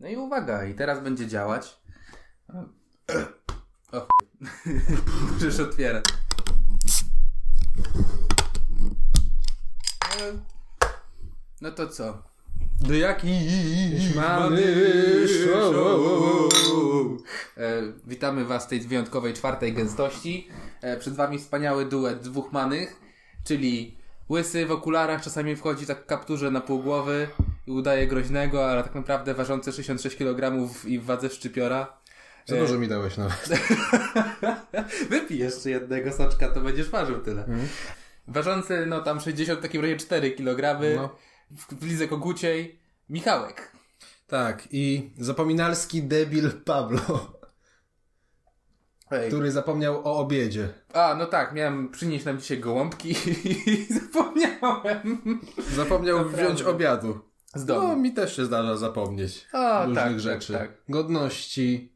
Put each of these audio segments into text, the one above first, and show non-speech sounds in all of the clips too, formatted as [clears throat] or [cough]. No i uwaga, i teraz będzie działać. O chuj. Możesz otwierać. E, No to co? Do jakiś mamy show. E, Witamy Was w tej wyjątkowej czwartej gęstości. E, Przed Wami wspaniały duet dwóch manych, czyli łysy w okularach, czasami wchodzi tak w kapturze na pół głowy i udaje groźnego, ale tak naprawdę ważący 66 kg i w wadze szczypiora. Za dużo mi dałeś nawet. Wypij jeszcze jednego soczka, to będziesz ważył tyle. Mhm. Ważący, no tam 60, w takim razie 4 kg, No. w, w lidze koguciej, Michałek. [laughs] Tak, i zapominalski debil Pablo, [laughs] Ej, który zapomniał o obiedzie. A, no tak, miałem przynieść nam dzisiaj gołąbki i [laughs] zapomniałem. Zapomniał wziąć obiadu. Z No, domu. mi też się zdarza zapomnieć A, różnych tak, tak, rzeczy. tak. Godności.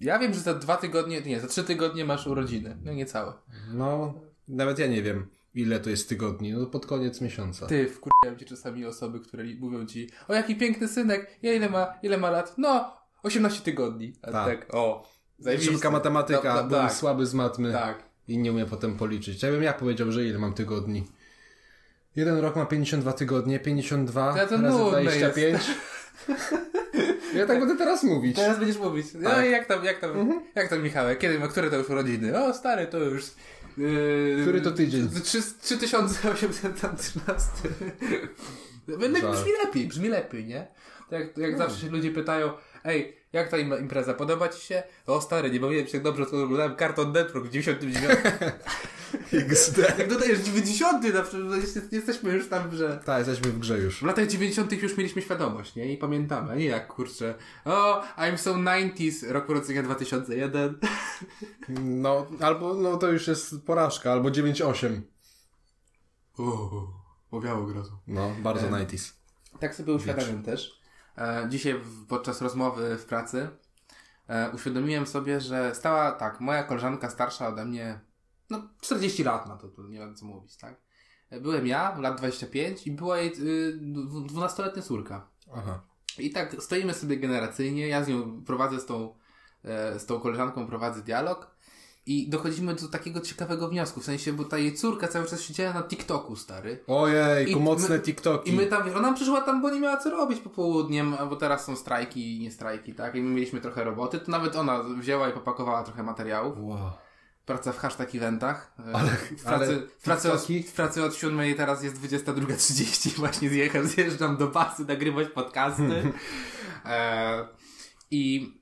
Ja wiem, że za dwa tygodnie, nie, za trzy tygodnie masz urodziny. No niecałe. No, nawet ja nie wiem, ile to jest tygodni. No, pod koniec miesiąca. Ty, wkurzają cię czasami osoby, które li- mówią ci, o jaki piękny synek, ja ile ma, ile ma lat? No, 18 tygodni. A Tak. tak, o, zajebiste. Szybka matematyka, No, no, byłem tak, słaby z matmy Tak. i nie umiem potem policzyć. Ja bym ja powiedział, że ile mam tygodni. Jeden rok ma 52 tygodnie, 52 To ja to razy nudne 25. ja tak będę teraz mówić. Teraz będziesz mówić, no Tak. i jak tam, jak tam, jak tam Michałek, kiedy, ma- które to już urodziny? O, stary, to już... Yy, Który to tydzień? Trzy- 3813. Będę, Żal. No, No. brzmi lepiej, brzmi lepiej, nie? Tak Jak, jak zawsze się ludzie pytają, ej, jak ta im- impreza, podoba ci się? O stary, nie bawiłem się tak dobrze, to oglądałem Cartoon Network w 99. [laughs] XD. jak dodajesz 90, zawsze jest- jesteśmy już tam, że... Tak, jesteśmy w grze już. W latach 90. już mieliśmy świadomość, nie? I pamiętamy, a nie jak, kurczę, o, I'm so 90s, rok urodzenia 2001. No, albo no to już jest porażka, albo 9-8. Uuu, powiało grozu. No, bardzo E. 90s. Tak sobie uświadamiam też. E, dzisiaj w, podczas rozmowy w pracy e, uświadomiłem sobie, że stała tak, moja koleżanka starsza ode mnie, no 40 lat ma to, tu nie wiem co mówić, tak? E, Byłem ja, lat 25 i była jej y, dwu- 12-letnia córka. Aha. I tak stoimy sobie generacyjnie, ja z nią prowadzę z tą, e, z tą koleżanką prowadzę dialog i dochodzimy do takiego ciekawego wniosku, w sensie, bo ta jej córka cały czas siedziała na TikToku, stary. Ojej, I mocne my- TikToki. I my tam, wiesz, ona przyszła tam, bo nie miała co robić po południem, bo teraz są strajki i nie strajki, tak? I my mieliśmy trochę roboty, to nawet ona wzięła i popakowała trochę materiałów. Wow. Praca w hashtag eventach. E, Ale- w, pracy, ale w, pracy od, TikToki? w pracy od 7 teraz jest 22.30, [laughs] właśnie zjecham, zjeżdżam do basy nagrywać [laughs] podcasty. e, I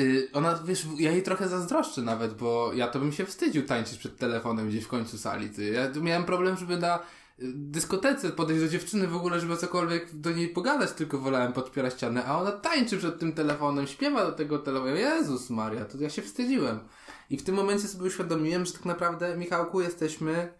y, ona, wiesz, ja jej trochę zazdroszczę nawet, bo ja to bym się wstydził tańczyć przed telefonem gdzieś w końcu sali. Ty. Ja tu miałem problem, żeby na y, dyskotece podejść do dziewczyny w ogóle, żeby cokolwiek do niej pogadać, tylko wolałem podpierać ścianę, a ona tańczy przed tym telefonem, śpiewa do tego telefonu. Jezus Maria, to ja się wstydziłem. I w tym momencie sobie uświadomiłem, że tak naprawdę, Michałku, jesteśmy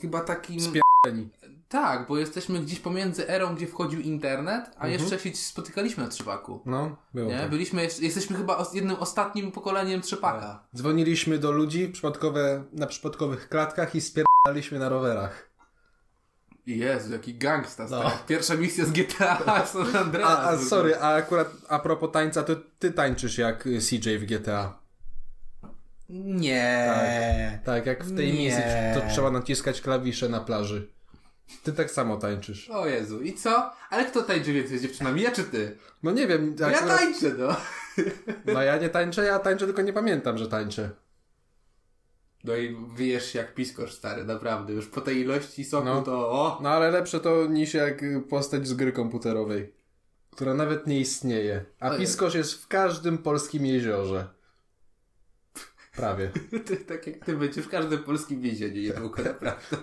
chyba takim... Spierdoleni. tak, bo jesteśmy gdzieś pomiędzy erą, gdzie wchodził internet, a jeszcze się spotykaliśmy na Trzepaku. No, było Nie? tak. Byliśmy, jeszcze- jesteśmy chyba os- jednym ostatnim pokoleniem Trzepaka. Dzwoniliśmy do ludzi przypadkowe, na przypadkowych klatkach i spierdaliśmy na rowerach. E, Jezu, jaki gangsta. No. stary. Pierwsza misja z [laughs] GTA San Andreas. A, a sorry, a akurat a propos tańca, to ty tańczysz jak y, CJ w GTA. Nie. Tak, jak w tej Nie. misji, to trzeba naciskać klawisze na plaży. Ty tak samo tańczysz. O Jezu, i co? Ale kto tańczy więcej z dziewczynami? Ja czy ty? No nie wiem, Ja akurat- tańczę, no. no ja nie tańczę, ja tańczę, tylko nie pamiętam, że tańczę. No i wyjesz jak piskosz stary, naprawdę. Już po tej ilości soku No. to o. No ale lepsze to niż jak y, postać z gry komputerowej, która nawet nie istnieje. A Ojej. piskosz jest w każdym polskim jeziorze. Prawie. Ty, tak jak ty będziesz w każdym polskim więzieniu niedługo, naprawdę.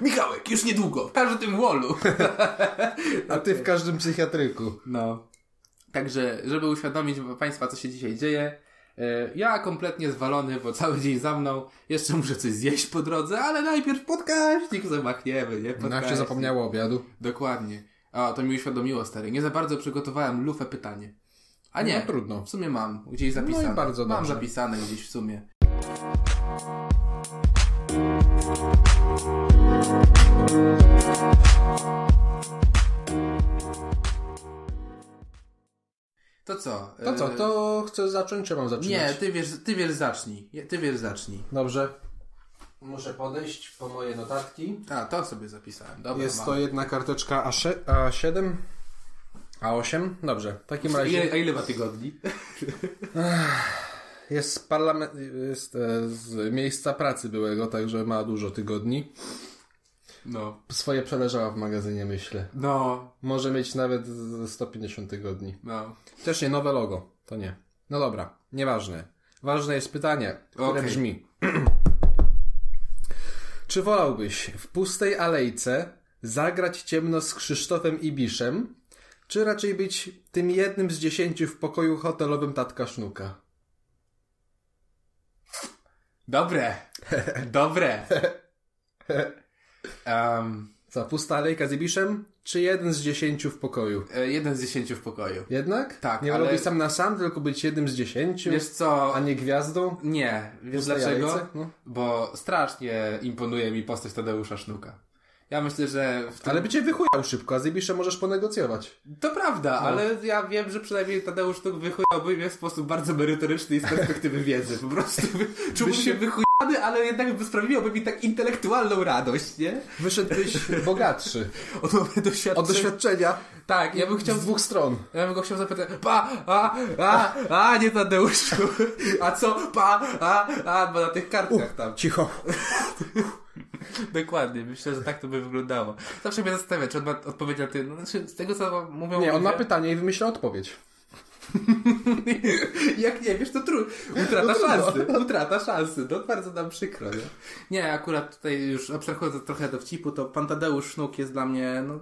Michałek, już niedługo, w każdym wallu. A ty w każdym psychiatryku. No. Także, żeby uświadomić Państwa, co się dzisiaj dzieje, e, ja kompletnie zwalony, bo cały dzień za mną, jeszcze muszę coś zjeść po drodze, ale najpierw podkaźnik zamachniemy, nie? No jak się Podkaźnik. zapomniało obiadu. Dokładnie. A, to mi uświadomiło, stary. Nie za bardzo przygotowałem lufę pytanie. A nie, No trudno. w sumie mam, gdzieś zapisane. No i bardzo mam dobrze. zapisane gdzieś w sumie. To co? To co, E, to chcę zacząć, czy mam zaczynać? Nie, ty wiesz, ty wiesz zacznij. Je- Ty wiesz zacznij. Dobrze. Muszę podejść po moje notatki. A, to sobie zapisałem. Dobra, Jest mam. to jedna karteczka A6, A7, A8. Dobrze, w takim A razie ile, a ile ma [laughs] tygodni? jest, parlament, jest e, z miejsca pracy byłego, także ma dużo tygodni. No. Swoje przeleżała w magazynie, myślę. No, Może mieć nawet z- 150 tygodni. no. Też nie, nowe logo. To nie. No dobra, nieważne. Ważne jest pytanie, które Okej. brzmi. [clears throat] Czy wolałbyś w pustej alejce zagrać ciemno z Krzysztofem Ibiszem, czy raczej być tym jednym z dziesięciu w pokoju hotelowym tatka Sznuka? Dobre. Dobre. Em, Za pusta alejka z Ibiszem, czy jeden z dziesięciu w pokoju? e, jeden z dziesięciu w pokoju. Jednak? Tak, Nie ale- wolałbyś sam na sam, tylko być jednym z dziesięciu, Wiesz co? a nie gwiazdą? w Nie, wiesz pustej dlaczego? alejce? No. Bo strasznie imponuje mi postać Tadeusza Sznuka. Ja myślę, że w tym... Ale by cię wychujał szybko, a z Ibiszem możesz ponegocjować. To No. prawda, ale ja wiem, że przynajmniej Tadeusz Sztuk wychujałby mnie w sposób bardzo merytoryczny i z [laughs] perspektywy wiedzy. Po prostu by- czułbym Byś się się- wychujany, ale jednak by sprawiłoby mi tak intelektualną radość, nie? Wyszedłbyś [laughs] bogatszy. Od momentu doświadczenia. Od doświadczenia Tak, ja bym chciał... z dwóch stron. Ja bym go chciał zapytać, pa, a, a, a, nie Tadeuszu, a co, pa, a, a, bo na tych kartkach tam. Cicho. Dokładnie, myślę, że tak to by wyglądało. Zawsze mnie zastanawia, czy on ma odpowiedź na tym, no, znaczy, z tego co mówią... Nie, on ma ludzie- pytanie i wymyśla odpowiedź. [laughs] Jak nie wiesz, to tru... utrata No trudno. szansy. Utrata szansy. No bardzo nam przykro, nie? Nie, akurat tutaj już abstrahując od trochę do wcipu, to pan Tadeusz Sznuk jest dla mnie no,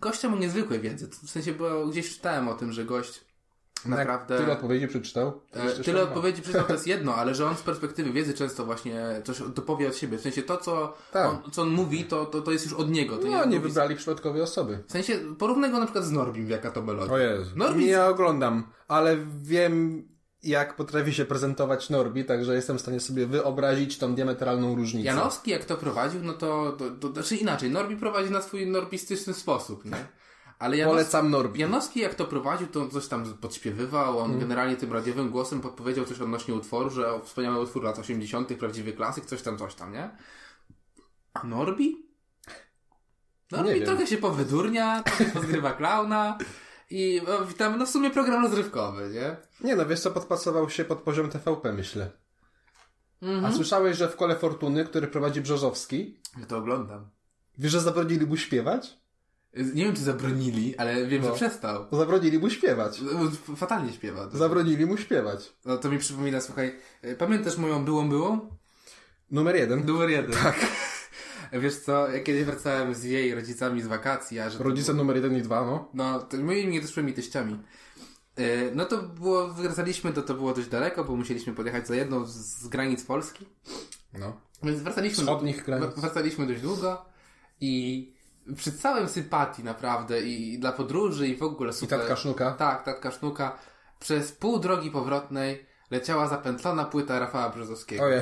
gościem o niezwykłej wiedzy. W sensie, bo gdzieś czytałem o tym, że gość naprawdę... Jak tyle odpowiedzi przeczytał. to E, jeszcze Tyle szanowny. odpowiedzi przyznał to jest [laughs] jedno, ale że on z perspektywy wiedzy często właśnie coś dopowie od siebie. W sensie to, co, Tak. on, co on mówi, to, to, to jest już od niego. To No, nie mówi... wybrali przypadkowej osoby. W sensie porównaj go na przykład z Norbim, jaka to melodia. O Jezu. Norbi- Nie oglądam, ale wiem jak potrafi się prezentować Norbi, także jestem w stanie sobie wyobrazić tą diametralną różnicę. Janowski jak to prowadził, no to, to, to znaczy inaczej, Norbi prowadzi na swój norbistyczny sposób, nie? Ale Janowski, Polecam Norbi. Janowski jak to prowadził, to on coś tam podśpiewywał, on Mm. generalnie tym radiowym głosem podpowiedział coś odnośnie utworu, że o, wspaniały utwór lat 80., prawdziwy klasyk, coś tam, coś tam, nie? A Norbi? No Nie Norbi wiem. trochę się powydurnia, trochę [laughs] pozgrywa klauna i o, witamy, no w sumie program rozrywkowy, nie? Nie no, wiesz co, podpasował się pod poziom TVP, myślę. Mhm. A słyszałeś, że w Kole Fortuny, który prowadzi Brzozowski, Ja to oglądam. wiesz, że zabronili mu śpiewać? Nie wiem, czy zabronili, ale wiem, No. że przestał. Zabronili mu śpiewać. Fatalnie śpiewa. Zabronili mu śpiewać. No to mi przypomina, słuchaj, y, pamiętasz moją byłą byłą? Numer jeden. Numer jeden. Tak. Wiesz co, ja kiedyś wracałem z jej rodzicami z wakacji, a że... to Rodzice było- numer jeden i dwa, no. No, to moimi niedoszłymi teściami. Y, No to było, wracaliśmy, to to było dość daleko, bo musieliśmy podjechać za jedną z- z granic Polski. No. Więc wracaliśmy... Wschodnich granic. wr- Wracaliśmy dość długo i przy całym sympatii naprawdę i, i dla podróży i w ogóle I super... tatka Sznuka. Tak, tatka sznuka. Przez pół drogi powrotnej leciała zapętlona płyta Rafała Brzozowskiego. Ojej.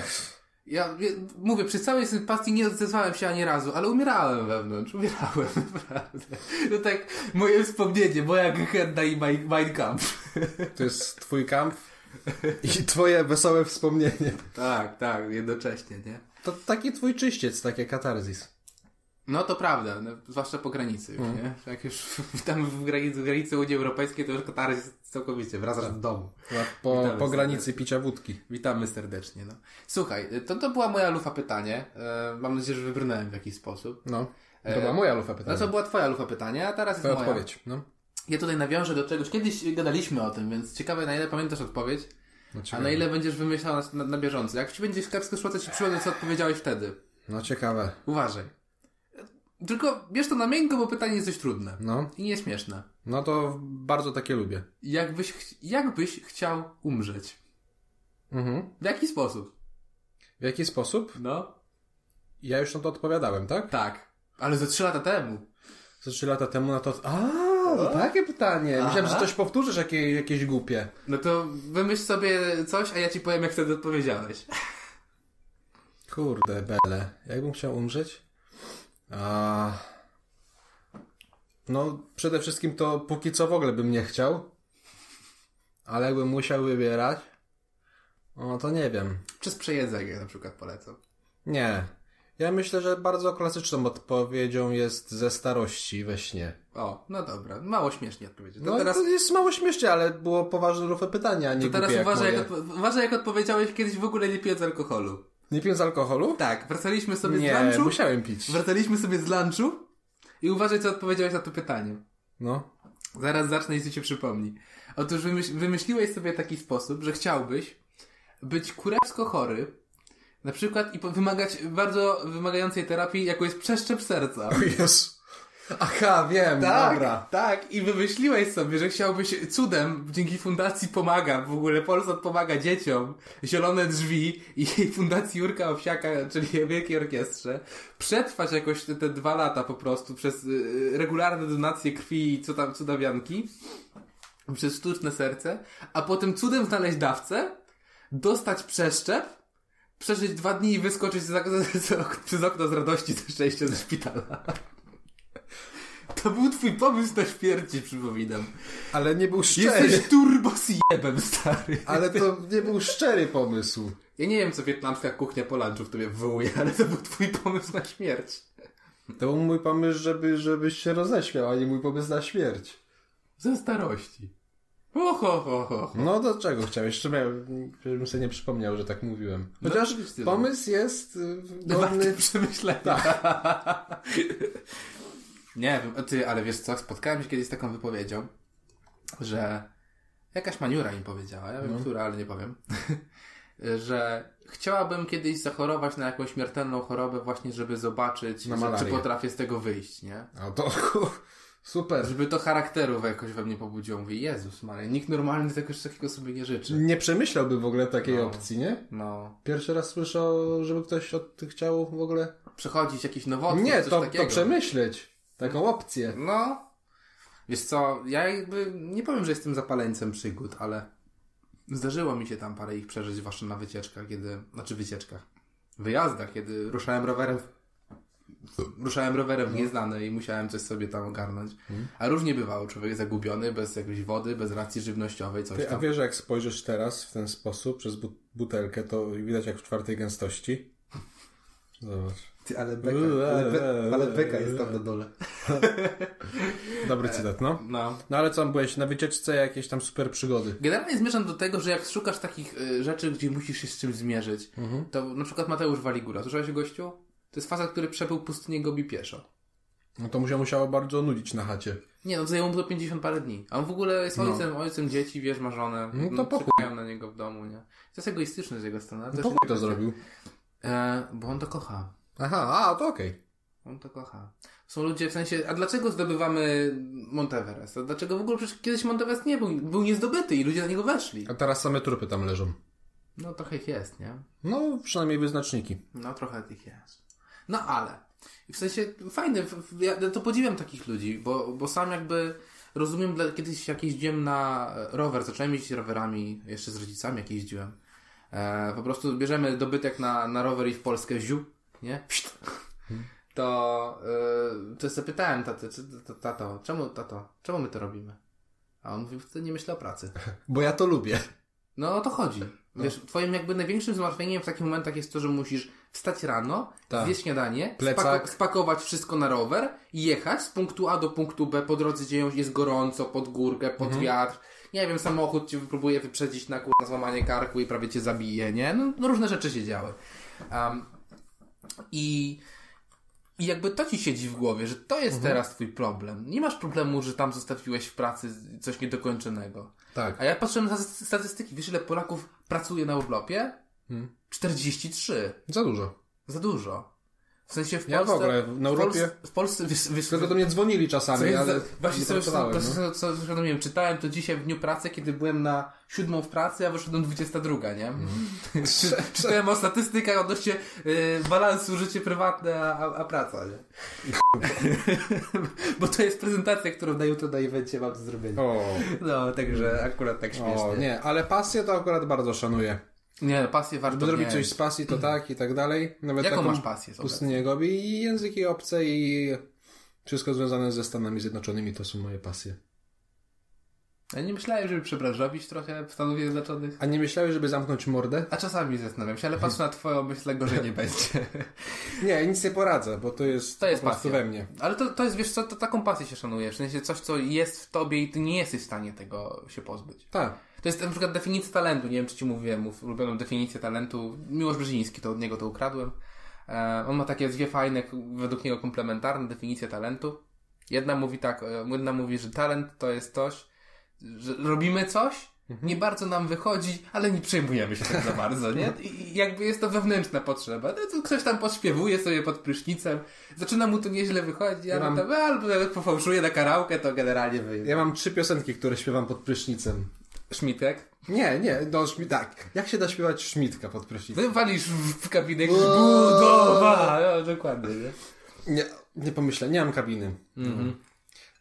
Ja wie- mówię, przy całej sympatii nie odzywałem się ani razu, ale umierałem wewnątrz, umierałem, [laughs] naprawdę. No tak, moje wspomnienie, moja Gehenna i Mein- Mein Kampf. To jest twój kamp i twoje wesołe wspomnienie. Tak, tak, jednocześnie, nie? To taki twój czyściec, takie katarzis. No to prawda, no, zwłaszcza po granicy już, nie? Jak już [laughs] tam w granicy, w granicy Unii Europejskiej, to już Katar jest całkowicie, wracasz do domu. Po, Witamy po serdecznie. granicy picia wódki. Witamy serdecznie, no. Słuchaj, to, to była moja lufa pytanie. E, mam nadzieję, że wybrnąłem w jakiś sposób. No. To E, była moja lufa No pytania. to była twoja lufa pytanie, a teraz jest Twoja moja. odpowiedź. No. Ja tutaj nawiążę do czegoś. Kiedyś gadaliśmy o tym, więc ciekawe na ile pamiętasz odpowiedź, No, a ciekawe. na ile będziesz wymyślał na, na, na bieżąco. Jak ci będzie skarbsko szło, to ci przypomnę, co odpowiedziałeś wtedy. no ciekawe. Uważaj. Tylko bierz to na miękko, bo pytanie jest dość trudne. No. I nieśmieszne. No to bardzo takie lubię. Jakbyś, ch- jakbyś chciał umrzeć? Mhm. W jaki sposób? W jaki sposób? No. Ja już na to odpowiadałem, tak? Tak. Ale ze trzy lata temu. Ze trzy lata temu na to... A, to takie pytanie. Myślałem, że Aha. coś powtórzysz jakie, jakieś głupie. No to wymyśl sobie coś, a ja ci powiem, jak wtedy odpowiedziałeś. Kurde, bele. Jakbym chciał umrzeć? A... No, przede wszystkim to póki co w ogóle bym nie chciał. ale jakbym musiał wybierać, no to nie wiem. Czy z przejedzenie na przykład polecam? Nie. Ja myślę, że bardzo klasyczną odpowiedzią jest ze starości we śnie. O, no dobra, mało śmiesznie odpowiedzieć. To No teraz, to jest mało śmiesznie, ale było poważne lufę pytania, a nie to teraz głupie, jak uważaj, moje. jak odpo- uważaj, jak odpowiedziałeś kiedyś w ogóle nie pijąc alkoholu. Nie pijąc alkoholu? Tak, wracaliśmy sobie z Nie, lunchu. musiałem pić. Wracaliśmy sobie z lunchu i uważaj, co odpowiedziałeś na to pytanie. No. [laughs] Zaraz zacznę, jeśli się przypomni. Otóż wymyśl, wymyśliłeś sobie taki sposób, że chciałbyś być kurewsko chory, na przykład i po- wymagać bardzo wymagającej terapii, jaką jest przeszczep serca. Jest. Aha, wiem, dobra. tak. I wymyśliłeś sobie, że chciałbyś cudem dzięki fundacji Pomaga, w ogóle Polsat pomaga dzieciom, Zielone Drzwi i [laughs] jej fundacji Jurka Owsiaka, czyli [laughs] Wielkiej Orkiestrze, przetrwać jakoś te, te dwa lata po prostu przez y, regularne donacje krwi i cuda, cudawianki, przez sztuczne serce, a potem cudem znaleźć dawcę, dostać przeszczep, przeżyć dwa dni i wyskoczyć z, z, z, przez okno z radości ze szczęścia ze szpitala. To był twój pomysł na śmierci, przypominam. Ale nie był szczery. Jesteś turbo jebem, stary. Ale to nie był szczery pomysł. Ja nie wiem, co wietnamska kuchnia po lunchu w tobie wywołuje, ale to był twój pomysł na śmierć. To był mój pomysł, żeby, żebyś się roześmiał, a nie mój pomysł na śmierć. Ze starości. Ho, ho, ho, ho. No do czego chciałeś? Czy miałem- Żebym sobie nie przypomniał, że tak mówiłem. No, Chociaż oczywiście, No, pomysł jest y, Warty godny... [laughs] przemyślenia. tak. [laughs] nie wiem, o ty, ale wiesz co, spotkałem się kiedyś z taką wypowiedzią, że jakaś maniura mi powiedziała, ja wiem, No. która, ale nie powiem, [laughs] że chciałabym kiedyś zachorować na jakąś śmiertelną chorobę właśnie, żeby zobaczyć, Na że, czy malarię. potrafię z tego wyjść, nie? A to [laughs] super. Żeby to charakteru jakoś we mnie pobudziło. Mówię, Jezus Maria, nikt normalny czegoś takiego sobie nie życzy. Nie przemyślałby w ogóle takiej No. opcji, nie? No, Pierwszy raz słyszę, o- żeby ktoś od tych chciał w ogóle... przechodzić jakiś nowotwór, nie, coś to, takiego. to przemyśleć. Taką opcję. No, wiesz co, ja jakby nie powiem, że jestem zapaleńcem przygód, ale zdarzyło mi się tam parę ich przeżyć, zwłaszcza na wycieczkach, kiedy, znaczy wycieczkach, wyjazdach, kiedy ruszałem rowerem, ruszałem rowerem No. w nieznane i musiałem coś sobie tam ogarnąć. Mhm. A różnie bywało, człowiek zagubiony, bez jakiejś wody, bez racji żywnościowej, coś Ty, a tam. wiesz, że jak spojrzysz teraz w ten sposób przez bu- butelkę, to widać jak w czwartej gęstości? Zobacz. Ty, ale beka, ale be- ale beka jest tam na dole. Dobry cytat, no. No. No ale co, byłeś na wycieczce jakieś tam super przygody. Generalnie zmierzam do tego, że jak szukasz takich y, rzeczy, gdzie musisz się z czymś zmierzyć, to na przykład Mateusz Waligura, słyszałeś o gościu? To jest facet, który przebył pustynię Gobi pieszo. No to mu się musiało bardzo nudzić na chacie. Nie no, zajęło mu to 50 parę dni. A on w ogóle jest ojcem, ojcem dzieci, wiesz, ma żonę. No to po chuj. czekają na niego w domu, nie? To jest egoistyczne z jego strony. ale No też to nie chuj to wiem, zrobił. E, bo on to kocha. Aha, a to okej. On to kocha. Są ludzie w sensie, a dlaczego zdobywamy Monteverest? A dlaczego w ogóle przecież kiedyś Monteverest nie był, był niezdobyty i ludzie na niego weszli? A teraz same trupy tam leżą. No trochę ich jest, nie? No, przynajmniej wyznaczniki. No trochę tych jest. No ale. W sensie fajne, w- w- ja to podziwiam takich ludzi, bo, bo sam jakby rozumiem, dla, kiedyś jak jeździłem na e, rower, zacząłem jeździć rowerami jeszcze z rodzicami, jak jeździłem. E, po prostu bierzemy dobytek na, na rower i w Polskę ziu, nie? Pszt. To, e, to zapytałem taty, czy, to, tato, czemu, tato, czemu my to robimy? A on mówi, wtedy nie myślę o pracy. Bo ja to lubię. No o to chodzi. Wiesz, twoim jakby największym zmartwieniem w takich momentach jest to, że musisz wstać rano, Tak. zjeść śniadanie, Plecak. spako- spakować wszystko na rower i jechać z punktu A do punktu B. Po drodze dzieją jest gorąco, pod górkę, pod Mhm. wiatr. Nie wiem, samochód cię próbuje wyprzedzić na kurwa złamanie karku i prawie cię zabije, nie? No, no różne rzeczy się działy. Um, I i jakby to ci siedzi w głowie, że to jest Mhm. teraz twój problem. Nie masz problemu, że tam zostawiłeś w pracy coś niedokończonego. Tak. A ja patrzyłem na staty- statystyki. Wiesz, ile Polaków pracuje na urlopie? Hmm. 43. Za dużo. Za dużo. W sensie w Polsce... Ja w ogóle w- na w Polsce- urlopie- W Polsce, wiesz, wiesz Tylko do mnie dzwonili czasami, co jest ale... za- właśnie nie sobie pracowałem, właśnie no. sobie co uświadomiłem. Czytałem to dzisiaj w dniu pracy, kiedy byłem na siódmą w pracy, a wyszedłem 22, nie? Mhm. [laughs] no. Czy, czytałem o statystykach odnośnie y, balansu życie prywatne, a, a, a praca, nie? [laughs] Bo to jest prezentacja, którą na jutro na evencie mam do zrobienia. [laughs] O, No, także akurat tak o, śmiesznie. nie, ale pasję to akurat bardzo szanuję. Nie, pasję warto Żeby zrobić mieć. coś z pasji, to tak i tak dalej. Nawet Jaką taką masz pasję? Zobacz. Pustynię Gobi i języki obce i wszystko związane ze Stanami Zjednoczonymi to są moje pasje. Ja nie myślałem, żeby przebranżowić trochę w Stanów Zjednoczonych. A nie myślałeś, żeby zamknąć mordę? A czasami zastanawiam [laughs] się, ale patrzę na twoją, myślę, gorzej nie będzie. Nie, nic nie poradzę, bo to jest, To jest po prostu pasja. we mnie. Ale to, to jest, wiesz co, to taką pasję się szanujesz. W sensie coś, co jest w tobie i ty nie jesteś w stanie tego się pozbyć. Tak. To jest na przykład definicja talentu. Nie wiem, czy ci mówiłem, mów- ulubioną definicję talentu. Miłosz Brzeziński, to od niego to ukradłem. E, on ma takie dwie fajne, k- według niego komplementarne definicje talentu. Jedna mówi tak, e, jedna mówi, że talent to jest coś, że robimy coś, nie bardzo nam wychodzi, ale nie przejmujemy się tak za bardzo, nie? I- I jakby jest to wewnętrzna potrzeba. No, to ktoś tam podśpiewuje sobie pod prysznicem, zaczyna mu to nieźle wychodzi, ale mam- tam, e, albo jak pofałszuje na karałkę, to generalnie wyjdzie. Ja mam trzy piosenki, które śpiewam pod prysznicem. Szmitek, Nie, nie, no szmi- tak. Jak się da śpiewać szmitka pod prysznicem? Ty walisz w w kabinek budowa! No, dokładnie, nie? Nie, nie pomyślę, nie mam kabiny. Mhm.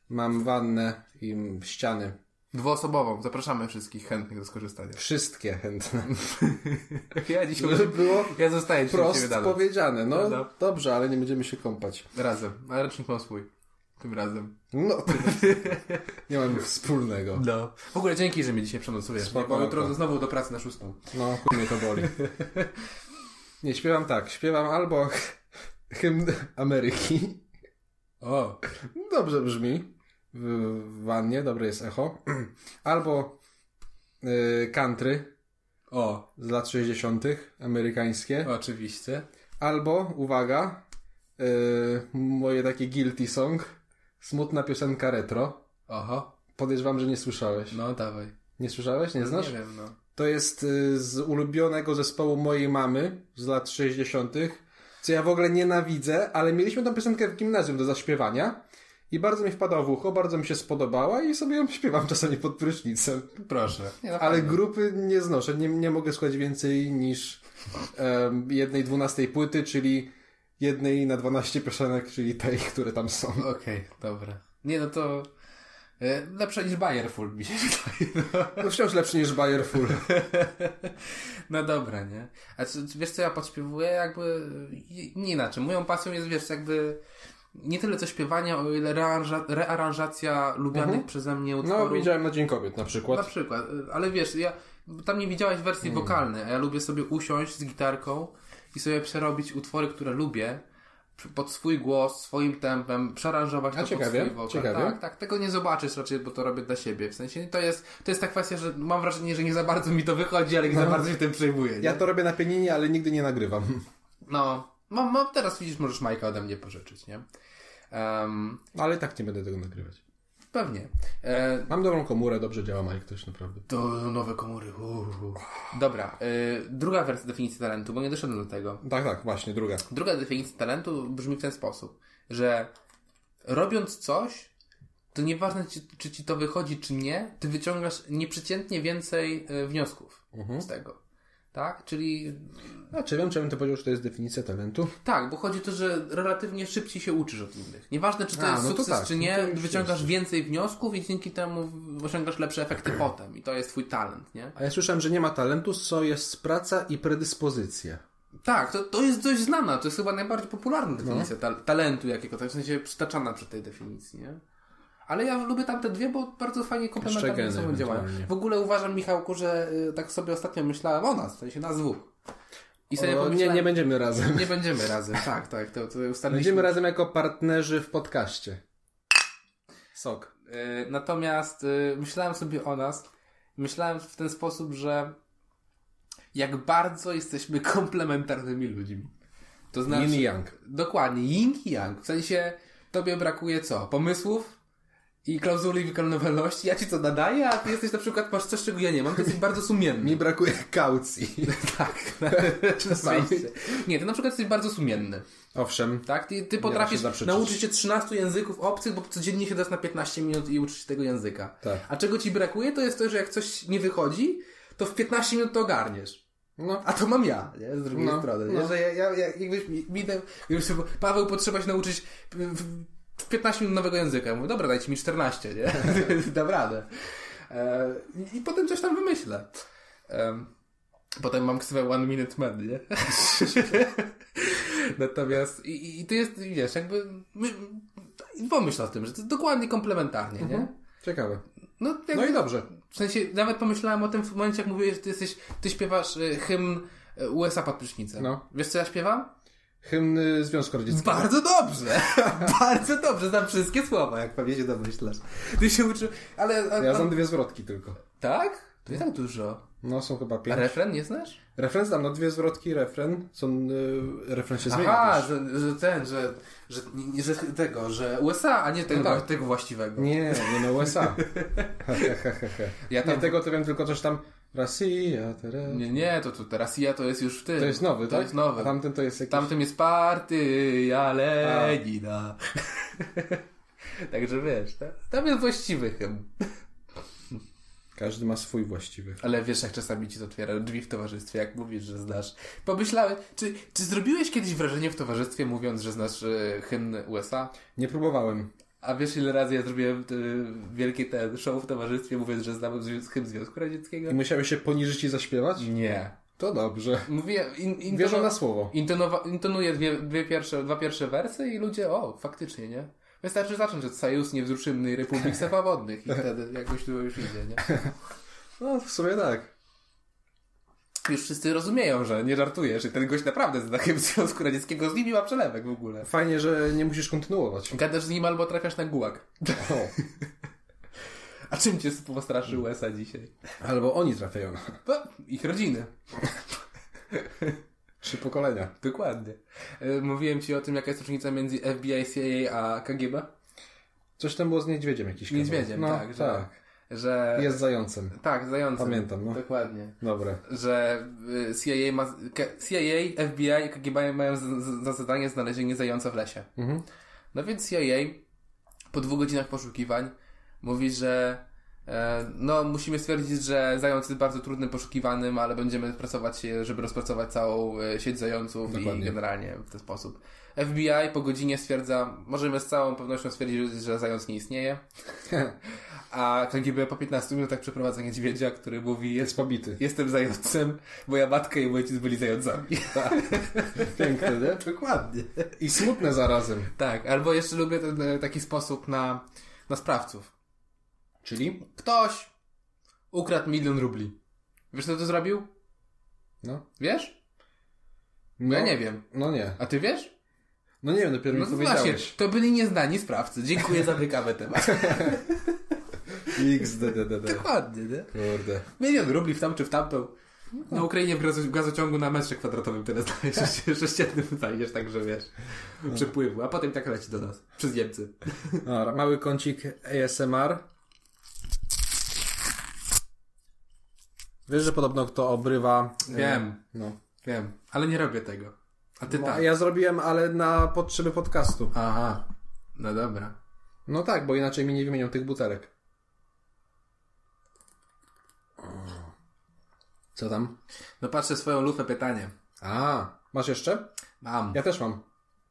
Mam wannę i ściany. Dwuosobową. Zapraszamy wszystkich chętnych do skorzystania. Wszystkie chętne. Ja dzisiaj... Żeby [laughs] było Ja zostaję dzisiaj u wprost ciebie dalej. powiedziane. No Prawda. dobrze, ale nie będziemy się kąpać. Razem. Ale rocznik mam swój. Tym razem. No, nie mamy wspólnego. No. W ogóle dzięki, że mnie dzisiaj przenocujesz. Spoko, Bo jutro spoko. znowu do pracy na szóstą. No, chuj mnie to [laughs] boli. Nie, śpiewam tak. Śpiewam albo hymn Ameryki. O. Dobrze brzmi. W wannie, dobre jest echo. [clears throat] Albo y, country O. z lat 60. amerykańskie. Oczywiście. Albo, uwaga, y, moje takie guilty song. Smutna piosenka retro. Oho. Podejrzewam, że nie słyszałeś. No, dawaj. Nie słyszałeś? Nie znasz? Nie wiem, no. To jest y, z ulubionego zespołu mojej mamy z lat 60., co ja w ogóle nienawidzę, ale mieliśmy tą piosenkę w gimnazjum do zaśpiewania i bardzo mi wpadała w ucho, bardzo mi się spodobała i sobie ją śpiewam czasami pod prysznicem. Proszę. Nie, no Ale fajnie. grupy nie znoszę, nie, nie mogę słuchać więcej niż em, jednej dwunastej płyty, czyli jednej na 12 piosenek, czyli tej, które tam są. Okej, dobra. Nie, no to... e, Lepsze niż Bayer Full mi się [laughs] wydaje. No wciąż lepszy niż Bayer Full. No dobra, nie? A co, wiesz co ja podśpiewuję? Jakby i- nie inaczej. Moją pasją jest, wiesz, jakby nie tyle co śpiewanie, o ile rearża- rearanżacja lubianych przeze mnie No, utworów. widziałem na Dzień Kobiet na Na przykład. przykład, y, ale wiesz, ja tam nie widziałeś wersji wokalnej, a ja lubię sobie usiąść z gitarką i sobie przerobić utwory, które lubię p- pod swój głos, swoim tempem, przearanżować A to ciekawie, pod swój wokal. ciekawie. Tak, tak, tego nie zobaczysz raczej, bo to robię dla siebie. W sensie to jest, to jest ta kwestia, że mam wrażenie, że nie za bardzo mi to wychodzi, ale nie za bardzo się tym przejmuję. nie? No. Ja to robię na pianinie, ale nigdy nie nagrywam. No, mam, mam teraz widzisz, możesz Majka ode mnie pożyczyć, nie? Em, Ale tak nie będę tego nagrywać. pewnie. E, Mam dobrą komórę, dobrze działa Mike też naprawdę. to nowe komory. uuu. Dobra, e, druga wersja definicji talentu, bo nie doszedłem do tego. Tak, tak, właśnie, druga. Druga definicja talentu brzmi w ten sposób, że robiąc coś, to nieważne, czy, czy ci to wychodzi, czy nie, ty wyciągasz nieprzeciętnie więcej e, wniosków z tego. Tak? Czyli A czy wiem, czy bym to powiedział, że to jest definicja talentu? Tak, bo chodzi o to, że relatywnie szybciej się uczysz od innych. Nieważne, czy to A, jest no to sukces, tak, czy no to nie, już wyciągasz więcej wniosków i dzięki temu osiągasz lepsze efekty [clears throat] potem. I to jest twój talent, nie? A ja słyszałem, że nie ma talentu, co jest praca i predyspozycja. Tak, to, to jest dość znana, to jest chyba najbardziej No. popularna definicja ta, talentu jakiego, tak w sensie przytaczana przy tej definicji, nie? Ale ja lubię tamte dwie, bo bardzo fajnie komplementarnie geny ze sobą działają. ewentualnie. W ogóle uważam, Michałku, że y, tak sobie ostatnio myślałem o nas, w sensie nas dwóch. I sobie O, nie, pomyślałem, nie będziemy razem. nie będziemy razem, tak, tak, to, to ustaliliśmy. Będziemy razem jako partnerzy w podcaście. Sok. E, Natomiast e, myślałem sobie o nas, myślałem w ten sposób, że jak bardzo jesteśmy [laughs] komplementarnymi ludźmi. To znaczy, Yin i Yang. dokładnie, yin i yang. W sensie tobie brakuje co? Pomysłów i klauzuli wykonalności. Ja ci co nadaję, a ty jesteś na przykład, masz coś, czego ja nie mam, to jesteś bardzo sumienny. Mi brakuje kaucji. [laughs] tak, [laughs] czasami. Nie, ty na przykład jesteś bardzo sumienny. Owszem. Tak? Ty, ty da potrafisz się nauczyć się 13 języków obcych, bo codziennie się dasz na 15 minut i uczysz się tego języka. Tak. A czego ci brakuje, to jest to, że jak coś nie wychodzi, to w 15 minut to ogarniesz. No. A to mam ja, nie? Z drugiej No, strony. Nie? no. Że ja, ja, ja jakbyś mi, mi dał- jakbyś sobie, Paweł, potrzeba się nauczyć w, w 15 minut nowego języka. Ja mówię, dobra, dajcie mi 14, nie? [laughs] Dam radę. E, I potem coś tam wymyślę. Em, Potem mam ksywę One Minute Man, nie? [laughs] Natomiast i, i- i to jest, wiesz, jakby my, i pomyśl o tym, że to jest dokładnie komplementarnie, nie? Ciekawe. No, Mhm. No jakby- i dobrze. W sensie nawet pomyślałem o tym w momencie, jak mówiłeś, że ty jesteś, ty śpiewasz y, hymn y, USA pod prysznicem. No. Wiesz, co ja śpiewam? Hymn y, Związku Radzieckiego. Bardzo dobrze! [laughs] Bardzo dobrze, znam wszystkie słowa, jak pewnie się domyślasz. Ty się uczy... Ale... A, Ja a- znam dwie zwrotki tylko. Tak? To nie tak dużo. No, są chyba A pięć. refren nie znasz? Refren znam, no dwie zwrotki, refren. Są, y, refren się zmienia Aha, też. że, że ten, że, że, nie- że tego, że USA, a nie tego, No tak. tego właściwego. Nie, no, nie na [laughs] USA. He, he, he, he, he. Ja tam- [laughs] Nie tego to wiem, tylko coś tam Rosja, tere. Nie, nie, to, to teraz ja to jest już w tym. To jest nowy, To tak? jest nowy. A tamten to jest jakiś... Tamtym jest partyja Lenina. [laughs] Także wiesz, ta- tam jest właściwy hymn. Każdy ma swój właściwy. Ale wiesz, jak czasami ci to otwiera drzwi w towarzystwie, jak mówisz, że znasz. Pomyślałem, czy, czy zrobiłeś kiedyś wrażenie w towarzystwie, mówiąc, że znasz e, hymn USA? Nie próbowałem. A wiesz, ile razy ja zrobiłem e, wielki ten show w towarzystwie, mówiąc, że znam zwi- hymn Związku Radzieckiego? I musiałeś się poniżyć i zaśpiewać? Nie. To dobrze. Mówię, in, in, Wierzę na słowo. Intonowa- intonuje dwie, dwie pierwsze, dwa pierwsze wersy i ludzie, o, faktycznie, nie? Wystarczy zacząć od Sajus niewzruszymnej Republice Powodnych i wtedy jakoś to już idzie, nie? No, w sumie tak. Już wszyscy rozumieją, że nie żartujesz i ten gość naprawdę z dachem Związku Radzieckiego z nimi ma przelewek w ogóle. Fajnie, że nie [laughs] musisz kontynuować. Gadasz z nim albo trafiasz na gułak. O, A czym cię postraszy Mm. USA dzisiaj? albo oni trafiają. Bo ich rodziny. Trzy pokolenia. Dokładnie. E, Mówiłem ci o tym, jaka jest różnica między FBI, CIA a KGB? Coś tam było z niedźwiedziem jakiś kawałek. Niedźwiedziem, no, tak. Że, tak. że... Jest zającem. Tak, zającem. Pamiętam, no. Dokładnie. Dobre. że y, CIA, ma, K- CIA FBI i KGB mają z- z- za zadanie znalezienie zająca w lesie. Mhm. No więc CIA po dwóch godzinach poszukiwań mówi, że e, no musimy stwierdzić, że zając jest bardzo trudnym poszukiwanym, ale będziemy pracować, się, żeby rozpracować całą e, sieć zająców Dokładnie. i generalnie w ten sposób. FBI po godzinie stwierdza, możemy z całą pewnością stwierdzić, że zając nie [laughs] istnieje, a KGB po 15 minutach przeprowadza niedźwiedzia, który mówi, jest Jest pobity. Jestem zającem, moja matka i mój ojciec byli zającami. Piękne, [laughs] nie? Dokładnie. I smutne zarazem. Tak, albo jeszcze lubię ten e, taki sposób na, na sprawców. Czyli? Ktoś ukradł milion rubli. Wiesz, kto to zrobił? No. Wiesz? no. Ja nie wiem. No nie. A ty wiesz? No nie wiem, dopiero No mi to właśnie, powiedziałeś. to byli nieznani sprawcy. Dziękuję, zamykamy temat. XDDD. Dokładnie, nie? Kurde. Milion rubli w tam czy w tamtą. Na Ukrainie w gazo- gazociągu na metrze kwadratowym tyle [laughs] znajdziesz, sześciennym znajdziesz, także wiesz, przepływu. A potem tak leci do nas, przez Niemcy. Dobra, mały kącik ASMR. Wiesz, że podobno kto obrywa... e, Wiem. No. Wiem, ale nie robię tego. A ty No, tak. Ja zrobiłem, ale na potrzeby podcastu. Aha, no dobra. No tak, bo inaczej mi nie wymienią tych butelek. Co tam? No patrzę swoją lufę pytanie. A, masz jeszcze? Mam. Ja też mam.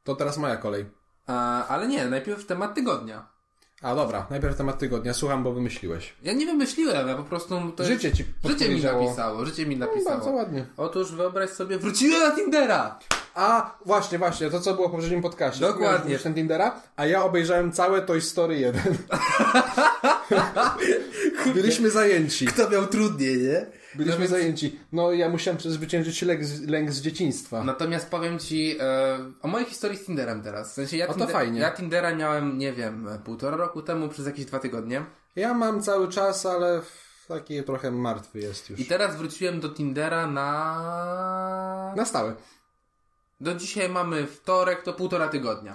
To teraz moja kolej. A, ale nie, najpierw temat tygodnia. A dobra, najpierw temat tygodnia. Słucham, bo wymyśliłeś. Ja nie wymyśliłem, ja po prostu to Życie jest... ci Życie mi podpowiedziało. napisało, życie mi No, bardzo napisało. ładnie. Otóż wyobraź sobie, wróciłem na Tindera! A, właśnie, właśnie, to co było w poprzednim podcaście. Dokładnie. Miałeś wrzucić ten Tindera, a ja obejrzałem całe Toy Story [laughs] 1. Byliśmy zajęci. Kto miał trudniej, nie? Byliśmy zajęci. No ja musiałem przezwyciężyć lęk z, lęk z dzieciństwa. Natomiast powiem ci e, o mojej historii z Tinderem teraz. W sensie ja, O, to fajnie. ja Tindera miałem, nie wiem, półtora roku temu przez jakieś dwa tygodnie. Ja mam cały czas, ale w- taki trochę martwy jest już. I teraz wróciłem do Tindera na... Na stałe. Do dzisiaj mamy wtorek, to półtora tygodnia.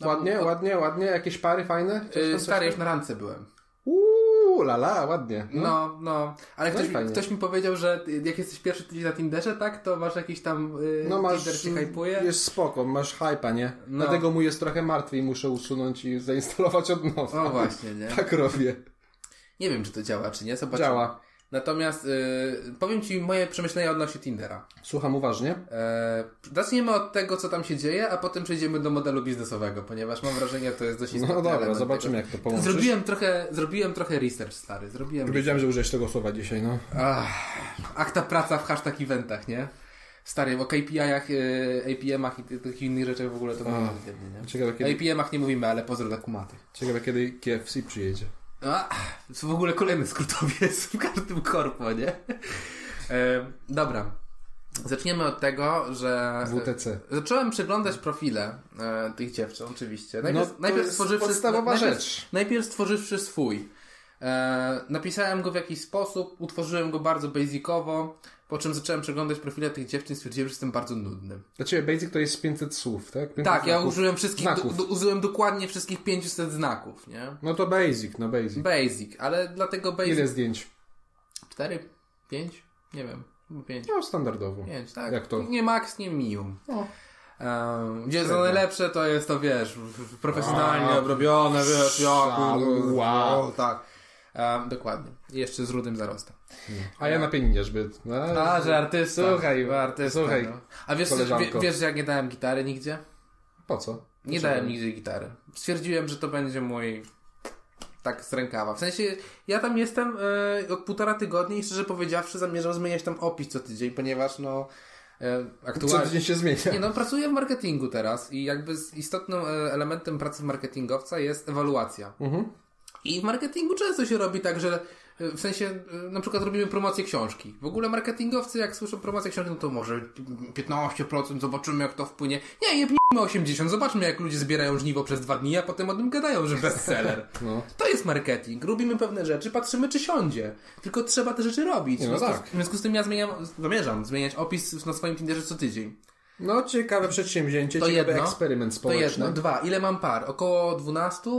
No, Ładnie, ładnie, ładnie. Jakieś pary fajne? Coś tam, Yy, coś stary, tam? już na randce byłem. Uuu, lala, ładnie. No. No, no. Ale No ktoś, i mi, fajnie. ktoś mi powiedział, że ty- jak jesteś pierwszy tydzień na Tinderze, tak, to masz jakiś tam... Yy, No masz, Tinder się hypuje. jest spoko, masz hypa, nie? No. Dlatego mój jest trochę martwy i muszę usunąć i zainstalować od nowa. O właśnie, nie? [laughs] Tak robię. Nie wiem, czy to działa, czy nie. Zobaczymy. Działa. Natomiast yy, powiem Ci moje przemyślenia odnośnie Tindera. Słucham uważnie. E, zaczniemy od tego, co tam się dzieje, a potem przejdziemy do modelu biznesowego, ponieważ mam wrażenie, to jest dość No istotny dobra, element zobaczymy tego. jak to połączysz. Zrobiłem trochę, zrobiłem trochę research, stary. Zrobiłem Wiedziałem, że użyjesz tego słowa dzisiaj, no. Ach, akta praca w hashtag eventach, nie? Stary, o KPI-ach, y, APM-ach i ty- takich innych rzeczach w ogóle to mówimy. Ciekawe O kiedy, APM-ach nie mówimy, ale pozdro dla kumatych. ciekawe kiedy KFC przyjedzie. A, w ogóle kolejny skrótowiec w każdym korpo, nie? E, dobra. Zaczniemy od tego, że... WTC. Zacząłem przeglądać profile e, tych dziewczyn, oczywiście. No, to jest podstawowa najpierw, rzecz. Najpierw stworzywszy swój. E, napisałem go w jakiś sposób, utworzyłem go bardzo basicowo, po czym zacząłem przeglądać profile tych dziewczyn i stwierdziłem, że jestem bardzo nudny. Dla ciebie basic to jest 500 słów, tak? 500 Tak, ja znaków. użyłem wszystkich, do, Znaków. do, użyłem dokładnie wszystkich 500 znaków, nie? No to basic, no basic. Basic, ale dlatego basic... Ile zdjęć? 4? 5? Nie wiem. 5. No standardowo. 5, tak. Jak to? Nie max, nie minimum. No. Ehm, gdzie są najlepsze, to jest to, wiesz, w- w- profesjonalnie obrobione, wiesz, ja kurde, Wow. o, tak. Ehm, dokładnie. I Jeszcze z rudym zarostem. A ja na pianinie zbyt. No, A, że artysta. Słuchaj, Że artysta, słuchaj, No. A wiesz, że, wie, koleżanko. wiesz, że jak nie dałem gitary nigdzie? Po co? Nie dałem nigdzie gitary. Stwierdziłem, że to będzie mój tak z rękawa. W sensie, ja tam jestem e, od półtora tygodnia i szczerze powiedziawszy zamierzam zmieniać tam opis co tydzień, ponieważ no e, Co aktualnie... tydzień się zmienia. Nie, no pracuję w marketingu teraz i jakby z istotnym e, elementem pracy marketingowca jest ewaluacja. Mhm. I w marketingu często się robi tak, że e, w sensie e, na przykład robimy promocję książki. W ogóle marketingowcy jak słyszą promocję książki, no to może 15%, zobaczymy jak to wpłynie. Nie, nie p***my 80, zobaczmy jak ludzie zbierają żniwo przez dwa dni, a potem o tym gadają, że bestseller. [laughs] No. To jest marketing. Robimy pewne rzeczy, patrzymy czy siądzie. Tylko trzeba te rzeczy robić. Nie, no W związku- tak. W związku z tym ja zmieniam, zamierzam zmieniać opis na swoim Tinderze co tydzień. No ciekawe przedsięwzięcie, To ciekawy jedno. eksperyment To społeczny. jedno, dwa. Ile mam par? Około 12?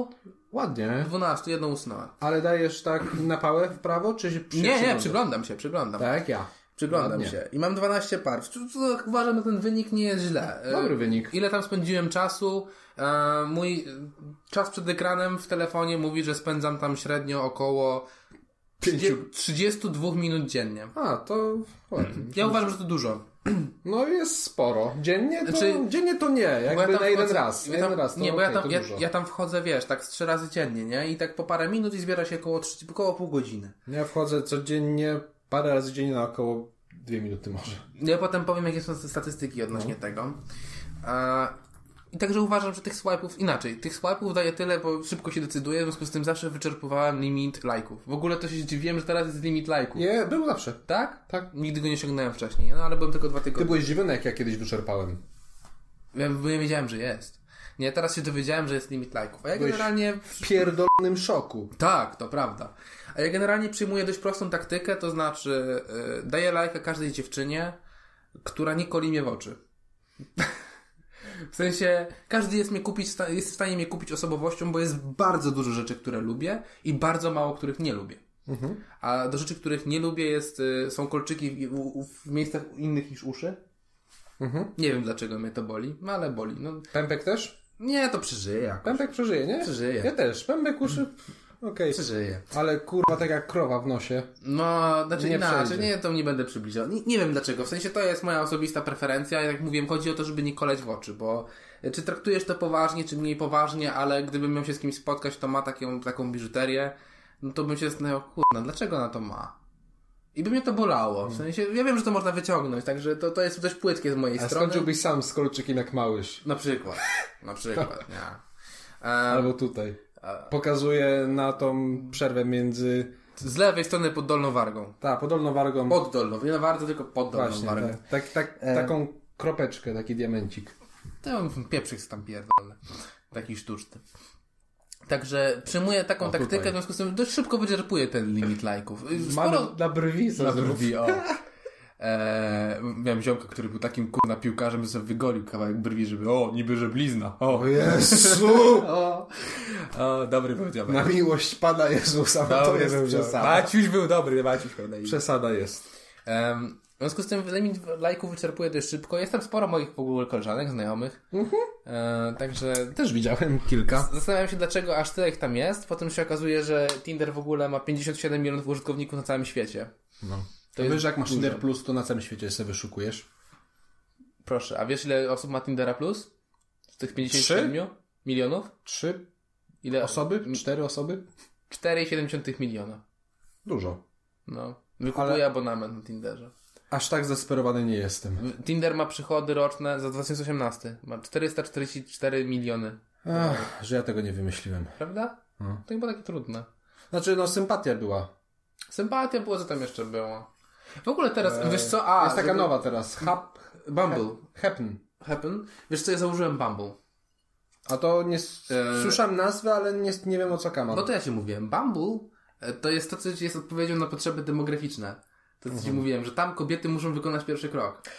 Ładnie. 12, jedną usunąłem. Ale dajesz tak na pałę w prawo, czy się przy- Nie, nie, przyglądasz? przyglądam się, przyglądam. Tak, jak ja. Przyglądam Ładnie. się. I mam 12 par. Co- co- Uważam, że ten wynik nie jest źle. E, Dobry wynik. Ile tam spędziłem czasu? E, Mój e, czas przed ekranem w telefonie mówi, że spędzam tam średnio około Pięciu. 32 minut dziennie. A, to ładnie. Ja uważam, że to dużo. No jest sporo. Dziennie to, Znaczy- dziennie to nie, Bo jakby na jeden wchodzę- raz. ja na jeden tam- raz to nie, bo ja okej, tam, to ja, dużo. ja tam wchodzę, wiesz, tak z trzy razy dziennie, nie? I tak po parę minut i zbiera się około, trzy- około pół godziny. Ja wchodzę codziennie, parę razy dziennie na około dwie minuty może. No Ja potem powiem, jakie są statystyki No. odnośnie tego. A, I także uważam, że tych swipe'ów inaczej. Tych swipe'ów daje tyle, bo szybko się decyduję, w związku z tym zawsze wyczerpywałem limit lajków. W ogóle to się zdziwiłem, że teraz jest limit lajków. Nie, był zawsze. Tak? Tak. Nigdy go nie sięgnąłem wcześniej, no ale byłem tylko dwa Ty tygodnie. byłeś zdziwiony, jak ja kiedyś wyczerpałem. Ja, bo nie wiedziałem, że jest. Nie, teraz się dowiedziałem, że jest limit lajków. A ja generalnie W pierdolonym szoku. Tak, to prawda. A ja generalnie przyjmuję dość prostą taktykę, to znaczy y, daję lajka każdej dziewczynie, która nie koli mnie w oczy. w sensie, każdy jest, mnie kupić, sta- jest w stanie mnie kupić osobowością, bo jest bardzo dużo rzeczy, które lubię i bardzo mało, których nie lubię. A do rzeczy, których nie lubię jest, y, są kolczyki w, u- w miejscach innych niż uszy. Nie wiem dlaczego mnie to boli, no ale boli. No, Pępek też? nie, to przeżyję jakoś. Pępek przeżyje, nie? Przeżyje. Mm. Ja też. Pępek uszy... Okej. Przeżyję. Ale kurwa, tak jak krowa w nosie. No, znaczy Nie inaczej, przejdzie. nie, to nie będę przybliżał. Nie, nie wiem dlaczego, w sensie to jest moja osobista preferencja, jak mówiłem, chodzi o to, żeby nie koleć w oczy, bo e, czy traktujesz to poważnie, czy mniej poważnie, ale gdybym miał się z kimś spotkać, to ma taką, taką biżuterię, no to bym się zastanawiał, kurna, dlaczego ona to ma? I by mnie to bolało, Mm. w sensie, ja wiem, że to można wyciągnąć, także to, to jest dość płytkie z mojej A strony. skończyłbyś sam z kolczykiem jak małysz. Na przykład, na przykład, nie. E, Albo tutaj. Pokazuje na tą przerwę między... z lewej strony pod dolną wargą. Ta, podolną wargą. Pod dolną, nie na wargę, tylko pod dolną Właśnie, wargą. E. tak, tak, tak, taką kropeczkę, taki diamencik. To pieprzyk sobie tam pierdolę. Taki sztuczny. Także przyjmuję taką O, taktykę, tutaj. w związku z tym dość szybko wyczerpuję ten limit lajków. Y, Mamy Sporo na brwi co na zrób. brwi, o. [laughs] Eee, miałem ziomka, który był takim kurna piłkarzem, że sobie wygolił kawałek brwi, żeby o, niby, że blizna. O, [laughs] O Jezu! o, o dobry był dziomek. Na miłość Pana Jezusa, bo to No, Dobry jest był dziomek. przesada. Maciuś był dobry, Maciuś był na imię. Przesada jest. Em, W związku z tym limit lajków wyczerpuję dość szybko. Jestem sporo moich w ogóle koleżanek, znajomych. Eee, także Też widziałem kilka. Zastanawiam się, dlaczego aż tyle ich tam jest. Potem się okazuje, że Tinder w ogóle ma 57 milionów użytkowników na całym świecie. No. To To wiesz, jest jak masz dużo. Tinder Plus, to na całym świecie sobie wyszukujesz. Proszę, a wiesz ile osób ma Tindera Plus? Z tych 57 milionów? Trzy Ile? osoby? Cztery osoby? 4,7 miliona. Dużo. No. Wykupuję Ale- abonament na Tinderze. Aż tak zdesperowany nie jestem. W- Tinder ma przychody roczne za 2018. Ma 444 miliony. Ach, że ja tego nie wymyśliłem. Prawda? No. To chyba takie trudne. Znaczy, no sympatia była. Sympatia było, co tam jeszcze było. W ogóle teraz, E, wiesz co, a... jest taka żeby- nowa teraz. Hap, Bumble. happen. Happen. Wiesz co, ja założyłem Bumble. A to nie... s- E, Słyszałem nazwę, ale nie, nie wiem o co kaman. No to ja ci mówiłem, Bumble e, to jest to, co jest odpowiedzią na potrzeby demograficzne. To, co Mhm. ci mówiłem, że tam kobiety muszą wykonać pierwszy krok. Tak.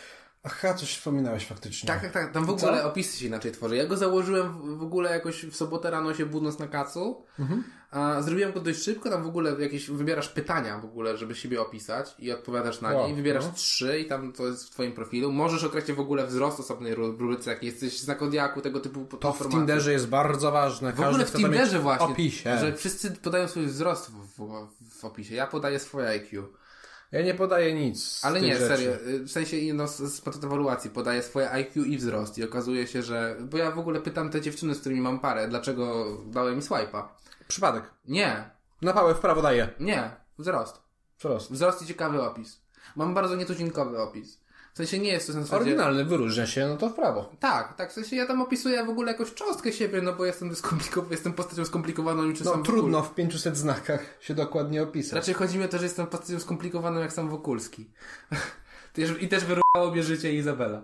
Aha, coś wspominałeś faktycznie. Tak, tak, tak. Tam w ogóle opisy się inaczej tworzy. Ja go założyłem w- w ogóle jakoś w sobotę rano się budząc na kacu. Mhm. A zrobiłem go dość szybko. Tam w ogóle jakieś wybierasz pytania w ogóle, żeby siebie opisać i odpowiadasz na O, nie. I wybierasz no. trzy i tam to jest w twoim profilu. Możesz określić w ogóle wzrost osobnej ru- rubryce, jaki jesteś znak odjaku, tego typu To w Tinderze jest bardzo ważne. W ogóle w Tinderze właśnie, Opisie. że wszyscy podają swój wzrost w, w, w opisie. Ja podaję swoje IQ. Ja nie podaję nic. z Ale tych nie, rzeczy. serio, y, w sensie no, z, z podstaw ewaluacji podaję swoje IQ i wzrost i okazuje się, że... Bo ja w ogóle pytam te dziewczyny, z którymi mam parę, dlaczego dałem mi swipe'a. Przypadek. Nie, Na pałę w prawo daję. nie, wzrost. Wzrost. Wzrost i ciekawy opis. Mam bardzo nietuzinkowy opis. W sensie nie jest to na zasadzie... Oryginalny wyróżnia się, no to w prawo. Tak, tak, w sensie ja tam opisuję w ogóle jakąś cząstkę siebie, no bo jestem skomplikowany, jestem postacią skomplikowaną niczym No sam Znaczy- trudno w 500 znakach się dokładnie opisać. Raczej chodzi mi o to, że jestem postacią skomplikowaną jak sam Wokulski. [laughs] Też- I też wyrwało mnie życie Izabela.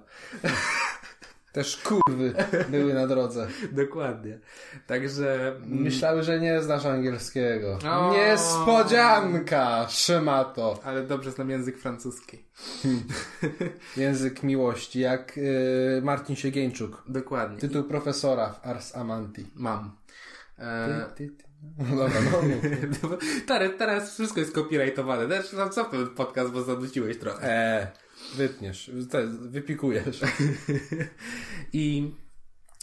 Też [laughs] kurwy były na drodze. Dokładnie. Także... mm, Myślały, że nie znasz angielskiego. O. Niespodzianka! Szemato. Ale dobrze znam język francuski. Język miłości, jak yy, Marcin Siegieńczuk. Dokładnie. Tytuł profesora w Ars Amanti. Mam. E... [laughs] Ty, ty. No [laughs] Dobra, no. mów. Teraz, teraz wszystko jest copyrightowane. Też no, co ten podcast, bo zanuciłeś trochę. Eee, wytniesz, te, wypikujesz. I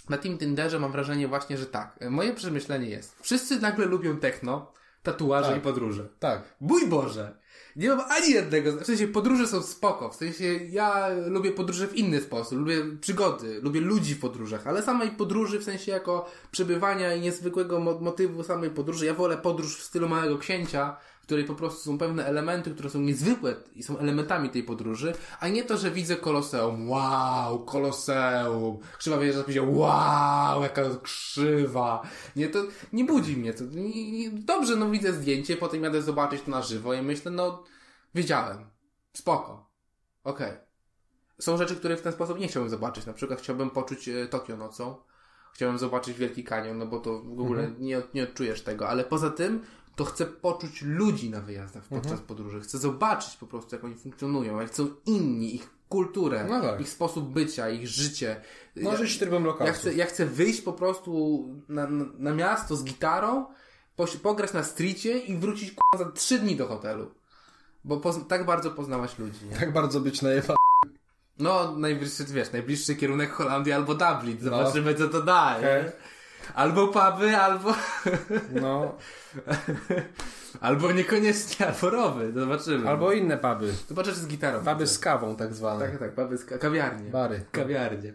na tym Tinderze mam wrażenie właśnie, że tak. Moje przemyślenie jest. Wszyscy nagle lubią techno, tatuaże Tak. i podróże. Tak. Mój Boże! Nie mam ani jednego. W sensie podróże są spoko. W sensie ja lubię podróże w inny sposób. Lubię przygody, lubię ludzi w podróżach, ale samej podróży w sensie jako przebywania i niezwykłego mo- motywu samej podróży. Ja wolę podróż w stylu Małego Księcia, w której po prostu są pewne elementy, które są niezwykłe i są elementami tej podróży, a nie to, że widzę koloseum. Wow, koloseum. Krzywa wieża powiedział, wow, jaka krzywa. Nie, to nie budzi mnie. To, nie, nie, dobrze, no widzę zdjęcie, potem jadę zobaczyć to na żywo i myślę, no wiedziałem. Spoko. Okej. Są rzeczy, których w ten sposób nie chciałbym zobaczyć. Na przykład chciałbym poczuć e, Tokio nocą. Chciałbym zobaczyć Wielki Kanion, no bo to w ogóle Mhm. nie, nie odczujesz tego. Ale poza tym, to chcę poczuć ludzi na wyjazdach podczas Mhm. podróży. Chcę zobaczyć po prostu, jak oni funkcjonują, jak są inni, ich kulturę, No tak. ich sposób bycia, ich życie. No, Ja- żyć trybem lokalnym. ja chcę, ja chcę wyjść po prostu na, na, na miasto z gitarą, poś- pograć na streetie i wrócić k***a, za trzy dni do hotelu. Bo pozn- tak bardzo poznawać ludzi. Nie? Tak bardzo być najeba. No, najbliższy, wiesz, najbliższy kierunek Holandia albo Dublin. No. Zobaczymy, co to da. nie? Albo puby, albo, [laughs] No, albo niekoniecznie, albo rowy. Zobaczymy. albo inne puby. Zobaczysz z gitarą. Puby z kawą tak zwane. Tak, tak, puby z ka- kawiarnie. Bary. kawiarnie.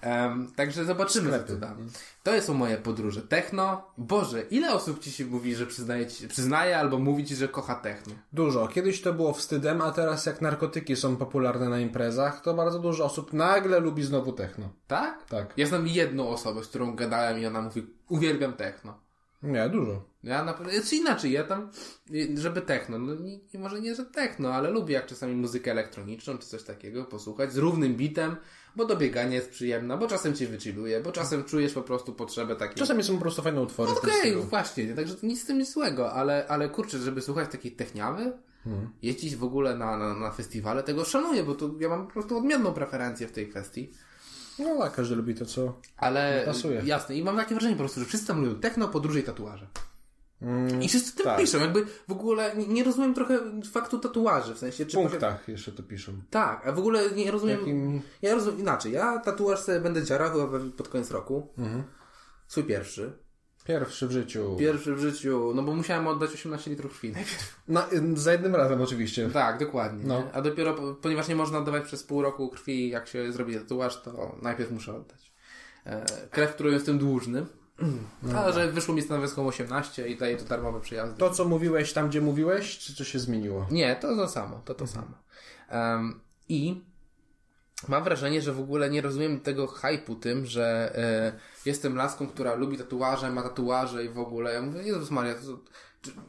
Em, także zobaczymy, Sklepy, co to da. To są moje podróże. Techno. Boże, ile osób ci się mówi, że przyznaje, ci, przyznaje albo mówi ci, że kocha techno? Dużo. Kiedyś to było wstydem, a teraz jak narkotyki są popularne na imprezach, to bardzo dużo osób nagle lubi znowu techno. Tak? Tak. Ja znam jedną osobę, z którą gadałem i ona mówi, uwielbiam techno. No Nie, dużo. Ja na pewno, czy inaczej, ja tam, y, żeby techno, no nie, nie- może nie, że techno, ale lubię jak czasami muzykę elektroniczną czy coś takiego posłuchać z równym bitem, bo do biegania jest przyjemna, bo czasem cię wychilluje, bo czasem czujesz po prostu potrzebę takiej... Czasami są po prostu fajne utwory w tym No Okej, stylu. właśnie, nie? także to nic z tym nic złego, ale, ale kurczę, żeby słuchać takiej techniawy, Hmm. jeździć w ogóle na, na, na festiwale, tego szanuję, bo to ja mam po prostu odmienną preferencję w tej kwestii. No tak, każdy lubi to, co... Ale No, Pasuje. jasne, i mam takie wrażenie po prostu, że wszyscy tam mówią techno, podróże i tatuaże. I wszyscy tym tak. piszą, jakby w ogóle nie, nie rozumiem trochę faktu tatuaży, w sensie W czy... punktach jeszcze to piszą. Tak, a w ogóle nie rozumiem... Jakim... Ja rozumiem inaczej, ja tatuaż sobie będę dziarał chyba we- pod koniec roku. Mhm. Swój pierwszy. Pierwszy w życiu. Pierwszy w życiu, no bo musiałem oddać 18 litrów krwi najpierw. Na, za jednym razem oczywiście. Tak, dokładnie. No. nie? A dopiero, po- ponieważ nie można oddawać przez pół roku krwi, jak się zrobi tatuaż, to najpierw muszę oddać. E, Krew, którą jestem dłużny. Ale że wyszło mi stanowiską 18 i daje to darmowe przejazdy. To, co mówiłeś tam, gdzie mówiłeś, czy coś się zmieniło? Nie, to to samo, to to samo. Em, I mam wrażenie, że w ogóle nie rozumiem tego hypu tym, że e, jestem laską, która lubi tatuaże, ma tatuaże i w ogóle. Ja mówię, Jezus Maria, to,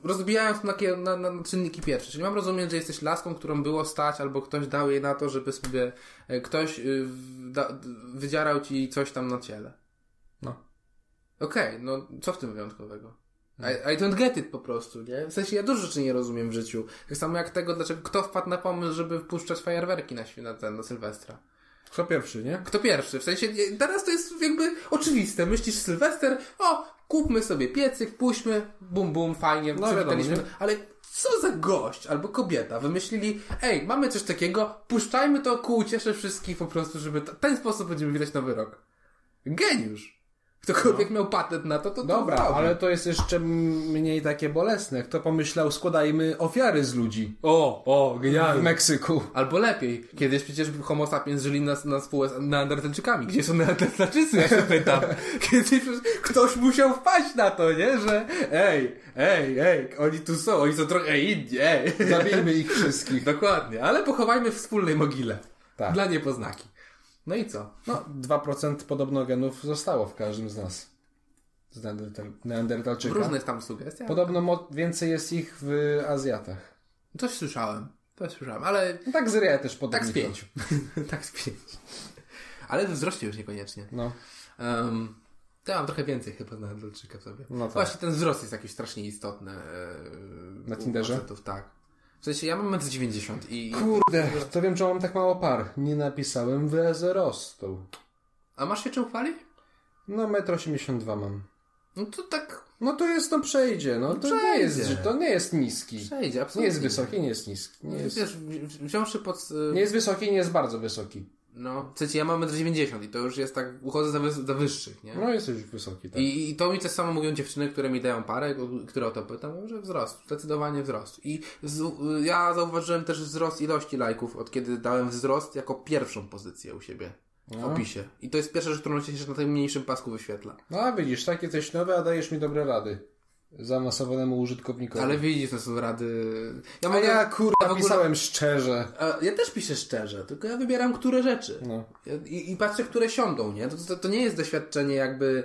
rozbijając to na, kie- na, na na czynniki pierwsze. Czyli mam rozumieć, że jesteś laską, którą było stać, albo ktoś dał jej na to, żeby sobie e, ktoś y, w- da, d- wydzierał ci coś tam na ciele. No. Okej, no co w tym wyjątkowego? No. I, I don't get it po prostu, nie? W sensie ja dużo rzeczy nie rozumiem w życiu. Tak samo jak tego, dlaczego kto wpadł na pomysł, żeby wpuszczać fajerwerki na, świ- na ten, na Sylwestra. Kto pierwszy, nie? Kto pierwszy? W sensie nie- teraz to jest jakby oczywiste. Myślisz Sylwester, o, kupmy sobie piecyk, puśćmy, bum bum, fajnie, No, przywitaliśmy. wiadomo, Ale co za gość albo kobieta wymyślili, ej, mamy coś takiego, puszczajmy to ku uciesze wszystkich po prostu, żeby t- ten sposób będziemy widać nowy rok. Geniusz! Ktokolwiek miał patent na to, to No. Dobra, to zrobił. ale to jest jeszcze mniej takie bolesne. Kto pomyślał, składajmy ofiary z ludzi O, o, w [laughs] Meksyku. Albo lepiej, kiedyś przecież homo sapiens żyli na, na spół z neandertalczykami. Gdzie są neandertalczycy, ja się pytam. Kiedyś przecież ktoś musiał wpaść na to, nie? Że ej, ej, ej, oni tu są, oni są trochę inni, ej. Zabijmy ich wszystkich. [laughs] Dokładnie, ale pochowajmy w wspólnej mogile. Tak. Dla niepoznaki. No i co? No, 2% podobno genów zostało w każdym z nas. Z neandertal- W Neandertalczyka. różnych tam sugestiach. Podobno mo- więcej jest ich w Azjatach. Coś słyszałem, coś słyszałem, ale No tak z Rhea też podobnie. tak z pięciu. tak z pięciu. Ale we wzroście już niekoniecznie. No. Um, to ja mam trochę więcej chyba na Andalczyka w sobie. No tak. Właśnie ten wzrost jest jakiś strasznie istotny. E, Na u Tinderze? facetów, tak. W sensie ja mam 1,90 m i... Kurde, to wiem, czemu mam tak mało par. Nie napisałem wzrostu. A masz się czym chwalić? No, 1,82 m mam. No to tak No to jest, no przejdzie. No to nie Przejdzie. jest, że to nie jest niski. przejdzie, Nie absolutnie. jest wysoki, nie jest niski. Nie jest, Wiesz, wzi- wziąwszy pod... e, nie jest wysoki, nie jest bardzo wysoki. No, w sensie ja mam 1,90 m i to już jest tak, uchodzę za, wys- za wyższych, nie? No jesteś wysoki, tak. I, I to mi też samo mówią dziewczyny, które mi dają parę, o- które o to pytam, mówią, że wzrost, zdecydowanie wzrost. I z, ja zauważyłem też wzrost ilości lajków, od kiedy dałem wzrost jako pierwszą pozycję u siebie w No. opisie. I to jest pierwsza rzecz, którą się na tym mniejszym pasku wyświetla. No a widzisz, takie coś nowe, a dajesz mi dobre rady. Zaawansowanemu użytkownikowi. Ale widzisz, to są rady... Ja, A mogę, ja Tak. ja... kurwa w ogóle- pisałem szczerze. ja też piszę szczerze, tylko ja wybieram, które rzeczy. No. I, I patrzę, które siądą, nie? To, to, to nie jest doświadczenie jakby...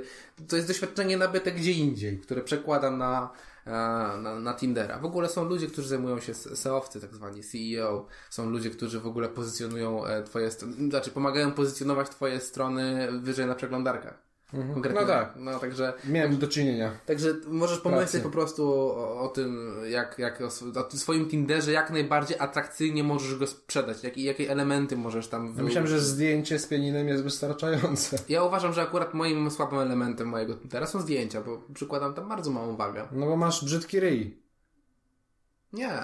To jest doświadczenie nabyte gdzie indziej, które przekładam na, e, na, na Tindera. W ogóle są ludzie, którzy zajmują się se- seowcy, tak zwani CEO. Są ludzie, którzy w ogóle pozycjonują e, twoje... str- Znaczy pomagają pozycjonować twoje strony wyżej na przeglądarkach. Konkretnie. No tak. No także... Miałem do czynienia. Także możesz pomyśleć Pracy. po prostu o, o tym, jak, jak o, sw- o tym swoim Tinderze, jak najbardziej atrakcyjnie możesz go sprzedać, jakie, jakie elementy możesz tam Ja myślałem, że zdjęcie z pianinem jest wystarczające. Ja uważam, że akurat moim słabym elementem mojego Tintera są zdjęcia, bo przykładam tam bardzo małą wagę. No bo masz brzydki ryj. Nie.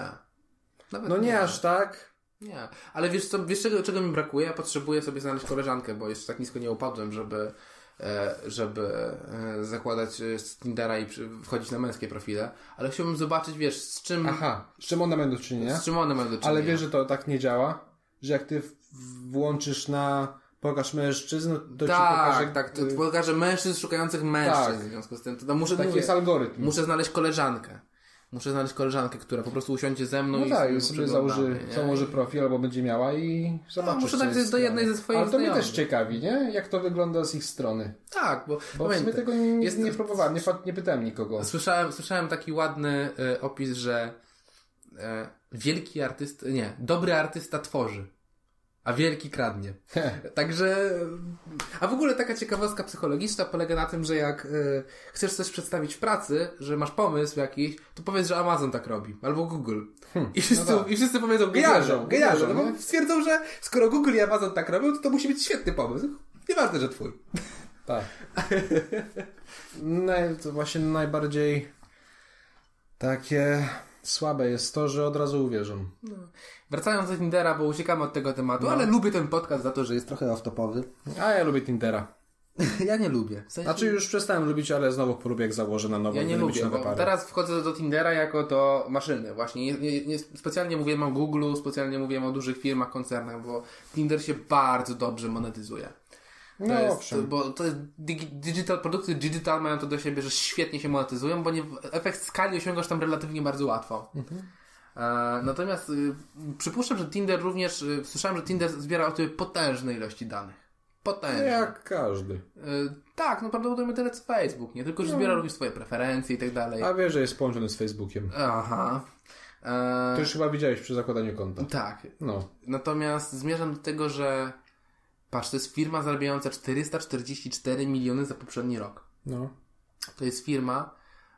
Nawet No nie aż tak. Nie. Ale wiesz, co, wiesz czego, czego mi brakuje? Ja potrzebuję sobie znaleźć koleżankę, bo jeszcze tak nisko nie upadłem, żeby, e, żeby e, zakładać e, z Tindera i przy- wchodzić na męskie profile. Ale chciałbym zobaczyć, wiesz, z czym, Aha, z czym ona ma do czynienia? z czym one mają do czynienia. Ale wiesz, że to tak nie działa? Że jak ty w- włączysz na pokaż mężczyzn, no, to Tak, ci pokaże... tak. To y, pokażę mężczyzn szukających mężczyzn Tak. w związku z tym. To, to muszę, Taki mówię, jest algorytm. muszę znaleźć koleżankę. Muszę znaleźć koleżankę, która po prostu usiądzie ze mną No i tak, sobie już sobie poprzeglądamy, założy, nie? No, założy profil albo będzie miała i zobaczy. muszę co napisać jest do grane. jednej ze swoich Ale to mnie znajomych. też ciekawi, nie? Jak to wygląda z ich strony. Tak, bo, Bo w pamiętaj, sumie tego nie, jest- nie próbowałem, nie, fa- nie pytałem [laughs] nikogo. słyszałem, słyszałem taki ładny e, opis, że e, wielki artysta, nie, dobry artysta tworzy, a wielki kradnie. Także, a w ogóle taka ciekawostka psychologiczna polega na tym, że jak e, chcesz coś przedstawić w pracy, że masz pomysł jakiś, to powiedz, że Amazon tak robi, albo Google. I, wszyscy, tak. I wszyscy powiedzą, gejarzą, gejarzą, no Google, bo stwierdzą, że skoro Google i Amazon tak robią, to to musi być świetny pomysł. Nieważne, że twój. Tak. No, to właśnie najbardziej takie słabe jest to, że od razu uwierzą. Wracając do Tindera, bo uciekamy od tego tematu, ale lubię ten podcast za to, że jest trochę off-topowy. A ja lubię Tindera. [laughs] Ja nie lubię. W sensie, Znaczy już przestałem lubić, ale znowu polubię jak założę na nowo. ja nie będę mieć lubię, nowe bo pary. teraz wchodzę do Tindera jako do maszyny właśnie. Nie, nie, nie, specjalnie mówiłem o Google, specjalnie mówiłem o dużych firmach, koncernach, bo Tinder się bardzo dobrze monetyzuje. To No jest, owszem. Bo to jest digi- digital, produkty digital mają to do siebie, że świetnie się monetyzują, bo nie, efekt skali osiągasz tam relatywnie bardzo łatwo. E, natomiast y, przypuszczam, że Tinder również, y, słyszałem, że Tinder zbiera o tobie potężne ilości danych. potężny. No, Jak każdy. Y, tak, no prawdopodobnie tyle co Facebook, nie? Tylko, że zbiera również swoje preferencje i tak dalej. No. A wiesz, że jest połączony z Facebookiem. Aha. To E, już chyba widziałeś przy zakładaniu konta. tak. No. Natomiast zmierzam do tego, że patrz, to jest firma zarabiająca 444 miliony za poprzedni rok. No. To jest firma,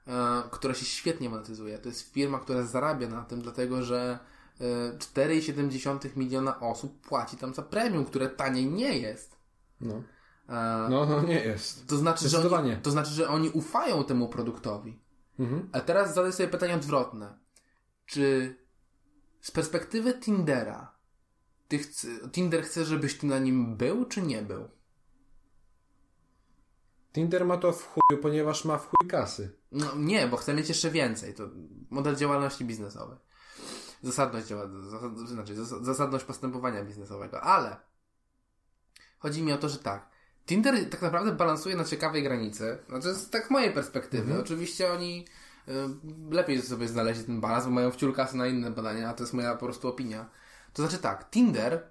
e, która się świetnie monetyzuje. To jest firma, która zarabia na tym, dlatego że e, 4,7 miliona osób płaci tam za premium, które taniej nie jest. No. E, No, no nie jest. to, znaczy, że oni, Zdecydowanie. to znaczy, że oni ufają temu produktowi. Mhm. A teraz zadaj sobie pytanie odwrotne. Czy z perspektywy Tindera ty chce, Tinder chce, żebyś ty na nim był, czy nie był? Tinder ma to w chuju, ponieważ ma w chuj kasy. No nie, bo chcę mieć jeszcze więcej. To model działalności biznesowej. Zasadność, działa- zasad, znaczy, zas- zasadność postępowania biznesowego. Ale chodzi mi o to, że tak. Tinder tak naprawdę balansuje na ciekawej granicy. Znaczy, z tak mojej perspektywy. Oczywiście oni y, lepiej sobie znaleźli ten balans, bo mają wciul kasy na inne badania, a to jest moja po prostu opinia. To znaczy tak, Tinder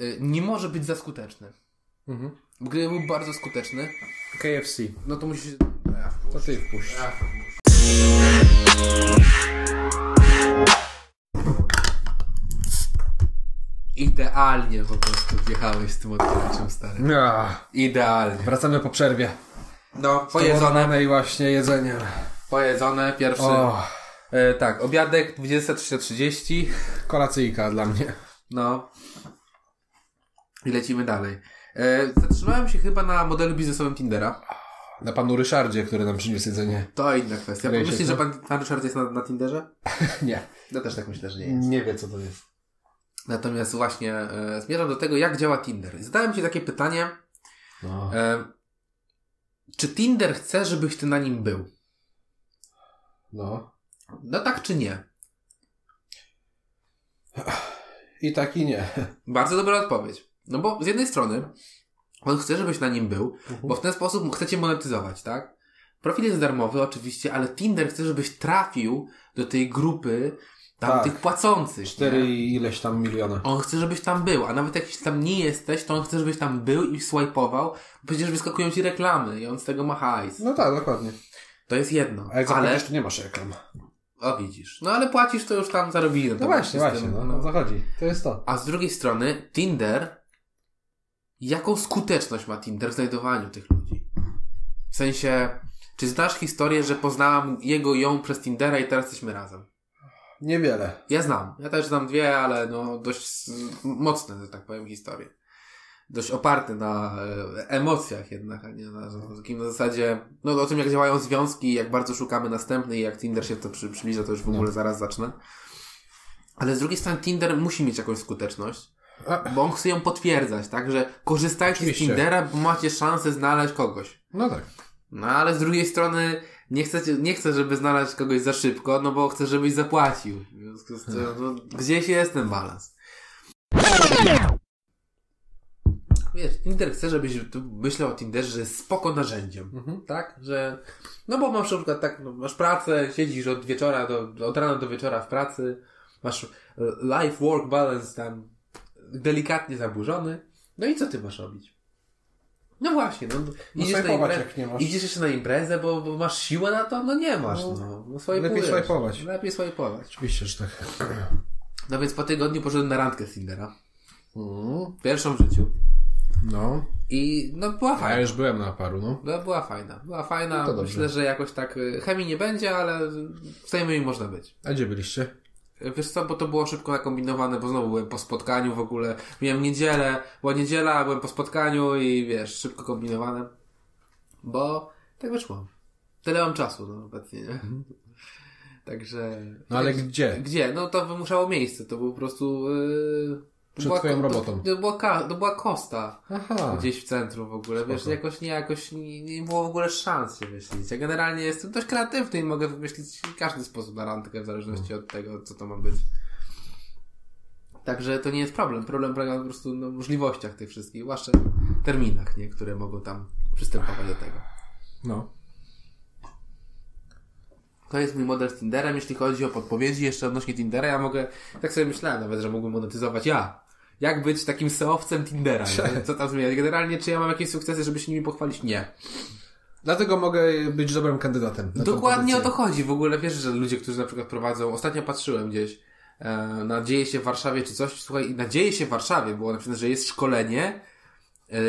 y, nie może być za skuteczny. Mhm. Gdyby był bardzo skuteczny, KFC. no to musi się... To ty wpuść. Idealnie po prostu wjechałeś z tym otwieraczem, stary. Ah, Idealnie. wracamy po przerwie. No, pojedzone. No i właśnie jedzenie. Pojedzone, pierwszy. O, E, tak, obiadek 23.30. kolacyjka dla mnie. No. I lecimy dalej. E, zatrzymałem się chyba na modelu biznesowym Tindera. Na panu Ryszardzie, który nam przyniósł jedzenie. To inna kwestia. Wydaje się, Myślisz, co? że pan, pan Ryszard jest na, na [laughs] Tinderze? Nie. Ja też tak myślę, że nie Nie wie co to jest. Natomiast właśnie e, zmierzam do tego, jak działa Tinder. I Zadałem Ci takie pytanie, No. e, czy Tinder chce, żebyś Ty na nim był? no. No tak czy nie? I tak i nie. Bardzo dobra odpowiedź. No bo z jednej strony on chce, żebyś na nim był, Mhm. bo w ten sposób chcecie monetyzować, tak? Profil jest darmowy oczywiście, ale Tinder chce, żebyś trafił do tej grupy tamtych płacących. Tak. Cztery nie? i ileś tam miliona. On chce, żebyś tam był, a nawet jak jeśli tam nie jesteś, to on chce, żebyś tam był i swajpował, bo przecież wyskakują ci reklamy i on z tego ma hajs. No tak, dokładnie. No To jest jedno. A jak ale, zapłacisz, to nie masz reklam. o widzisz, no ale płacisz, to już tam zarobili. na No tym właśnie, wszystkim, właśnie. No, no o to chodzi. To jest to. A z drugiej strony Tinder, jaką skuteczność ma Tinder w znajdowaniu tych ludzi? W sensie, czy znasz historię, że poznałam jego, ją przez Tindera i teraz jesteśmy razem? Niewiele. Ja znam. Ja też znam dwie, ale no dość mm, mocne, że tak powiem, historie. Dość oparte na e, emocjach jednak, a nie na na takim na zasadzie, no o tym jak działają związki, jak bardzo szukamy następnej, jak Tinder się w to przy, przybliża, to już w ogóle zaraz zacznę. Ale z drugiej strony Tinder musi mieć jakąś skuteczność, A- bo on chce ją potwierdzać, tak, że korzystajcie Oczywiście. z Tindera, bo macie szansę znaleźć kogoś. No tak. No ale z drugiej strony nie chcę, nie chcę, żeby znaleźć kogoś za szybko, no bo chcę, żebyś zapłacił. W związku z tym, no, gdzieś jest ten balans. Wiesz, Tinder chce, żebyś tu myślał o Tinderze, że jest spoko narzędziem. Mhm. Tak? Że, no bo masz na przykład tak, no, masz pracę, siedzisz od wieczora do, od rana do wieczora w pracy, masz e, life-work balance tam delikatnie zaburzony, no i co ty masz robić? No właśnie, no, idziesz, na swajpować, imprezę, jak nie masz. idziesz jeszcze na imprezę, bo, bo masz siłę na to? No nie masz, No. no. no swajpujesz. Lepiej swajpować. Lepiej swajpować. Oczywiście, że tak. No więc po tygodniu poszedłem na randkę z Tindera. Mm, Pierwszą w życiu. No. I no była A fajna. ja już byłem na paru, no. No, była fajna. Była fajna. No to dobrze. Myślę, że jakoś tak y, chemii nie będzie, ale w tej można być. A gdzie byliście? Y, Wiesz co, bo to było szybko nakombinowane, bo znowu byłem po spotkaniu w ogóle. Miałem niedzielę, była niedziela, byłem po spotkaniu i wiesz, szybko kombinowane. Bo tak wyszło. Tyle mam czasu, no obecnie, nie? [laughs] Także... Mhm. No ale gdzie? Gdzie? No to wymuszało miejsce, to było po prostu... Yy... to Przed twoją ko- robotą. To, to, była ka- to była kosta Aha. gdzieś w centrum w ogóle, wiesz, Spoko. jakoś nie, jakoś nie, nie było w ogóle szans się myślić. Ja generalnie jestem dość kreatywny i mogę wymyślić każdy sposób na randkę w zależności od tego, co to ma być. Także to nie jest problem. Problem polega po prostu na możliwościach tych wszystkich, zwłaszcza terminach, nie, które mogą tam przystępować do tego. No. To jest mój model z Tinderem, jeśli chodzi o podpowiedzi jeszcze odnośnie Tindera, ja mogę, tak sobie myślałem nawet, że mógłbym monetyzować ja. jak być takim seowcem Tindera, nie? co tam zmienia. Generalnie, czy ja mam jakieś sukcesy, żeby się nimi pochwalić? Nie. Dlatego mogę być dobrym kandydatem. na tą Dokładnie o to pozycję. chodzi. W ogóle wiesz, że ludzie, którzy na przykład prowadzą, ostatnio patrzyłem gdzieś, e, nadzieje się w Warszawie czy coś, słuchaj, i nadzieje się w Warszawie było napisane, że jest szkolenie e,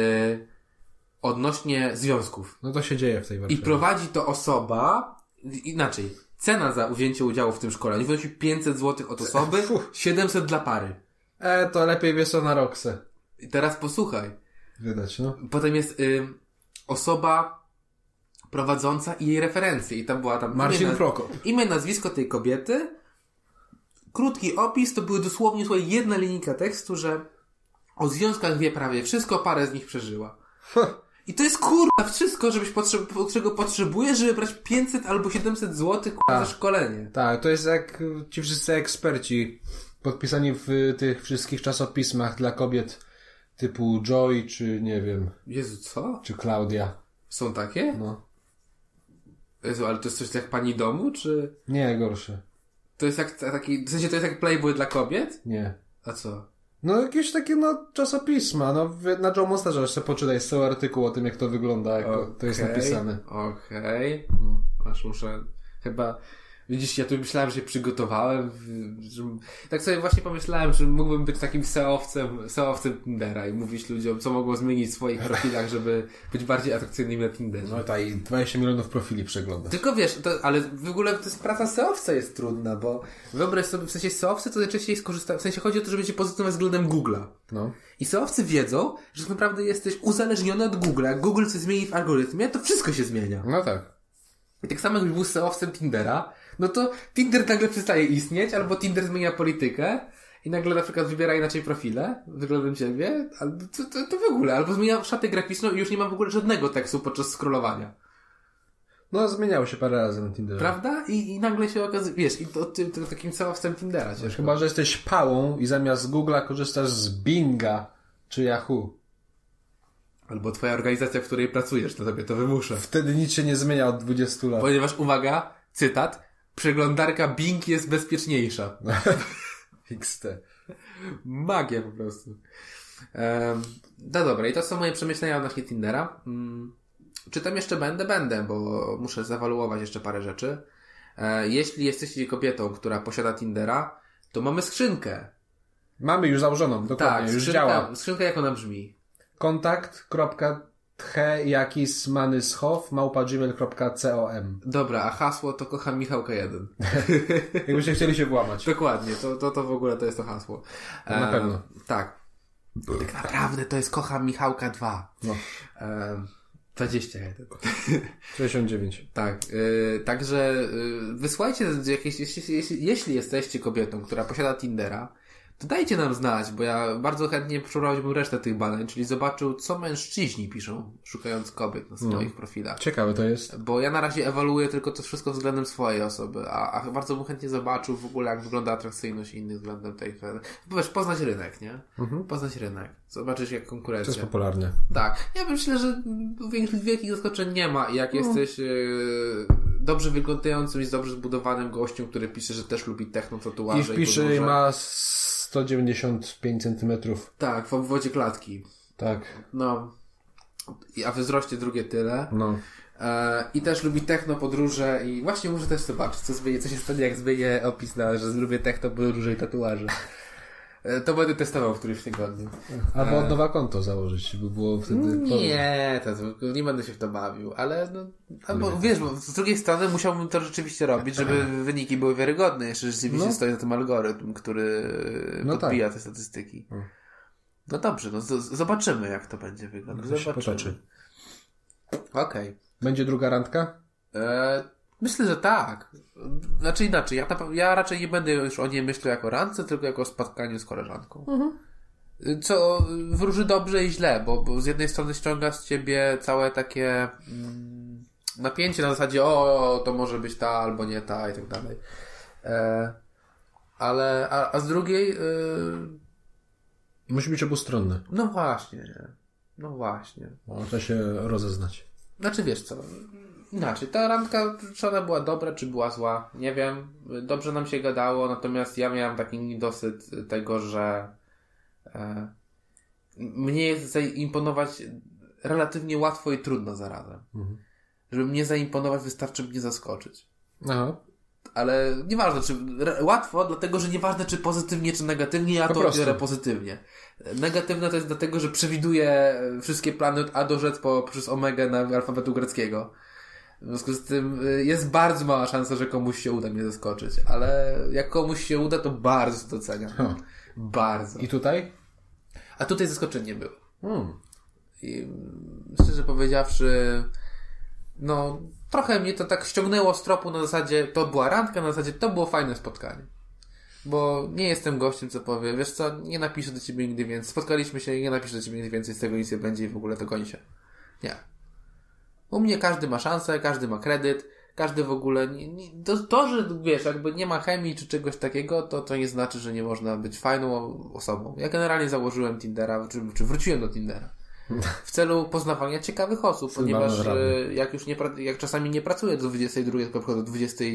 odnośnie związków. No to się dzieje w tej I Warszawie. prowadzi to osoba, inaczej, cena za wzięcie udziału w tym szkoleniu wynosi 500 zł od osoby, Fuh. 700 dla pary. E, to lepiej wiesz co na Roxę. I teraz posłuchaj. Widać, no. Potem jest y, osoba prowadząca i jej referencje. I tam była tam Marcin imię, naz- Prokop. imię, nazwisko tej kobiety. Krótki opis, to były dosłownie słuchaj, jedna linijka tekstu, że o związkach wie prawie wszystko, parę z nich przeżyła. I to jest kurwa wszystko, żebyś potrze- czego potrzebujesz, żeby brać 500 albo 700 zł kurwa, za szkolenie. Tak, to jest jak y, ci wszyscy eksperci podpisani w y, tych wszystkich czasopismach dla kobiet typu Joy, czy nie wiem, Jezu, co? czy Klaudia. Są takie? No. Jezu, ale to jest coś jak pani domu, czy... Nie, gorsze. To jest jak taki... W sensie to jest jak Playboy dla kobiet? Nie. A co? No jakieś takie no czasopisma, no w- na Joe Monsterze jeszcze poczytaj cały artykuł o tym jak to wygląda, jak to jest Okej, napisane. Okej. Aż muszę. Chyba. Widzisz, ja tu myślałem, że się przygotowałem. w- Że... Tak sobie właśnie pomyślałem, że mógłbym być takim seowcem, seowcem Tindera i mówić ludziom, co mogą zmienić w swoich profilach, żeby być bardziej atrakcyjnymi na Tinderze. No tak, i 20 milionów profili przegląda. Tylko wiesz, to, ale w ogóle to jest praca seowca jest trudna, bo wyobraź sobie, w sensie seowcy to najczęściej skorzystają, w sensie chodzi o to, żeby być pozytywnym względem Google'a. No. I seowcy wiedzą, że tak naprawdę jesteś uzależniony od Google'a. Jak Google coś zmieni w algorytmie, to wszystko się zmienia. No tak. I tak samo jakbyś był seowcem Tindera, no to Tinder nagle przestaje istnieć, albo Tinder zmienia politykę i nagle na przykład wybiera inaczej profile względem ciebie, albo to, to, to w ogóle, albo zmienia szatę graficzną i już nie ma w ogóle żadnego tekstu podczas scrollowania. No zmieniało się parę razy na Tinderze. Prawda? I, i nagle się okazuje, wiesz, i to ty, ty takim seowcem Tindera ciężko. Chyba, że jesteś pałą i zamiast Google'a korzystasz z Binga czy Yahoo. Albo twoja organizacja, w której pracujesz, to tobie to wymusza. Wtedy nic się nie zmienia od 20 lat. Ponieważ, uwaga, cytat, przeglądarka Bing jest bezpieczniejsza. XT. Magia po prostu. Ehm, no dobra, i to są moje przemyślenia odnośnie Tindera. Mm, czy tam jeszcze będę? Będę, bo muszę zawaluować jeszcze parę rzeczy. E, jeśli jesteście kobietą, która posiada Tindera, to mamy skrzynkę. Tak, Mamy już założoną, dokładnie, już skrzynka, działa. skrzynka jak ona brzmi? Kontakt kropka tche jakis manyschow małpa gmail.com Dobra, a hasło to kocham Michałka 1. Jakbyście chcieli się włamać. Dokładnie, to, to, to w ogóle to jest to hasło. To na E, pewno. Tak. Tak naprawdę to jest kocham Michałka 2. No. E, 21. 69. Tak, y, także y, wysłajcie jakieś, jeśli, jeśli, jeśli jesteście kobietą, która posiada Tindera, to dajcie nam znać, bo ja bardzo chętnie przeprowadziłbym resztę tych badań, czyli zobaczył, co mężczyźni piszą, szukając kobiet na swoich profilach. Ciekawe to jest. Bo ja na razie ewaluuję tylko to wszystko względem swojej osoby, a, a bardzo bym chętnie zobaczył w ogóle, jak wygląda atrakcyjność innych względem tej. Bo wiesz, poznać rynek, nie? Poznać rynek. Zobaczysz, jak To jest konkurencja. popularne. Tak, ja myślę, że wielkich, wielkich zaskoczeń nie ma. Jak jesteś yy, dobrze wyglądającym i z dobrze zbudowanym gościem, który pisze, że też lubi techno tatuaże I wpiszy podróże. ma 195 cm. Tak, w obwodzie klatki. Tak. No. I- A we wzroście drugie tyle. No. E, I też lubi techno, podróże i właśnie muszę też zobaczyć, co, zmienię, co się stanie, jak zmienię opis na, że lubię techno, podróże i tatuaże. E, To będę testował w którymś tygodniu. Albo od nowa konto założyć, by było wtedy... Nie, to, to nie będę się w to bawił, ale no, albo, wiesz, bo z drugiej strony musiałbym to rzeczywiście robić, żeby wyniki były wiarygodne, jeszcze rzeczywiście Tak. No. stoi na tym algorytm, który No Mm. podbija te statystyki. No dobrze, no z- zobaczymy jak to będzie wyglądać. to się Zobaczymy. potoczy. Okej. Będzie druga randka? E, Myślę, że tak. Znaczy inaczej, ja, na, pe- ja raczej nie będę już o niej myślał jako randce, tylko jako spotkaniu z koleżanką. Co wróży dobrze i źle, bo, bo z jednej strony ściąga z ciebie całe takie mm, napięcie na zasadzie o, to może być ta albo nie ta i tak dalej. E, ale, a, a z drugiej, y, Musi być obustronny. no właśnie, nie. no właśnie. Można się rozeznać. Znaczy wiesz co, inaczej, ta randka, czy ona była dobra, czy była zła, nie wiem, dobrze nam się gadało, natomiast ja miałem taki niedosyt tego, że e, e, mnie jest zaimponować relatywnie łatwo i trudno zarazem. Mhm. Żeby mnie zaimponować, wystarczy mnie zaskoczyć. Aha. Ale nieważne, czy re- łatwo, dlatego że nieważne, czy pozytywnie, czy negatywnie, ja Po to prostu. odbiorę pozytywnie. Negatywne to jest dlatego, że przewiduję e, wszystkie plany od A do Z po, przez omega na alfabetu greckiego. W związku z tym y, jest bardzo mała szansa, że komuś się uda mnie zaskoczyć, ale jak komuś się uda, to bardzo to doceniam. Hmm. Bardzo. I tutaj? A tutaj zaskoczeń nie było. Hmm. I, mm, szczerze powiedziawszy, no trochę mnie to tak ściągnęło z tropu na zasadzie to była randka, na zasadzie to było fajne spotkanie. Bo nie jestem gościem, co powie, wiesz co, nie napiszę do ciebie nigdy więcej. Spotkaliśmy się i nie napiszę do ciebie nigdy więcej, z tego nic nie będzie i w ogóle to kończy się. Nie. U mnie każdy ma szansę, każdy ma kredyt, każdy w ogóle. Nie, nie, to, to, że wiesz, jakby nie ma chemii czy czegoś takiego, to, to nie znaczy, że nie można być fajną o- osobą. Ja generalnie założyłem Tindera, czy, czy wróciłem do Tindera. W celu poznawania ciekawych osób, Sylwana ponieważ Żrabi. e, jak już nie, pra- jak czasami nie pracuję do 22, tylko wchodzę do 20,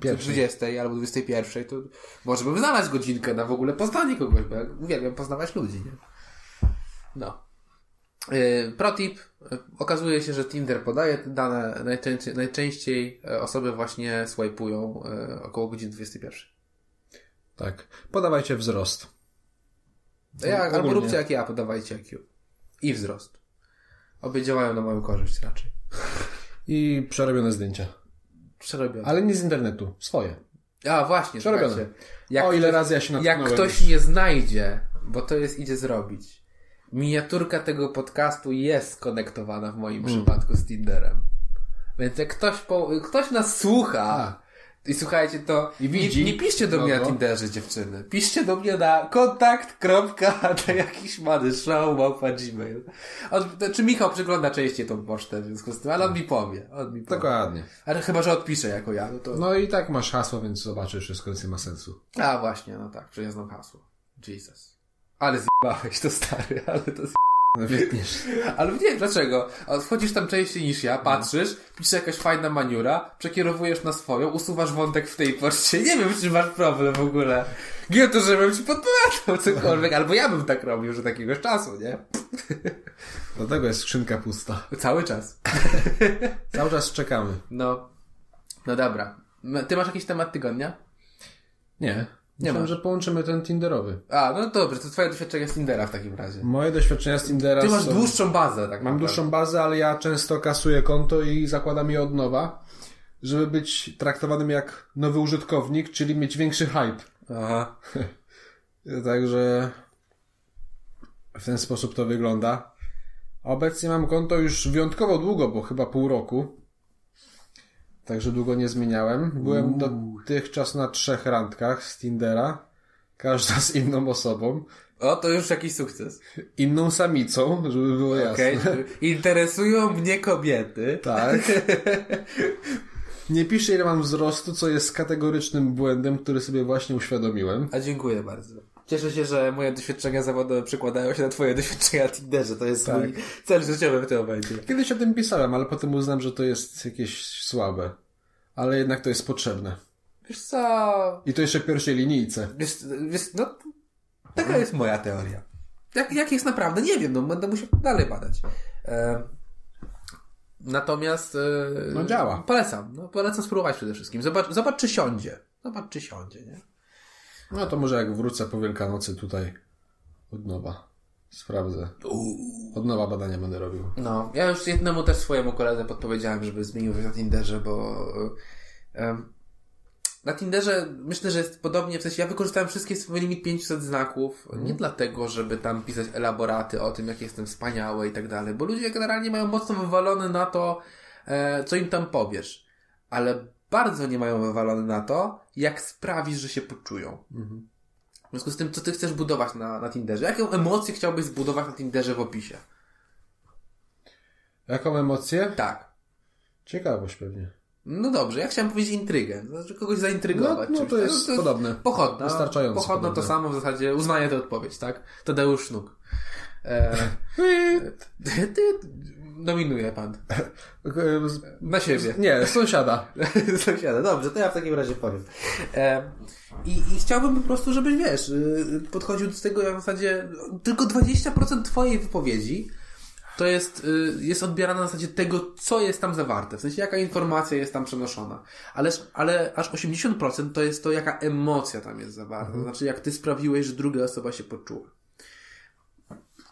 Pierwszej. 20 albo 21, to może bym znalazł godzinkę na w ogóle poznanie kogoś, bo ja uwielbiam poznawać ludzi, nie? No. Yy, Protip. Yy, Okazuje się, że Tinder podaje te dane. Najczęściej, najczęściej e, osoby właśnie swajpują e, około godziny 21. Tak. Podawajcie wzrost. To Ja, albo No, Ogólnie. róbcie jak ja, podawajcie IQ. I wzrost. Obie działają na moją korzyść raczej. I przerobione zdjęcia. Przerobione. Ale nie z internetu. Swoje. A właśnie, Przerobione. słuchajcie. Jak o ile razy ja się Jak natknąłem. ktoś nie znajdzie, bo to jest idzie zrobić. Miniaturka tego podcastu jest skonektowana w moim Hmm. przypadku z Tinderem. Więc jak ktoś, po, ktoś nas słucha A. i słuchajcie to, I widzi. Nie, nie piszcie do mnie No, na no. Tinderze dziewczyny. Piszcie do mnie na kontakt. do jakiś mady show, małpa gmail. On, to, czy Michał przegląda częściej tą pocztę w związku z tym, ale on mi powie. On mi powie. Tak. Dokładnie. Ale chyba, że odpisze jako ja, no to... No i tak masz hasło, więc zobaczysz, wszystko więc nie ma sensu. A właśnie, no tak, że ja znam hasło. Jesus. Ale zjebałeś to stary, [laughs] ale to z... No, Wytniesz. Ale nie wiem dlaczego. A Wchodzisz tam częściej niż ja, patrzysz, pisze jakaś fajna maniura, przekierowujesz na swoją, usuwasz wątek w tej poczcie. Nie wiem, czy masz problem w ogóle. Nie to, żebym ci podpowiadał cokolwiek, albo ja bym tak robił, że takiegoś czasu, nie? Dlatego jest skrzynka pusta. Cały czas. Cały czas czekamy. No. No dobra. M- Ty masz jakiś temat tygodnia? Nie. Nie Myślałem, ma. że połączymy ten Tinderowy. A, no dobrze, to twoje doświadczenia z Tindera w takim razie. Moje doświadczenia z Tindera Ty masz są... dłuższą bazę, tak Mam naprawdę. dłuższą bazę, ale ja często kasuję konto i zakładam je od nowa, żeby być traktowanym jak nowy użytkownik, czyli mieć większy hype. Aha. [laughs] Także w ten sposób to wygląda. Obecnie mam konto już wyjątkowo długo, bo chyba pół roku. Także długo nie zmieniałem. Byłem dotychczas na trzech randkach z Tindera. Każda z inną osobą. O, to już jakiś sukces. Inną samicą, żeby było No jasne. Okej. y, Interesują mnie kobiety. Tak. [laughs] Nie piszę ile mam wzrostu, co jest kategorycznym błędem, który sobie właśnie uświadomiłem. A dziękuję bardzo. Cieszę się, że moje doświadczenia zawodowe przekładają się na twoje doświadczenia na Tinderze. To jest Tak. mój cel życiowy w tym momencie. Kiedyś o tym pisałem, ale potem uznałem, że to jest jakieś słabe. Ale jednak to jest potrzebne. Wiesz co... I to jeszcze w pierwszej linijce. Wiesz, wiesz no... Mhm. Taka jest moja teoria. Jak, jak jest naprawdę? Nie wiem, no będę musiał dalej badać. E, natomiast... E, No, działa. Polecam. No, polecam spróbować przede wszystkim. Zobacz, zobacz czy siądzie. Zobacz czy siądzie, nie? No to może jak wrócę po Wielkanocy tutaj od nowa. Sprawdzę. Od nowa badania będę robił. No, ja już jednemu też swojemu koledze podpowiedziałem, żeby zmienił coś na Tinderze, bo e, em, na Tinderze myślę, że jest podobnie, w sensie ja wykorzystałem wszystkie swój limit 500 znaków, nie dlatego, żeby tam pisać elaboraty o tym, jak jestem wspaniały i tak dalej, bo ludzie generalnie mają mocno wywalone na to, e, co im tam powiesz, ale bardzo nie mają wywalone na to, jak sprawisz, że się poczują. Mhm. W związku z tym, co ty chcesz budować na, na Tinderze? Jaką emocję chciałbyś zbudować na Tinderze w opisie? Jaką emocję? Tak. Ciekawość pewnie. No dobrze, ja chciałem powiedzieć intrygę. To Znaczy kogoś zaintrygować. No, no czymś, to tak? jest podobne. Pochodna. Wystarczająco Pochodno podobne. to samo w zasadzie. Uznanie to odpowiedź, tak? Tadeusz Nóg. E, [laughs] ty, ty dominuje pan. Na siebie. Nie, sąsiada. [laughs] Sąsiada. Dobrze, to ja w takim razie powiem. E, i, I chciałbym po prostu, żebyś wiesz, y, podchodził do tego jak w zasadzie tylko 20% twojej wypowiedzi to jest, y, jest odbierane na zasadzie tego, co jest tam zawarte, w sensie jaka informacja jest tam przenoszona. Ależ, ale aż 80% to jest to, jaka emocja tam jest zawarta. To znaczy, jak ty sprawiłeś, że druga osoba się poczuła.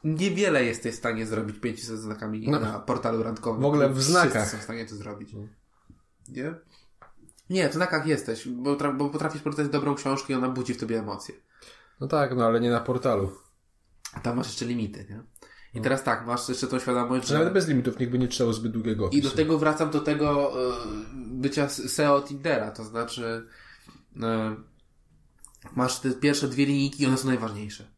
Niewiele jesteś w stanie zrobić 500 znakami No. na portalu randkowym. W ogóle w Wszyscy znakach. No. są w stanie to zrobić. Nie? Nie, w znakach jesteś, bo, tra- bo potrafisz przeczytać dobrą książkę i ona budzi w tobie emocje. No tak, no ale nie na portalu. A Tam masz jeszcze limity, nie? I teraz tak, masz jeszcze tą świadomość, No. Nawet że... bez limitów nikt by nie trzeba zbyt długiego I do opisu. tego wracam do tego y, bycia s- SEO Tindera, to znaczy y, masz te pierwsze dwie linijki i one są najważniejsze.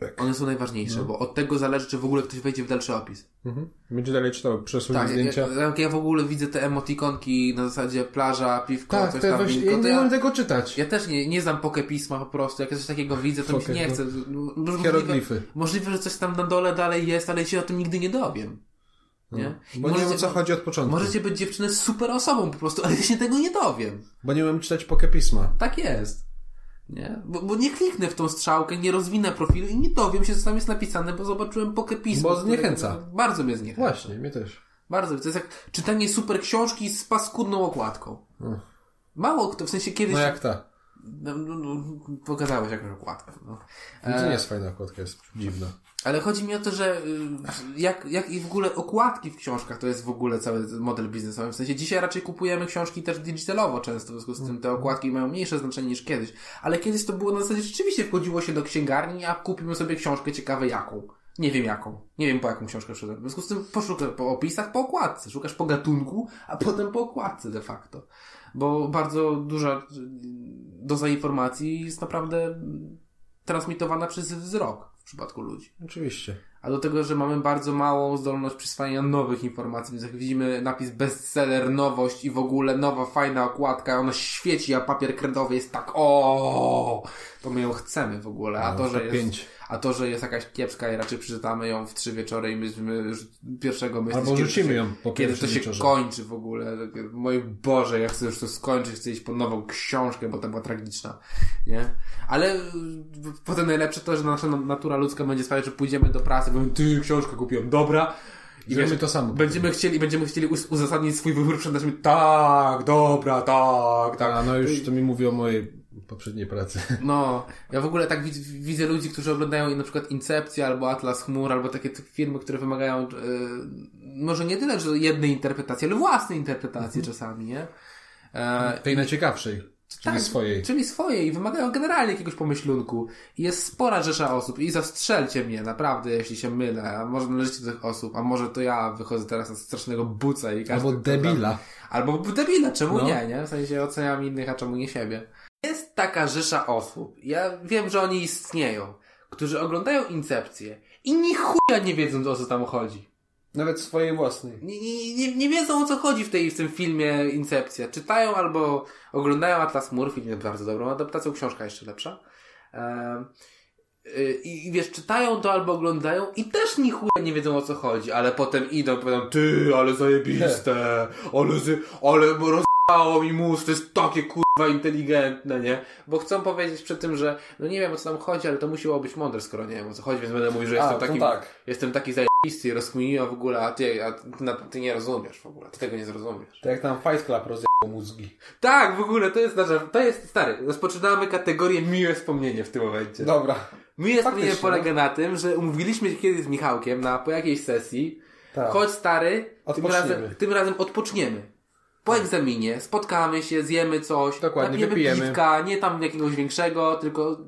Tak. One są najważniejsze, bo od tego zależy, czy w ogóle ktoś wejdzie w dalszy opis. Mhm. Będzie dalej czytał, przesunie Tak, jak, zdjęcia. jak, jak ja w ogóle widzę te emotikonki na zasadzie plaża, piwko, Tak, coś to tam, właśnie, winko, ja to nie ja, mam tego czytać. ja też nie, nie znam poke pisma po prostu, jak ja coś takiego widzę, to mi się Poke, nie no. chce. No, Możliwe, Hieroglify. możliwe, że coś tam na dole dalej jest, ale ja się o tym nigdy nie dowiem. Nie? I No. Bo nie wiem możecie- o co chodzi od początku. Możecie być dziewczyny super osobą po prostu, ale ja się tego nie dowiem. Bo nie umiem czytać pokepisma. Tak jest. Nie? Bo, bo nie kliknę w tą strzałkę, nie rozwinę profilu i nie dowiem się, co tam jest napisane, bo zobaczyłem pokepismo. Bo które- zniechęca. Bardzo mnie zniechęca. Właśnie, mnie też. Bardzo. To jest jak czytanie super książki z paskudną okładką. Mm. Mało kto, w sensie kiedyś... No jak ta. No, no, no, pokazałeś jakąś okładkę. No. No to nie jest fajna okładka, jest dziwna. Ale chodzi mi o to, że y, jak, jak i w ogóle okładki w książkach to jest w ogóle cały model biznesowy. W sensie dzisiaj raczej kupujemy książki też digitalowo często, w związku z tym te okładki mają mniejsze znaczenie niż kiedyś. Ale kiedyś to było na zasadzie rzeczywiście wchodziło się do księgarni, a kupimy sobie książkę ciekawe jaką. Nie wiem jaką. Nie wiem po jaką książkę przyszedłem. W związku z tym poszukaj po opisach, po okładce. Szukasz po gatunku, a potem po okładce de facto. Bo bardzo duża y, doza informacji jest naprawdę mm, transmitowana przez wzrok w przypadku ludzi. Oczywiście. A do tego, że mamy bardzo małą zdolność przyswajania nowych informacji, więc jak widzimy napis bestseller, nowość i w ogóle nowa, fajna okładka, ona świeci, a papier kredowy jest tak o, to my ją chcemy w ogóle, a to, że jest, No, pięć. a to, że jest jakaś kiepska i raczej przeczytamy ją w trzy wieczory i myśmy już pierwszego myśli, Albo rzucimy ją po kiedy to pierwszym się wieczorze. kończy w ogóle. Mój Boże, ja chcę już to skończyć, chcę iść po nową książkę, bo ta była tragiczna, nie? Ale y, potem najlepsze to, że nasza natura ludzka będzie sprawiać, że pójdziemy do pracy, bo ty książkę kupiłem, dobra. I Zrobimy wiesz, to samo. Będziemy chcieli, będziemy chcieli us- uzasadnić swój wybór przed naszymi, tak, dobra, tak, tak. A no już to mi mówi o mojej poprzedniej [laughs] pracy. No, ja w ogóle tak wid- widzę ludzi, którzy oglądają na przykład Incepcję albo Atlas Chmur, albo takie t- filmy, które wymagają yy, może nie tyle, że jednej interpretacji, ale własnej interpretacji czasami, nie? E, Mhm. Tej najciekawszej, czyli tak, swojej. Czyli swojej i wymagają generalnie jakiegoś pomyślunku. I jest spora rzesza osób i zastrzelcie mnie, naprawdę, jeśli się mylę, a może należycie do tych osób, a może to ja wychodzę teraz na strasznego buca i każdy... Albo debila. Albo debila, czemu No. nie, nie? W sensie oceniam innych, a czemu nie siebie. Jest taka rzesza osób, ja wiem, że oni istnieją, którzy oglądają Incepcję i ni chuja nie wiedzą, o co tam chodzi. Nawet swojej własnej. Nie, nie, nie, nie wiedzą, o co chodzi w, tej, w tym filmie Incepcja. Czytają albo oglądają Atlas Mur, film jest bardzo dobrą adaptacją, książka jeszcze lepsza. Em, y, I i wiesz, czytają to albo oglądają i też ni chuja nie wiedzą o co chodzi, ale potem idą i powiedzą, ty, ale zajebiste, ale, z, ale rozpało mi mózg, to jest takie kurwa inteligentne, nie? Bo chcą powiedzieć przy tym, że no nie wiem o co tam chodzi, ale to musiało być mądre, skoro nie wiem o co chodzi, więc będę mówił, że A, jestem to taki, tak. jestem taki zajebisty i rozkminiła w ogóle, a ty, a ty, na, ty nie rozumiesz w ogóle, ty tego nie zrozumiesz. Tak jak tam Fight Club rozjechał mózgi. Tak, w ogóle, to jest nasza, to jest, stary, rozpoczynamy kategorię miłe wspomnienie w tym momencie. Dobra. Miłe wspomnienie No, Faktycznie, no. polega na tym, że umówiliśmy się kiedyś z Michałkiem na, po jakiejś sesji, Tak. chodź stary, tym Odpoczniemy. Tak. razem, tym razem odpoczniemy. Po egzaminie spotkamy się, zjemy coś, Dokładnie, napijemy wypijemy. piwka, nie tam jakiegoś większego, tylko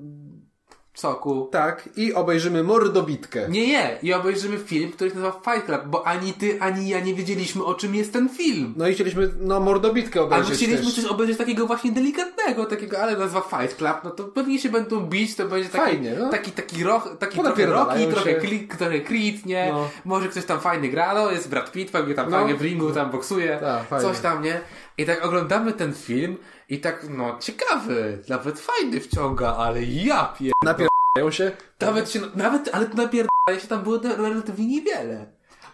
soku. Tak, i obejrzymy mordobitkę. Nie, nie. I obejrzymy film, który się nazywa Fight Club, bo ani ty, ani ja nie wiedzieliśmy, o czym jest ten film. No i chcieliśmy, no, mordobitkę Ale obejrzeć chcieliśmy też. coś obejrzeć takiego właśnie delikatnego, takiego, ale nazwa Fight Club, no to pewnie się będą bić, to będzie taki, Fajnie, no. taki, taki, roch, taki trochę Ponapierdalają Rocky, trochę, się. kli, trochę Creed, nie? No. Może ktoś tam fajny gra, no jest Brad Pitt, pewnie tam No. fajnie w ringu, tam boksuje, Tak, fajnie. coś tam, nie? I tak oglądamy ten film i tak, no ciekawy, nawet fajny wciąga, ale ja pier... Mają się. Nawet się, nawet, ale to napierdala się tam było na- relatywnie niewiele.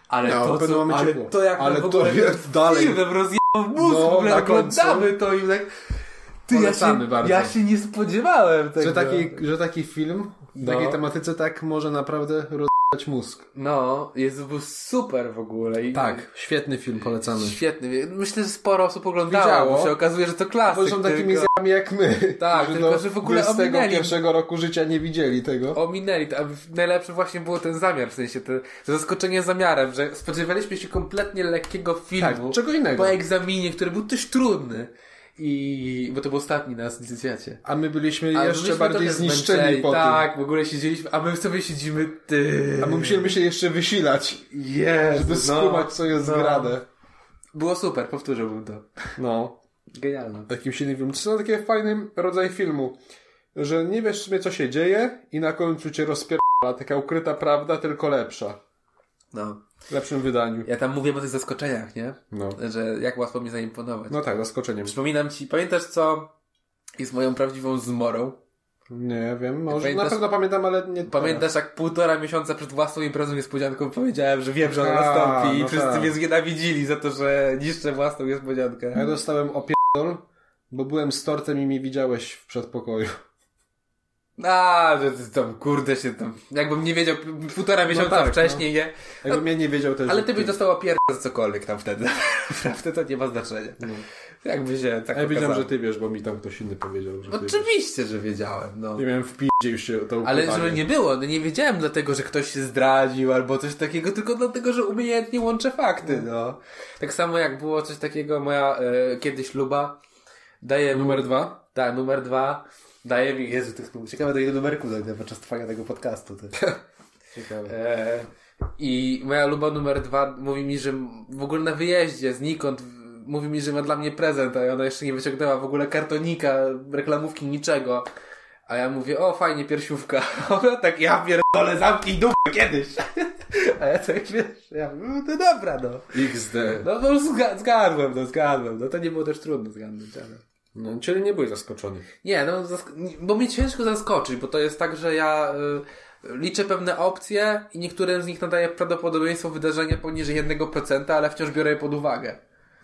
Ale No, w to, pewnym co, momencie ale było. to jak Ale w to ogóle jest ten dalej. Filmem rozjebał mózg, No, w ogóle na końcu. oglądamy to i tak... Ty, ja Polecamy się, bardzo. ja się nie spodziewałem tego. Że taki, że taki film w Tak, No. takiej tematyce tak może naprawdę rozdać mózg. No, jest był super w ogóle. I Tak, świetny film, polecamy. Świetny. Myślę, że sporo osób oglądało, Widziało. bo się okazuje, że to klasyk. Bo są takimi tylko zjami jak my. Tak, którzy tylko do że w ogóle 21 ominęli. pierwszego roku życia nie widzieli tego. Ominęli to, a w- najlepszy właśnie było ten zamiar, w sensie to, to zaskoczenie zamiarem, że spodziewaliśmy się kompletnie lekkiego tak, filmu. czego innego. po egzaminie, który był też trudny. I, bo to był ostatni na licencjacie. A my byliśmy A jeszcze byliśmy bardziej trochę zniszczeni zmęczeni, po Tak, w ogóle siedzieliśmy, a my sobie siedzimy, ty. tym. A my musieliśmy się jeszcze wysilać, Jezu, żeby skumać, co jest no. grane. Było super, powtórzyłbym to. No. Genialne. Takim silnym filmem. To są takie fajny rodzaj filmu, że nie wiesz w sumie, co się dzieje i na końcu cię rozpierdala taka ukryta prawda, tylko lepsza. No. W lepszym wydaniu. Ja tam mówię o tych zaskoczeniach, nie? No. Że jak łatwo mi zaimponować. No tak, zaskoczeniem. Przypominam ci, pamiętasz co jest moją prawdziwą zmorą? Nie wiem, może na Pamiętasz- pewno pamiętam, ale nie Pamiętasz, jak półtora miesiąca przed własną imprezą niespodzianką powiedziałem, że wiem, że ona A, nastąpi i no wszyscy tak. mnie znienawidzili za to, że niszczę własną niespodziankę. Ja dostałem opierdol, bo byłem z tortem i mnie widziałeś w przedpokoju. No. A, że ty tam, kurde się tam. Jakbym nie wiedział p- półtora miesiąca tak, wcześniej, nie? Jakbym ja nie wiedział też. Ale że ty byś dostała pierdolę za cokolwiek tam wtedy. [laughs] Naprawdę to nie ma znaczenia. No. Jakby się tak A Ja wiedziałem, że okazało. ty wiesz, bo mi tam ktoś inny powiedział, No że ty wiesz. Oczywiście, że wiedziałem, no. Nie miałem w piździe już się to Ale ukrywanie. żeby nie było, no nie wiedziałem dlatego, że ktoś się zdradził albo coś takiego, tylko dlatego, że umiejętnie łączę fakty, no. Tak samo jak było coś takiego, moja e, kiedyś luba daje Numer dwa? Tak, numer dwa. Daje mi, Jezu, tych numerów. Ciekawe do ile numerku zajdę podczas trwania tego podcastu. Ty. Ciekawe. E, I moja luba numer dwa mówi mi, że w ogóle na wyjeździe znikąd w- mówi mi, że ma dla mnie prezent, a ona jeszcze nie wyciągnęła w ogóle kartonika, reklamówki, niczego. A ja mówię, o fajnie, piersiówka. [laughs] A Ona tak, ja pierdolę, zamknij dupę kiedyś. [laughs] A ja tak, wiesz, ja mówię, no dobra, no. XD. No bo już zga- zgadłem, no zgadłem. No to nie było też trudno zgadnąć, ale... No, czyli nie byłeś zaskoczony. Nie, no, zask- nie- bo mnie ciężko zaskoczyć, bo to jest tak, że ja y, liczę pewne opcje i niektórym z nich nadaję prawdopodobieństwo wydarzenia poniżej 1%, ale wciąż biorę je pod uwagę.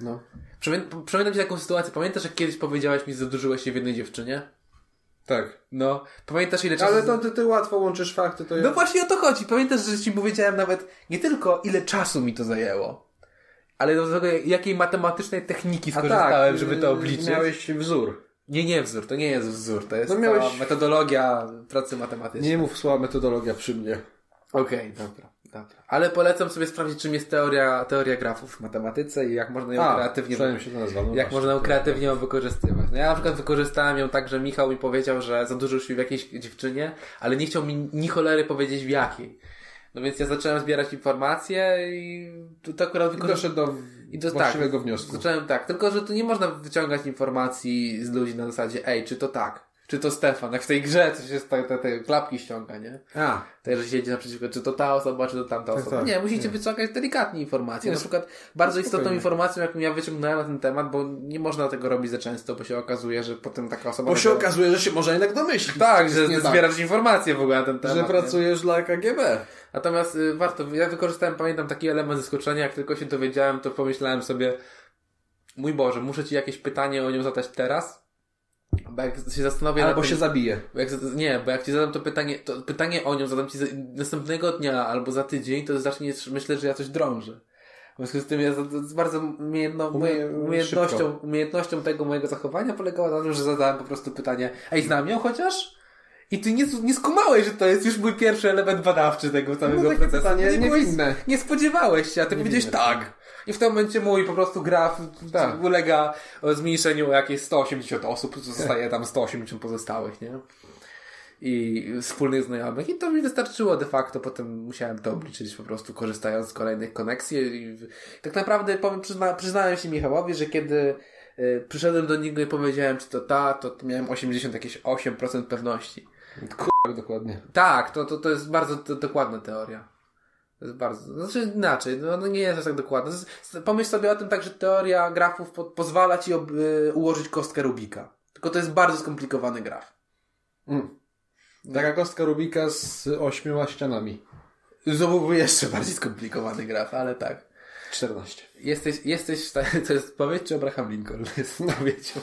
No. Przypomin- Przypominam ci taką sytuację. Pamiętasz, jak kiedyś powiedziałaś mi, że zadłużyłeś się w jednej dziewczynie? Tak. No, pamiętasz ile czasu... Ale to ty, ty łatwo łączysz fakty, to No ja... właśnie o to chodzi. Pamiętasz, że ci powiedziałem nawet nie tylko ile czasu mi to zajęło, ale do tego, jakiej matematycznej techniki skorzystałem, żeby to tak, y, obliczyć. Miałeś wzór. Nie, nie wzór, to nie jest wzór, to jest No no miałeś- metodologia pracy matematycznej. Nie mów słowa metodologia przy mnie. Okej, dobra, dobra. Ale polecam sobie sprawdzić, czym jest teoria, teoria grafów w matematyce i jak można ją kreatywnie, przynajmniej się to nazwa. No jak właśnie. można ją kreatywnie ją wykorzystywać. No ja na przykład wykorzystałem ją tak, że Michał mi powiedział, że zadłużył się w jakiejś dziewczynie, ale nie chciał mi ni cholery powiedzieć w jakiej. No więc ja zacząłem zbierać informacje i to, to akurat I wykorzystałem. Doszedł do I to właściwego tak, wniosku. Zacząłem tak, tylko że tu nie można wyciągać informacji z ludzi na zasadzie, ej, czy to tak, czy to Stefan, jak w tej grze coś jest, te, te, te klapki ściąga, nie? A, Także siedzi naprzeciwko, czy to ta osoba, czy to tamta Tak, osoba. tak. nie, musicie wyciągać delikatnie informacje. Nie, no, Na przykład bardzo istotną spokojnie. informacją, jaką ja wyciągnąłem na ten temat, bo nie można tego robić za często, bo się okazuje, że potem taka osoba... Bo się okazuje, że się może jednak domyślić. Tak, Jest że nie zbierasz informacje w ogóle na ten tak, temat. że nie? pracujesz dla KGB. Natomiast y, warto, ja wykorzystałem, pamiętam, taki element zaskoczenia, jak tylko się dowiedziałem, to pomyślałem sobie, mój Boże, muszę Ci jakieś pytanie o nią zadać teraz, bo jak się zastanowię nad Albo tym- się zabije. no bo Jak, zada- nie, bo jak ci zadam to pytanie, to pytanie o nią zadam ci za, następnego dnia albo za tydzień, to zaczniesz myśleć, że ja coś drążę. W związku z tym ja za, z bardzo umiejętno, Umie- umiejętnością, szybko. umiejętnością tego mojego zachowania polegała na tym, że zadałem po prostu pytanie, ej, znam ją chociaż? I ty nie, nie skumałeś, że to jest już mój pierwszy element badawczy tego całego No takie procesu. pytanie nie, byłeś- niewinne. nie spodziewałeś się, a ty powiedziałeś Niewinne. tak. I w tym momencie mój po prostu graf Tak. ulega zmniejszeniu o jakieś 180 osób, zostaje tam 180 pozostałych, nie? i wspólnych znajomych i to mi wystarczyło de facto, potem musiałem to obliczyć po prostu korzystając z kolejnych koneksji i w- tak naprawdę powiem, przyzna, przyznałem się Michałowi, że kiedy y, przyszedłem do niego i powiedziałem czy to ta, to, to miałem 80 jakieś 8% pewności. Tak, dokładnie. Tak, to, to, to jest bardzo to, dokładna teoria. To jest bardzo, znaczy inaczej, no no nie jest aż tak dokładna. Z- z- Pomyśl sobie o tym tak, że teoria grafów po, pozwala ci ob, y, ułożyć kostkę Rubika. Tylko to jest bardzo skomplikowany graf. Mm. Taka kostka Rubika z ośmioma ścianami. Znowu był jeszcze bardziej skomplikowany graf, ale tak. 14. [laughs] [laughs] Jesteś, jesteś w stanie, to jest odpowiedź czy Abraham Lincoln jest [laughs] odpowiedzią?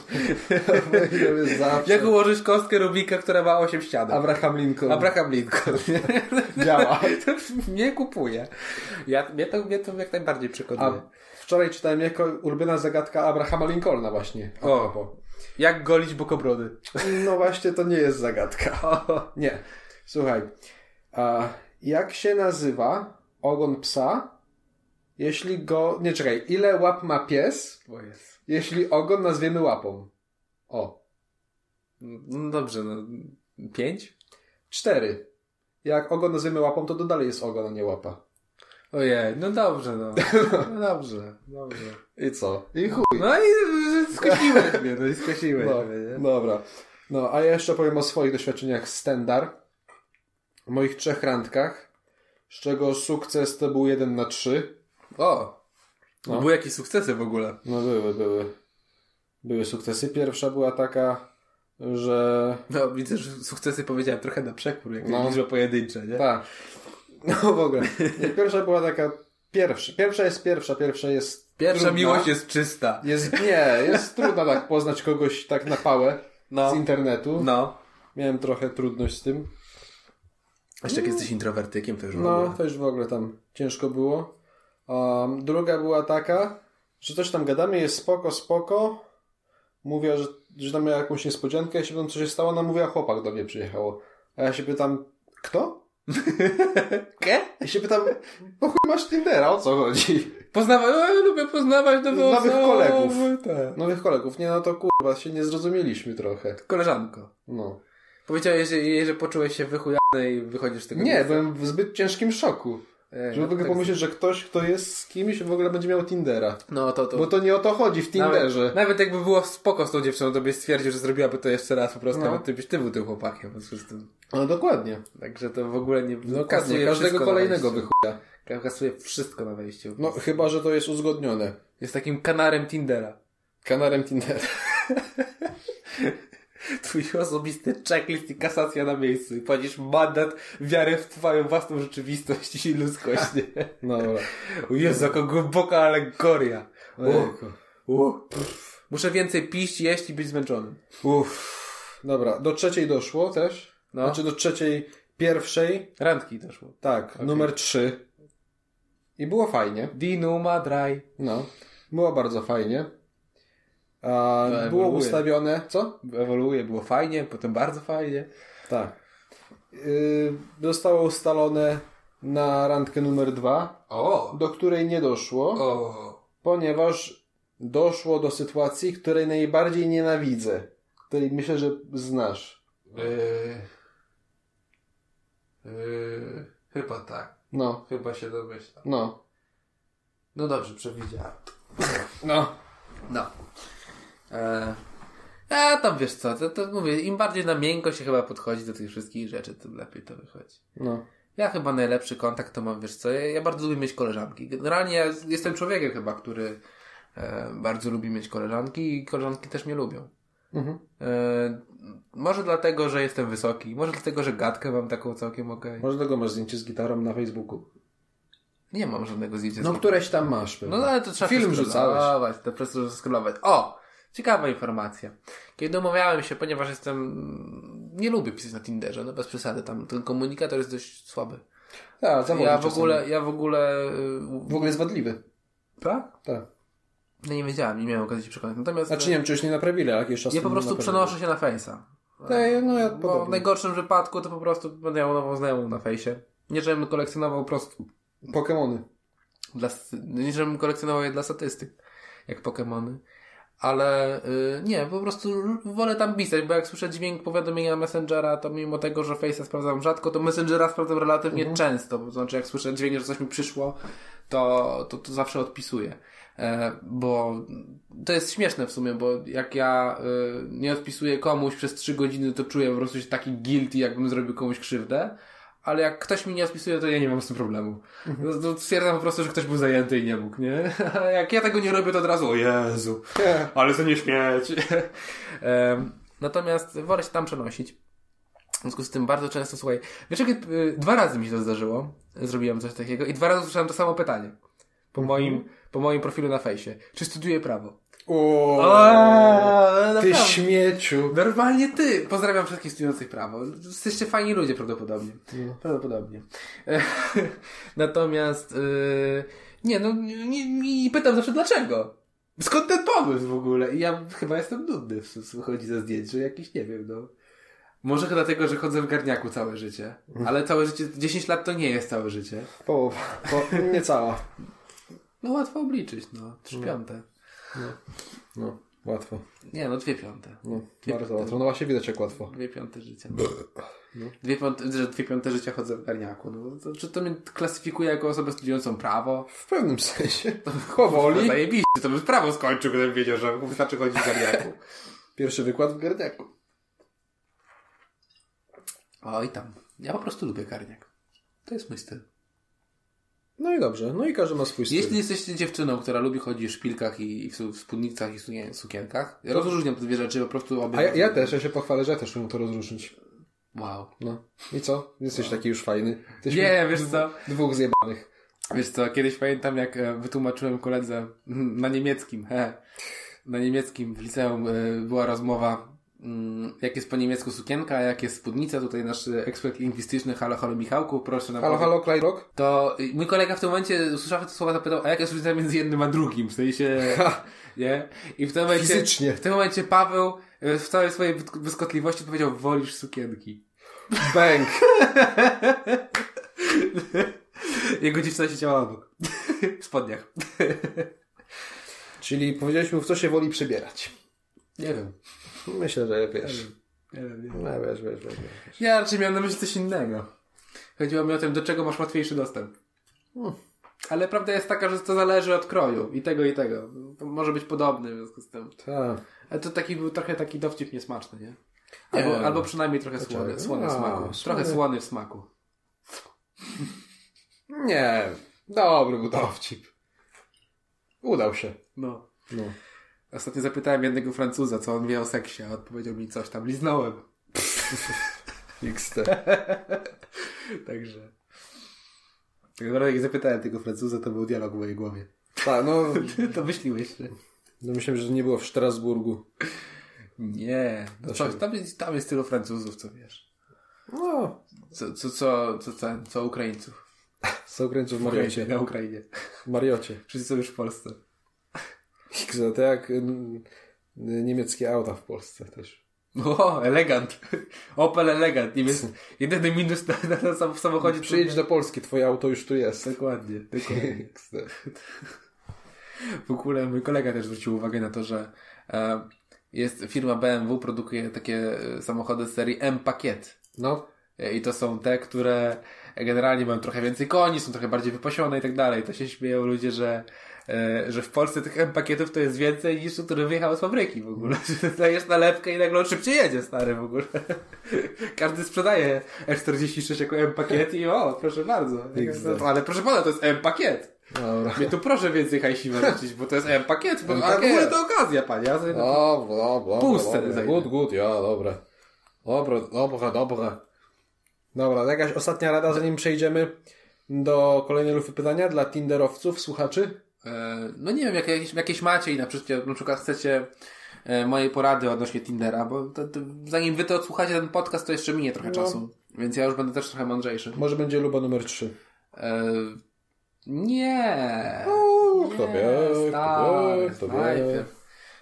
Powiedział jest zawsze. Jak ułożysz kostkę Rubika, która ma 8 ścian? Abraham Lincoln. Abraham Lincoln. [laughs] Działa. To mnie kupuje. Ja, mnie, to, mnie to jak najbardziej przekonuje. A wczoraj czytałem jako ulubiona zagadka Abrahama Lincolna właśnie. O. Jak golić bokobrody? No właśnie, to nie jest zagadka. [laughs] Nie. Słuchaj. A jak się nazywa ogon psa, jeśli go... Nie, czekaj. Ile łap ma pies, Bo jest. jeśli ogon nazwiemy łapą? O. No dobrze, no. 5? Cztery. Jak ogon nazwiemy łapą, to to dalej jest ogon, a nie łapa. Ojej, no dobrze, no. [laughs] No dobrze, dobrze. I co? I chuj. No i y, skosiłeś mnie, no i skosiłeś No, mnie, nie? dobra. No, a ja jeszcze powiem o swoich doświadczeniach z Tendar. Moich trzech randkach. Z czego sukces to był 1 na 3. O! No. Były jakieś sukcesy w ogóle. No były, były. Były sukcesy. Pierwsza była taka, że... No, widzę, że sukcesy powiedziałem trochę na przekór, jak No. liczby pojedyncze, nie? Tak. No w ogóle. Nie, Pierwsza była taka... Pierwsza. Pierwsza jest pierwsza. Pierwsza jest Pierwsza trudna. miłość jest czysta. Jest, nie, jest trudno tak poznać kogoś tak na pałę z No. internetu. No. Miałem trochę trudność z tym. Jeszcze jak jesteś introwertykiem, to już No, to już w ogóle tam ciężko było. Um, druga była taka, że coś tam gadamy, jest spoko, spoko. Mówię, że, że tam miała jakąś niespodziankę, ja się pytam, co się stało, ona mówi, a chłopak do mnie przyjechało. A ja się pytam, kto? Ke? Ja się pytam, po chuj masz Tindera, o co chodzi? Poznawa... Ja lubię poznawać nowe Nowych osoby. kolegów. Tak. Nowych kolegów, nie no to kurwa, się nie zrozumieliśmy trochę. Koleżanko. No. Powiedziałeś że- jej, że poczułeś się wychujany i wychodzisz z tego Nie, miejsca. byłem w zbyt ciężkim szoku, Ej, żeby w ogóle tak- pomyśleć, że ktoś, kto jest z kimś, w ogóle będzie miał Tindera. No to to. Bo to nie o to chodzi w Tinderze. Nawet, nawet jakby było spoko z tą dziewczyną, to byś stwierdził, że zrobiłaby to jeszcze raz po prostu, No. no. ty byś ty był tym chłopakiem. w związku z tym. No dokładnie. Także to w ogóle nie... No, kasuje każdego wszystko na kolejnego wejściu. wychuja. Kasuje wszystko na wejściu. No, chyba, że to jest uzgodnione. Jest takim kanarem Tindera. [laughs] Kanarem Tindera. Twój osobisty checklist i kasacja na miejscu. I płacisz mandat, wiarę w twoją własną rzeczywistość i ludzkość. [laughs] nie? [laughs] No, dobra. O Jezu, jaka głęboka alegoria. Ojejku. U, pff. Muszę więcej pić, jeść i być zmęczonym. Uff. Dobra, do trzeciej doszło też. No. Znaczy do trzeciej, pierwszej. Randki doszło. Tak, numer trzy. I było fajnie. Dinu Madraj. No, było bardzo fajnie. A, To było ewoluuje. ustawione, co? Ewoluuje, było fajnie, potem bardzo fajnie. Tak. Yy, zostało ustalone na randkę numer dwa, O! do której nie doszło. O! ponieważ doszło do sytuacji, której najbardziej nienawidzę. Której myślę, że znasz. e, Yy, yy, chyba tak. No, Chyba się domyślam. no. No dobrze, przewidziałem. No. No. E, a tam wiesz co, to, to mówię, im bardziej na miękko się chyba podchodzi do tych wszystkich rzeczy, tym lepiej to wychodzi. No. Ja chyba najlepszy kontakt to mam, wiesz co, ja, ja bardzo lubię mieć koleżanki. Generalnie ja z- jestem człowiekiem chyba, który e, bardzo lubi mieć koleżanki i koleżanki też mnie lubią. Mhm. E, może dlatego, że jestem wysoki, może dlatego, że gadkę mam taką całkiem okej. Może tego masz zdjęcie z gitarą na Facebooku. Nie mam żadnego zdjęcia. z No, tak. nim. któreś tam masz. Pewnie. No ale to trzeba Film rzucałeś. przeskrolować, to przez to skrylować. O! Ciekawa informacja. Kiedy umawiałem się, ponieważ jestem... Nie lubię pisać na Tinderze, no bez przesady, tam ten komunikator jest dość słaby. Tak, zawodzi Ja w czasami. ogóle, ja w ogóle... y, W ogóle jest wadliwy. Tak? Tak. No nie wiedziałem, nie miałem okazji się przekonać. Natomiast y, Znaczy nie wiem, czy już nie naprawili, ale jakiś czas ja po temu prostu naprawili. przenoszę się na Face'a. Tak, no ja Bo w podobnie. najgorszym wypadku to po prostu będę miał nową znajomą na Face'ie. Nie, żebym kolekcjonował po prostu Pokemony. no dla, nie, żebym kolekcjonował je dla statystyk, jak Pokémony. ale y, nie, po prostu wolę tam pisać, bo jak słyszę dźwięk powiadomienia Messengera, to mimo tego, że Face'a sprawdzam rzadko, to Messengera sprawdzam relatywnie często, bo to znaczy jak słyszę dźwięk, że coś mi przyszło, to, to, to zawsze odpisuję. E, bo to jest śmieszne w sumie, bo jak ja y, nie odpisuję komuś przez trzy godziny, to czuję po prostu się taki guilty, jakbym zrobił komuś krzywdę. Ale jak ktoś mi nie odpisuje, to ja nie mam z tym problemu. No, to stwierdzam po prostu, że ktoś był zajęty i nie mógł, nie? [laughs] A jak ja tego nie robię, to od razu, o Jezu, ale to nie śmieć. [laughs] Em, Natomiast wolę się tam przenosić. W związku z tym bardzo często, słuchaj, wiesz, jakie, y, dwa razy mi się to zdarzyło, zrobiłem coś takiego i dwa razy słyszałem to samo pytanie. Po moim, po moim profilu na fejsie. Czy studiuję prawo? O, O, ty naprawdę. śmieciu. Normalnie ty! Pozdrawiam wszystkich studiujących prawo. Jesteście fajni ludzie prawdopodobnie. No, Prawdopodobnie. [laughs] Natomiast yy, nie, no nie, nie, i pytam zawsze dlaczego. Skąd ten pomysł w ogóle? I ja chyba jestem nudny w sumie, chodzi za zdjęć, że jakiś, nie wiem, no. Może dlatego, że chodzę w garniaku całe życie. Ale całe życie, 10 lat to nie jest całe życie. Połowa, po, niecała. No łatwo obliczyć, no. Trzy piąte. No, łatwo. Nie, no dwie piąte. No, bardzo łatwo. No właśnie widać jak łatwo. Dwie piąte życia. No. Dwie, piąte, że dwie piąte życia chodzę w garniaku. No, to, czy to mnie klasyfikuje jako osobę studiującą prawo? W pewnym sensie. [laughs] No Powoli. zajebiście, to bym prawo skończył, gdybym wiedział, że wystarczy chodzić w garniaku. Pierwszy wykład w garniaku. Oj tam. Ja po prostu lubię garniak. To jest mój styl. No i dobrze. No i każdy ma swój styl. Jeśli jesteście dziewczyną, która lubi chodzić w szpilkach i i w su- w spódnicach i sukien- sukienkach, ja rozróżniam te dwie rzeczy, po prostu obie. A ja, ja też, ja się pochwalę, że ja też umiem to rozróżnić. Wow. No. I co? Jesteś taki już fajny. Jesteśmy Nie, wiesz co? Dwóch zjebanych. Wiesz co, kiedyś pamiętam, jak e, wytłumaczyłem koledze [laughs] mm, na niemieckim, he, na niemieckim w liceum e, była rozmowa, mm, jak jest po niemiecku sukienka, a jak jest spódnica, tutaj nasz e, ekspert lingwistyczny, halo, halo Michałku, proszę nam Halo, powie- halo, Klejrok? To y, mój kolega w tym momencie usłyszawszy te słowa zapytał, a jaka jest różnica między jednym a drugim, w sensie, nie? I w tym momencie, Fizycznie. w tym momencie Paweł e, w całej swojej wyt- błyskotliwości powiedział, wolisz sukienki. Bęk. Jego dziewczyna siedziała obok. [laughs] w spodniach. Czyli powiedzieliśmy, w co się woli przybierać. Nie wiem. Myślę, że wiesz. Nie wiem, nie wiem. No, wiesz, wiesz, wiesz. wiesz. Ja raczej miałem na myśli coś innego. Chodziło mi o to, do czego masz łatwiejszy dostęp. Hmm. Ale prawda jest taka, że to zależy od kroju i tego, i tego. Może być podobny w związku z tym. Tak. Ale to taki był trochę taki dowcip niesmaczny, nie? Nie. Albo, albo przynajmniej trochę słony, słony w A, smaku. Trochę słony. słony w smaku. Nie. Dobry był dowcip. Udał się. No. No. Ostatnio zapytałem jednego Francuza, co on wie o seksie, a odpowiedział mi coś tam. [laughs] Liznąłem. XT. [laughs] Także. Tak naprawdę jak zapytałem tego Francuza, to był dialog w mojej głowie. [laughs] Tak, no. to myśliłeś, że... no myślałem, że nie było w Strasburgu. Nie, no Dlaczego? coś, tam, jest, tam jest tylu Francuzów, co wiesz. No. Co, co, co, co, co, co Ukraińców. Są kręcą w Mariocie. Na Ukrainie. W Mariocie. Wszyscy są już w Polsce. XT, to jak mm, niemieckie auta w Polsce też. O, elegant. Opel elegant. Nie wiem, jedyny minus na, na, na sam, w samochodzie. to- Przyjedź do Polski, twoje auto już tu jest. Dokładnie, dokładnie. XT. W ogóle mój kolega też zwrócił uwagę na to, że e, jest firma BMW produkuje takie e, samochody z serii M-Pakiet. No. I to są te, które generalnie mają trochę więcej koni, są trochę bardziej wypasione i tak dalej. To się śmieją ludzie, że, e, że w Polsce tych M-pakietów to jest więcej niż tu, który wyjechał z fabryki w ogóle. [laughs] Dajesz nalepkę i nagle on szybciej jedzie, stary w ogóle. [laughs] Każdy sprzedaje E46 jako M-pakiet i o, proszę bardzo. XD. Ale proszę pana, to jest M-pakiet. Dobra. Mnie tu proszę więcej hajsiwa rzucić, bo to jest M-pakiet. Bo, a w M-pakiet. ogóle to okazja, panie. Ja sobie O, bla, bla, Pół bla, sceny dobra. zajmie. Good, good, ja, dobra. Dobra, dobra, dobra. Dobra, jakaś ostatnia rada, zanim przejdziemy do kolejnej lufy pytania dla Tinderowców, słuchaczy? E, No nie wiem, jak- jakieś, jakieś macie i na przykład, na przykład chcecie e, mojej porady odnośnie Tindera, bo to, to, zanim wy to odsłuchacie ten podcast, to jeszcze minie trochę czasu, więc ja już będę też trochę mądrzejszy. Może będzie luba numer 3. E, nie. Uuu, Nie, kto wie, kto stary, wie, kto wie. najpierw,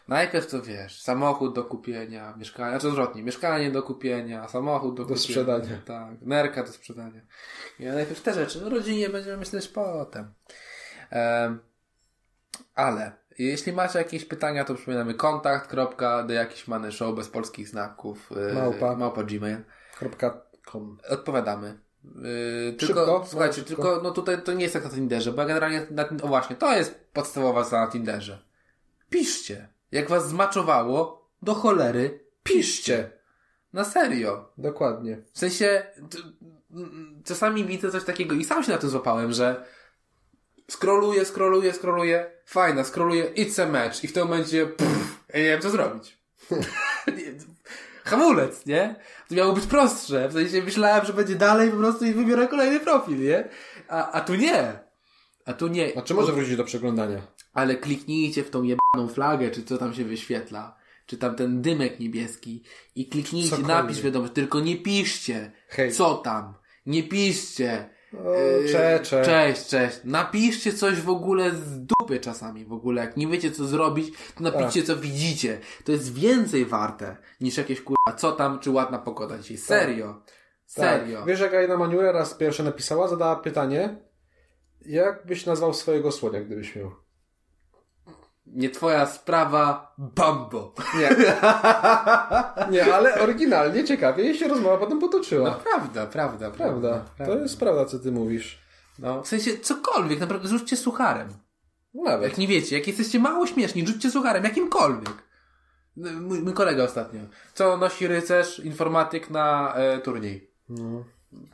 najpierw to wiesz, samochód do kupienia, mieszkanie, znaczy odwrotnie, mieszkanie do kupienia, samochód do, Do kupienia, sprzedania. Tak, nerka do sprzedania. Ja najpierw te rzeczy, no rodzinie będziemy myśleć potem. Em, ale Jeśli macie jakieś pytania, to przypominamy kontakt, kropka, do jakiś many show bez polskich znaków, yy, Małpa. małpa gmail. Kropka com. Odpowiadamy. Yy, tylko, Szybko, słuchajcie, szybko. tylko no tutaj to nie jest jak na Tinderze, bo ja generalnie na, Tin- o właśnie, to jest podstawowa zasada na Tinderze. Piszcie. Jak was zmaczowało, do cholery, piszcie. Na serio. Dokładnie. W sensie, t- m, czasami widzę coś takiego i sam się na tym złapałem, że skroluję, skroluję, skroluję, fajna, skroluję, it's a match i w tym momencie pff, ja nie wiem co [laughs] zrobić. Nie- Hamulec, nie? To miało być prostsze. W sensie myślałem, że będzie dalej po prostu i wybiorę kolejny profil, nie? A, a tu nie. A tu nie. Znaczy może wrócić do przeglądania. Ale kliknijcie w tą jebaną flagę, czy co tam się wyświetla, czy tam ten dymek niebieski i kliknijcie, Cokolwiek. napisz wiadomość, tylko nie piszcie, Hej. co tam, nie piszcie. O, Yy, cze, cze. Cześć, cześć. Napiszcie coś w ogóle z dupy czasami w ogóle. Jak nie wiecie co zrobić, to Tak. napiszcie co widzicie. To jest więcej warte niż jakieś kurwa co tam, czy ładna pogoda dzisiaj. Serio. Serio. Tak. Wiesz, jak Aina Manuela raz pierwsza napisała, zadała pytanie, jak byś nazwał swojego słonia, gdybyś miał? Nie twoja sprawa, bambo. [laughs] Nie. [laughs] Nie, ale oryginalnie, ciekawie i się rozmowa potem potoczyła. Prawda, No. prawda, No. Prawda. To jest prawda, co ty mówisz. W sensie cokolwiek, naprawdę rzućcie sucharem. No, Nawet. Jak nie wiecie, jak jesteście mało śmieszni, rzućcie sucharem, jakimkolwiek. No, Mój, mój kolega ostatnio. Co nosi rycerz, informatyk na e, turniej? No.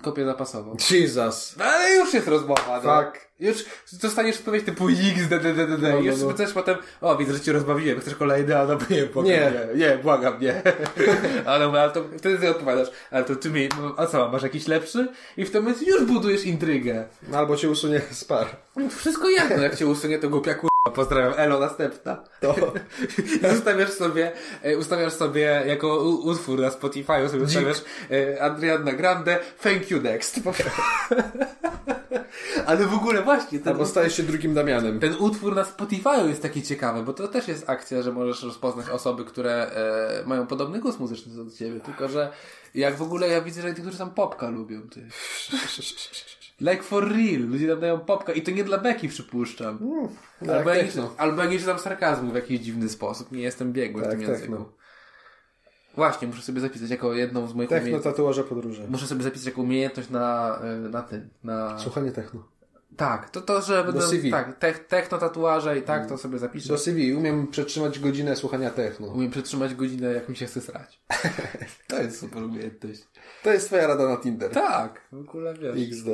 Kopię zapasową. Jesus. No, Ale już jest rozmowa, no. Tak. Już dostaniesz odpowiedź typu X, d, d, d, d, d. No, no, Już no. też potem, o widzę, że cię rozbawiłem, chcesz kolejny, a no nie, błagam, Nie. nie, nie, błagam, [laughs] nie. ale, mówię, ale to wtedy ty odpowiadasz, ale to ty mi, no, a co, masz jakiś lepszy? I w tym momencie już budujesz intrygę. No, Albo cię usunie z par. Wszystko jedno, jak cię usunie, to głupia kurwa. Pozdrawiam, Elo, następna. To. I [laughs] Ustawiasz sobie, e, ustawiasz sobie jako u- utwór na Spotify, sobie ustawiasz e, Adriana Grande, thank you next. Po prostu. Ale w ogóle właśnie, ten, Albo stajesz się drugim [laughs] Damianem. ten utwór na Spotify jest taki ciekawy, bo to też jest akcja, że możesz rozpoznać osoby, które e, mają podobny gust muzyczny do ciebie, tylko że jak w ogóle ja widzę, że niektórzy tam popka lubią, ty. Like for real, ludzie tam dają popka i to nie dla beki przypuszczam. Tak, Albo, jakiś, techno. albo jakiś tam sarkazmu w jakiś dziwny sposób. Nie jestem biegły w Tak, tym techno. języku. Właśnie, muszę sobie zapisać jako jedną z moich Techno, umiejętności. tatuaże, podróże. Muszę sobie zapisać jako umiejętność na, y, na tym. Na... Słuchanie techno. Tak, to to, że będę. CV. Tak, te, techno tatuaże i tak to sobie zapiszę. Do CV umiem przetrzymać godzinę słuchania techno. Umiem przetrzymać godzinę, jak mi się chce srać. [laughs] to jest super umiejętność. To jest twoja rada na Tinder. Tak, w ogóle wiesz. XD.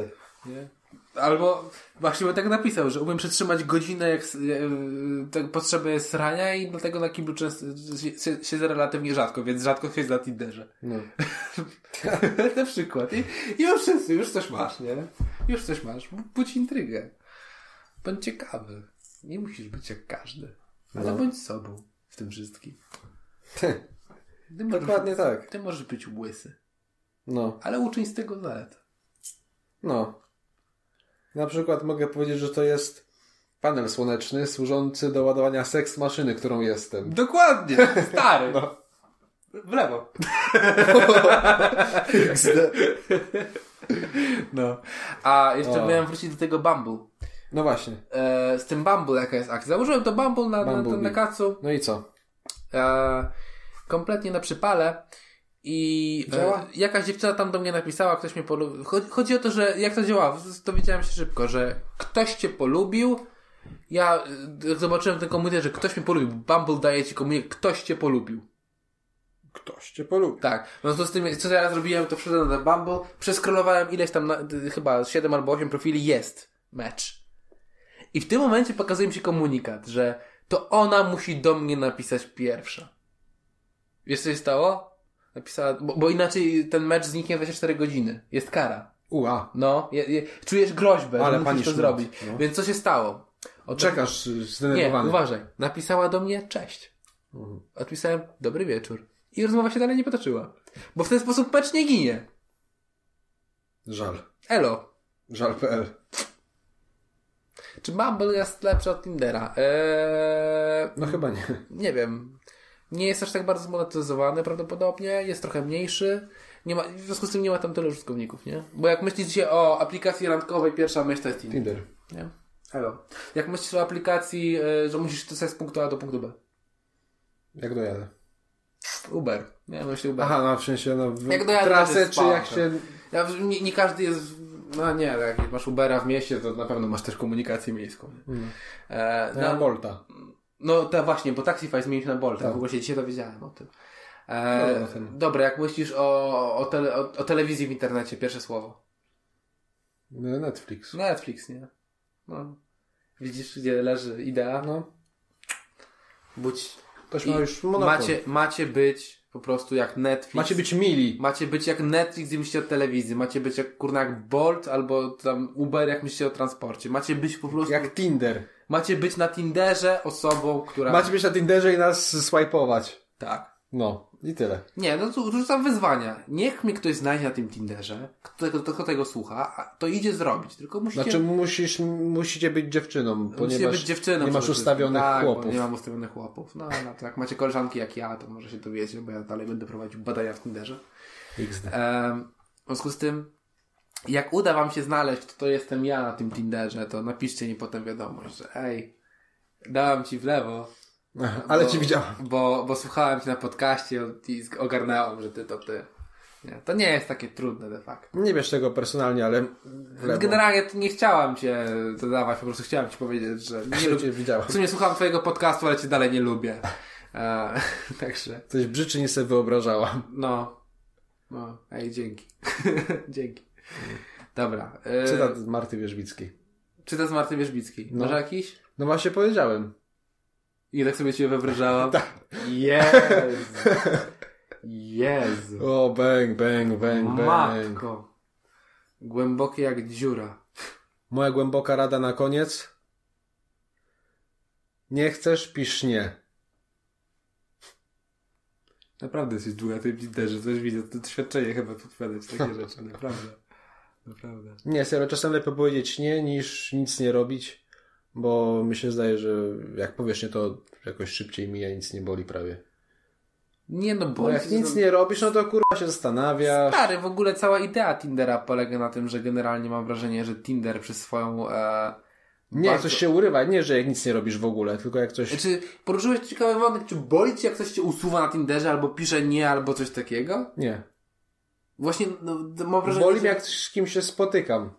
Nie? Albo właśnie bym tak napisał, że umiem przetrzymać godzinę jak s- e, tak potrzebę srania i dlatego na kiblu często si- siedzę relatywnie rzadko, więc rzadko siedzę na Tinderze. [laughs] No. na przykład. I i już, wszyscy- już coś masz, nie? Już coś masz. Budź intrygę. Bądź ciekawy. Nie musisz być jak każdy. Ale No. bądź sobą w tym wszystkim. Ty możesz, Dokładnie tak. Ty możesz być łysy, No. ale uczyń z tego zalet. No. Na przykład mogę powiedzieć, że to jest panel słoneczny służący do ładowania seks maszyny, którą jestem. Dokładnie, [laughs] stary. No. W lewo. [laughs] No. A jeszcze O. miałem wrócić do tego Bumble. No właśnie. E, z tym Bumble jaka jest akcja. Założyłem to Bumble na, na, na, Bumblebee. na kacu. No i co? E, kompletnie na przypale. I Działa? e, jakaś dziewczyna tam do mnie napisała, ktoś mnie polubił. Chodzi, chodzi o to, że jak to działa, dowiedziałem się szybko, że ktoś cię polubił. Ja e, jak zobaczyłem ten komunikat, że ktoś mnie polubił. Bumble daje ci komunikat, ktoś cię polubił. Ktoś cię polubi. Tak, w związku z tym, co ja zrobiłem, to wszedłem na Bumble, przeskrolowałem ileś tam, na, d- chyba 7 albo 8 profili, jest match. I w tym momencie pokazuje mi się komunikat, że to ona musi do mnie napisać pierwsza. Wiesz, co się stało? Napisała, bo, bo inaczej ten mecz zniknie 24 godziny. Jest kara. Ua. No, je, je, czujesz groźbę, Ale że musisz to punishment, zrobić. no. Więc co się stało? Od Czekasz y, nie, zdenerwowany. Mhm. uważaj. Napisała do mnie cześć. Odpisałem dobry wieczór. I rozmowa się dalej nie potoczyła. Bo w ten sposób mecz nie ginie. Żal. Elo. Żal.pl. Czy Bumble jest lepszy od Tindera? Eee, No chyba nie. nie wiem. Nie jest aż tak bardzo zmonetyzowany prawdopodobnie. Jest trochę mniejszy. Nie ma, w związku z tym nie ma tam tyle użytkowników, nie? Bo jak myślicie o aplikacji randkowej, pierwsza myśl to jest Tinder. Tinder. Nie? Elo. Jak myślisz o aplikacji, y, że musisz dostać z punktu A do punktu B? Jak dojadę? Uber. Nie, no myślę Uber. Aha, no w sensie, no w Jak dojadę, trasę, będę czy spał, jak tak. się... Ja, nie, nie każdy jest. No nie, jak masz Ubera w mieście, to na pewno masz też komunikację miejską. No. E, Na na- Bolta. No to właśnie, bo Taxify zmienił na Bolta. Tak. No, W ogóle się dzisiaj dowiedziałem o tym. Dobra, E, na ten. dobra, jak myślisz o, o, tele, o, o telewizji w internecie? Pierwsze słowo. No, Netflix. Netflix, nie? No. Widzisz, gdzie leży idea? No. Budź. Ktoś I ma już monopol. macie, macie być po prostu jak Netflix. macie być mili. Macie być jak Netflix i myślicie o telewizji. Macie być jak kurna jak Bolt albo tam Uber jak myślicie o transporcie. Macie być po prostu. Jak Tinder. Macie być na Tinderze osobą, która. Macie być na Tinderze i nas swajpować. Tak. No, i tyle. Nie, no tu rzucam wyzwania. Niech mi ktoś znajdzie na tym Tinderze, kto, kto, kto tego słucha, a to idzie zrobić. Tylko musicie, Znaczy musisz, musicie być dziewczyną, musicie ponieważ być dziewczyną. nie masz przede wszystkim. ustawionych tak, bo chłopów. Nie mam ustawionych chłopów. No, no tak. Macie koleżanki jak ja, to może się dowiecie, bo ja dalej będę prowadził badania w Tinderze. XD. Em, W związku z tym, jak uda Wam się znaleźć, to, to jestem ja na tym Tinderze, to napiszcie mi potem wiadomość, że ej, dałem Ci w lewo, [laughs] Ale bo- ci widziałam. bo, bo słuchałem Cię na podcaście i zg- ogarnęłam, że Ty to Ty. Nie, to nie jest takie trudne de facto. Nie wiesz tego personalnie, ale w lewo. Generalnie to nie chciałam Cię dodawać, po prostu chciałem Ci powiedzieć, że nie Że lubię. [laughs] cię widziałam. W sumie słucham Twojego podcastu, ale Cię dalej nie lubię. E, [laughs] także, Coś brzyczy nie sobie wyobrażałam. no, no, ej, dzięki. [laughs] dzięki. Dobra. e, Cytat z Marty Wierzbickiej. Czyta z Marty Wierzbickiej. No. Może jakiś? No właśnie powiedziałem. I tak sobie cię wywrażałam. [laughs] tak. Jezu. Jezu. O, bang, bang, bang, bang. Matko. Głębokie jak dziura. Moja głęboka rada na koniec. Nie chcesz, pisz nie. Naprawdę jesteś długa, ty widzę, że coś widzę. To doświadczenie chyba podpowiadać takie rzeczy. [laughs] Naprawdę. Naprawdę. Nie, serio, czasem lepiej powiedzieć nie, niż nic nie robić, bo mi się zdaje, że jak powiesz nie, to jakoś szybciej mija, nic nie boli prawie. Nie no, bo... Bo jak nic nie robisz, no to kurwa się zastanawiasz. Stary, w ogóle cała idea Tindera polega na tym, że generalnie mam wrażenie, że Tinder przez swoją... E, Nie, jak bardzo- Znaczy, coś się urywa, nie, że jak nic nie robisz w ogóle, tylko jak coś... Czy poruszyłeś tu ciekawy wątek, czy boli cię, jak ktoś cię usuwa na Tinderze, albo pisze nie, albo coś takiego? Nie. Właśnie, no, mam wrażenie, Boli że- mnie, jak z kimś się spotykam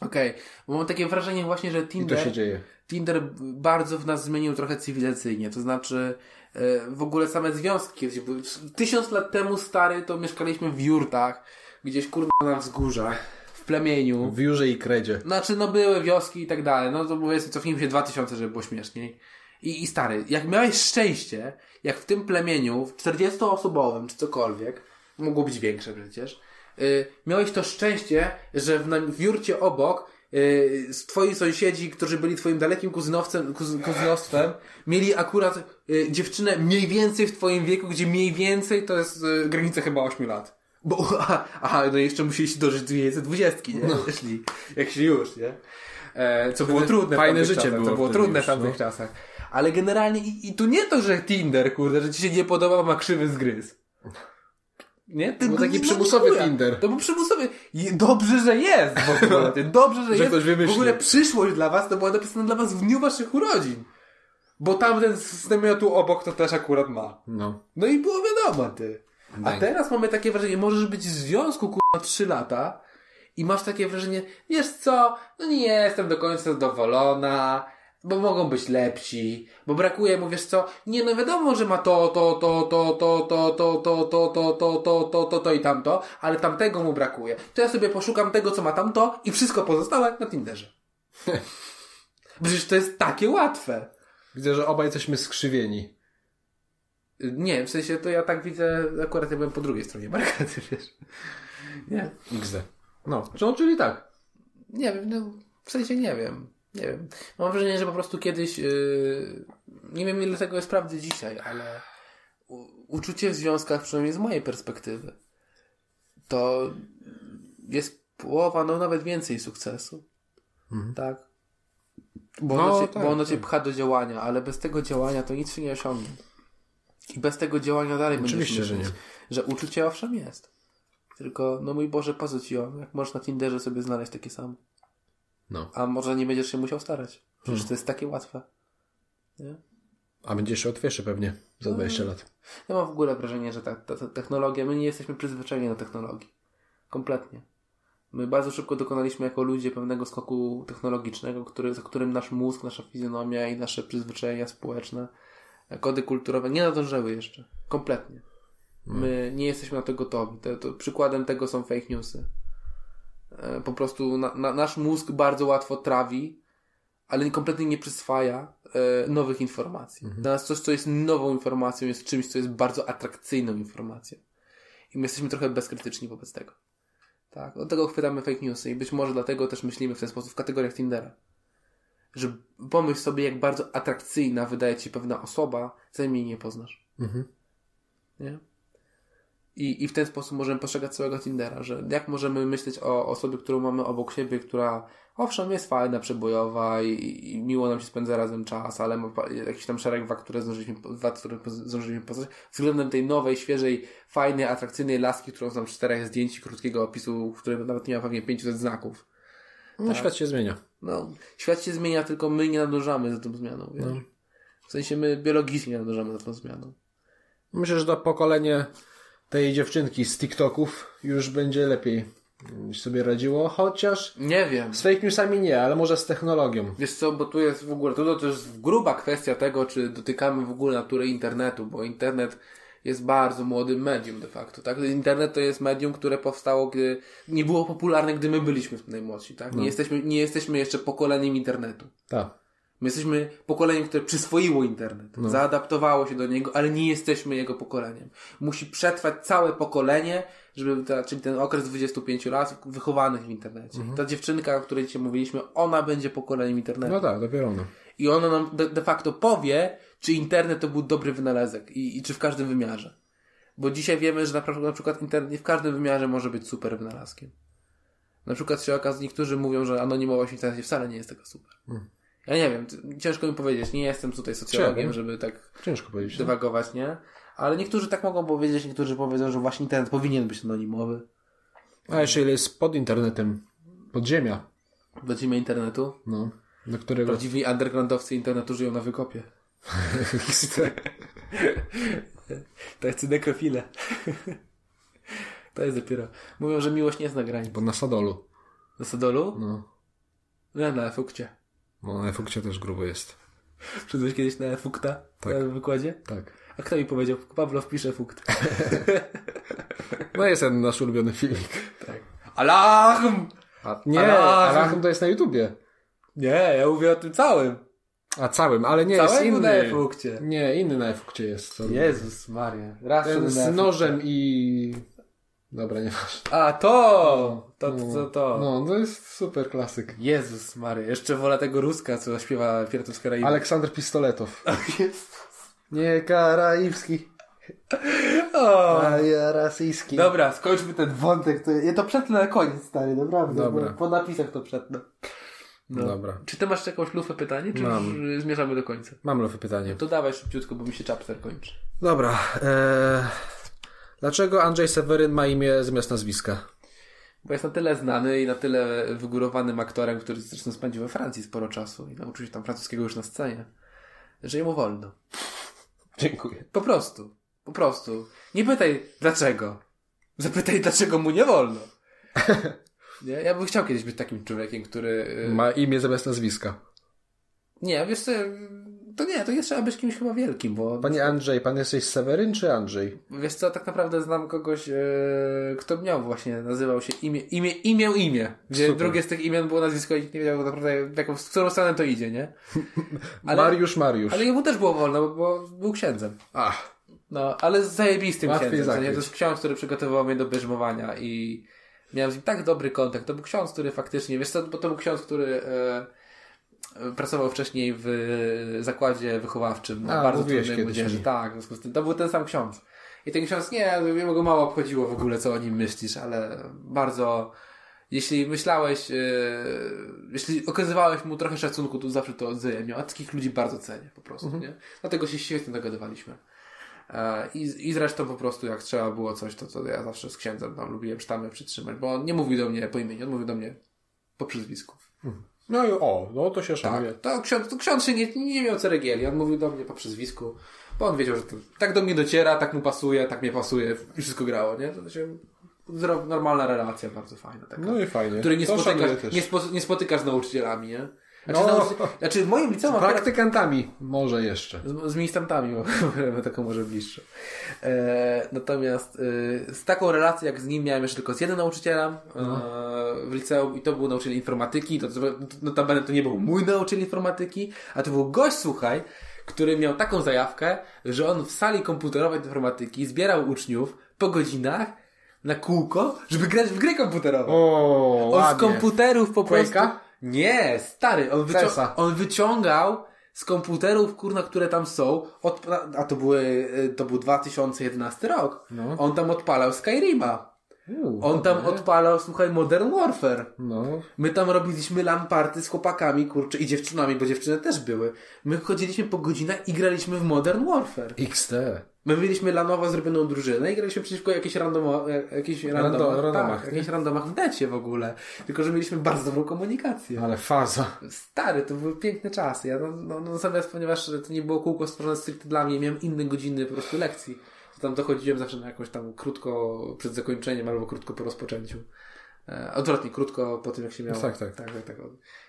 Okej, bo mam takie wrażenie właśnie, że i to się Tinder, dzieje. Tinder b- bardzo w nas zmienił trochę cywilizacyjnie, to znaczy e, w ogóle same związki kiedyś były. Tysiąc lat temu, stary, to mieszkaliśmy w jurtach, gdzieś kurwa na wzgórzach, w plemieniu. W jurze i kredzie. Znaczy, no były wioski i tak dalej, no to powiedzmy, cofnijmy się 2000, żeby było śmieszniej. I, I stary, jak miałeś szczęście, jak w tym plemieniu, w 40-osobowym czy cokolwiek, mogło być większe przecież, y, miałeś to szczęście, że w, na, w jurcie obok y, z twoi sąsiedzi, którzy byli twoim dalekim kuzynowcem, kuzyn, kuzynostwem, mieli akurat y, dziewczynę mniej więcej w twoim wieku, gdzie mniej więcej to jest y, granica chyba 8 lat. Bo, [laughs] aha, aha, no i jeszcze musieli się dożyć 220, nie? No. Jeśli, jak się już, nie? E, co było trudne. w fajne tamtych życie czasach, było To było wtedy trudne już, w tamtych no. czasach. Ale generalnie, i, i tu nie to, że Tinder, kurde, że ci się nie podoba, ma krzywy zgryz. Nie? Ty, Był taki no, przymusowy nie chuja. Tinder. To był przymusowy. I dobrze, że jest w [laughs] ogóle. ty. Dobrze, że, Że jest. ktoś wymyślił. W ogóle przyszłość dla was to była napisana dla was w dniu waszych urodzin. Bo tamten z z namiotu obok to też akurat ma. No. No i było wiadomo, ty. A Daj. teraz mamy takie wrażenie, możesz być w związku kurwa 3 lata i masz takie wrażenie, wiesz co, no nie jestem do końca zadowolona, bo mogą być lepsi, bo brakuje mu, wiesz co, nie no wiadomo, że ma to, to, to, to, to, to, to, to, to, to, to, to, to, to, to i tamto, ale tamtego mu brakuje. To ja sobie poszukam tego, co ma tamto i wszystko pozostałe na Tinderze. [laughs] Przecież to jest takie łatwe. Widzę, że obaj jesteśmy skrzywieni. Nie, w sensie to ja tak widzę, akurat ja byłem po drugiej stronie barykady, [laughs] wiesz. Nie, XD. No. No, czyli tak. nie wiem, no, w sensie nie wiem, nie wiem. Mam wrażenie, że po prostu kiedyś, yy, nie wiem ile tego jest prawdy dzisiaj, ale u, uczucie w związkach, przynajmniej z mojej perspektywy, to jest połowa, no nawet więcej sukcesu. Tak? Bo ono, Mhm. No, cię, tak, bo ono cię tak. pcha do działania, ale bez tego działania to nic się nie osiągnie. I bez tego działania dalej Oczywiście, będziesz że myśleć, nie. że uczucie owszem jest. Tylko, no mój Boże, po co ci on? Jak można na Tinderze sobie znaleźć takie samo? No. A może nie będziesz się musiał starać. Przecież to jest takie łatwe. A będzie jeszcze łatwiejsze pewnie za 20 lat. Ja mam w ogóle wrażenie, że ta, ta, ta technologia, my nie jesteśmy przyzwyczajeni do technologii. Kompletnie. My bardzo szybko dokonaliśmy jako ludzie pewnego skoku technologicznego, który, za którym nasz mózg, nasza fizjonomia i nasze przyzwyczajenia społeczne, kody kulturowe nie nadążyły jeszcze. Kompletnie. My nie jesteśmy na to gotowi. To, to przykładem tego są fake newsy. E, Po prostu na, na, nasz mózg bardzo łatwo trawi, ale kompletnie nie przyswaja e, nowych informacji. Dla nas coś, co jest nową informacją, jest czymś, co jest bardzo atrakcyjną informacją. I my jesteśmy trochę bezkrytyczni wobec tego. Tak, od tego chwytamy fake newsy i być może dlatego też myślimy w ten sposób w kategoriach Tindera. Że pomyśl sobie, jak bardzo atrakcyjna wydaje ci pewna osoba, zanim jej nie poznasz. Nie? I, I w ten sposób możemy postrzegać całego Tindera, że jak możemy myśleć o osobie, którą mamy obok siebie, która owszem jest fajna, przebojowa i, i miło nam się spędza razem czas, ale ma pa- jakiś tam szereg wad, które zdążyliśmy, po- wad, które poz- zdążyliśmy poznać, względem tej nowej, świeżej, fajnej, atrakcyjnej laski, którą znam z czterech zdjęć i krótkiego opisu, który nawet nie ma pewnie 500 znaków. No Tak. świat się zmienia. No, świat się zmienia, tylko my nie nadążamy za tą zmianą. Wiesz? W sensie my biologicznie nie nadążamy za tą zmianą. Myślę, że to pokolenie tej dziewczynki z TikToków już będzie lepiej sobie radziło, chociaż Nie wiem. z fake newsami nie, ale może z technologią. Wiesz co, bo tu jest w ogóle, to, to jest gruba kwestia tego, czy dotykamy w ogóle natury internetu, bo internet jest bardzo młodym medium de facto, tak? Internet to jest medium, które powstało, gdy nie było popularne, gdy my byliśmy najmłodsi, tak? Nie, jesteśmy, nie jesteśmy jeszcze pokoleniem internetu. Tak. My jesteśmy pokoleniem, które przyswoiło internet, zaadaptowało się do niego, ale nie jesteśmy jego pokoleniem. Musi przetrwać całe pokolenie, żeby ta, czyli ten okres 25 lat wychowanych w internecie. Ta dziewczynka, o której dzisiaj mówiliśmy, ona będzie pokoleniem internetu. No tak, dopiero ono. I ona nam de, de facto powie, czy internet to był dobry wynalazek i, i czy w każdym wymiarze. Bo dzisiaj wiemy, że na, pra- na przykład internet nie w każdym wymiarze może być super wynalazkiem. Na przykład się okazuje, niektórzy mówią, że anonimowość w internecie wcale nie jest taka super. Ja nie wiem, t- ciężko mi powiedzieć, nie jestem tutaj socjologiem, Trzeba. żeby tak Ciężko powiedzieć. dywagować, nie? Ale niektórzy tak mogą powiedzieć, niektórzy powiedzą, że właśnie internet powinien być anonimowy. A jeszcze ile jest pod internetem? Podziemia, Wrócimy internetu. no, do którego... Prawdziwi undergroundowcy internetu żyją na wykopie. [laughs] Tacy nekrofile. [laughs] to jest dopiero. Mówią, że miłość nie zna granic. Bo na Sadolu. Na Sadolu? No, No, na efukcie. no na efukcie też grubo jest. Przyszedłeś kiedyś na efukta na wykładzie? Tak. A kto mi powiedział? Pawlow pisze efukt. No jest ten nasz ulubiony filmik. Alarm! A, nie, Arachum. Arachum to jest na YouTubie. Nie, ja mówię o tym całym. A całym, ale nie, jest Całemu inny. na efukcie. Nie, inny na efukcie jest. To- Jezus Maria. Raz Ten szedłem na z efukcie. nożem i... Dobra, nieważne. A to! To, to, to. No, to jest super klasyk. Jezus Mary, jeszcze wola tego Ruska, co śpiewa Piratów z Tak Karaiby. [laughs] Aleksander Pistoletow. Nie karaibski, O! ja rosyjski. Dobra, skończmy ten wątek. To ja to przetnę na koniec, stary, naprawdę. Dobra. bo Po napisach to przetnę. No. Dobra. Czy ty masz jakąś lufę pytanie, czy Mam. już y, zmierzamy do końca? Mam lewe pytanie. To dawaj szybciutko, bo mi się chapter kończy. Dobra. E... Dlaczego Andrzej Seweryn ma imię zamiast nazwiska? Bo jest na tyle znany i na tyle wygórowanym aktorem, który zresztą spędził we Francji sporo czasu i nauczył się tam francuskiego już na scenie, że jemu wolno. Dziękuję. Po prostu. Po prostu. Nie pytaj dlaczego. Zapytaj dlaczego mu nie [laughs] wolno. Nie? Ja bym chciał kiedyś być takim człowiekiem, który... y, Ma imię zamiast nazwiska. Nie, wiesz co, to nie, to jest trzeba być kimś chyba wielkim, bo Panie Andrzej, pan jesteś Seweryn czy Andrzej? wiesz co, tak naprawdę znam kogoś, e, kto miał właśnie, nazywał się imię, imię, imię, imię, gdzie Super. drugie z tych imion było nazwisko i nikt nie wiedział tak naprawdę, w jaką, w którą stronę to idzie, nie? Ale, Mariusz, Mariusz. ale jemu też było wolno, bo, bo był księdzem. Ach, No, ale z zajebistym Łatwiej księdzem. w sensie zakryć. To jest ksiądz, który przygotowywał mnie do bierzmowania i miałem z nim tak dobry kontakt. To był ksiądz, który faktycznie, wiesz co, bo to był ksiądz, który e, e, pracował wcześniej w zakładzie wychowawczym na A, bardzo mówiłeś trudnej kiedyś młodzieży. mi. Tak, w związku z tym to był ten sam ksiądz. I ten ksiądz, nie, wiem, go mało obchodziło w ogóle, co o nim myślisz, ale bardzo... Jeśli myślałeś, e, jeśli okazywałeś mu trochę szacunku, to zawsze to odzajemniał. A takich ludzi bardzo cenię po prostu, Mhm. nie? Dlatego się świetnie dogadywaliśmy. E, I, I zresztą po prostu jak trzeba było coś, to, to ja zawsze z księdzem tam lubiłem sztamę przytrzymać, bo on nie mówił do mnie po imieniu, on mówił do mnie po przyzwisku. No i o, no to się szanuje. Tak, to ksiądz, to ksiądz się nie, nie miał ceregieli. On mówił do mnie po przyzwisku, bo on wiedział, że to, tak do mnie dociera, tak mu pasuje, tak mnie pasuje i wszystko grało, nie? To się, zro- normalna relacja, bardzo fajna taka. No i fajnie. Której nie To szanuję spotykasz, też. nie, spo, nie spotykasz z nauczycielami, nie? Znaczy, No. nauczy- znaczy w moim liceum akurat Praktykantami może jeszcze. z, z ministrantami, bo mamy taką może bliższą. E, natomiast e, z taką relacją jak z nim miałem jeszcze tylko z jednym nauczycielem e, w liceum i to był nauczyciel informatyki. To, to, notabene to nie był mój nauczyciel informatyki, a to był gość, słuchaj, który miał taką zajawkę, że on w sali komputerowej do informatyki zbierał uczniów po godzinach na kółko, żeby grać w gry komputerowe. O, On z ładnie. komputerów po prostu. Quake'a? Nie, stary, on, wycią... Cesa. on wyciągał z komputerów, kurna, które tam są, od... a to były, y, to był 2011 rok. No. On tam odpalał Skyrima. U, On tam odpalał, słuchaj, Modern Warfare. No, My tam robiliśmy lamparty z chłopakami, kurczę, i dziewczynami, bo dziewczyny też były. My chodziliśmy po godzinach i graliśmy w Modern Warfare. XT. My mieliśmy lanowo zrobioną drużynę i graliśmy przeciwko jakiejś randomo, e, jakiejś randomach, randomach. Tak, jakiejś randomach w necie w ogóle. Tylko, że mieliśmy bardzo dobrą komunikację. Ale faza. Stary, to były piękne czasy. Ja no, no, no zamiast, ponieważ to nie było kółko stworzone stricte dla mnie, miałem inne godziny po prostu lekcji. To tam dochodziłem zawsze na jakąś tam krótko przed zakończeniem albo krótko po rozpoczęciu. E, odwrotnie, krótko po tym jak się miało. Tak, tak. tak, tak, tak.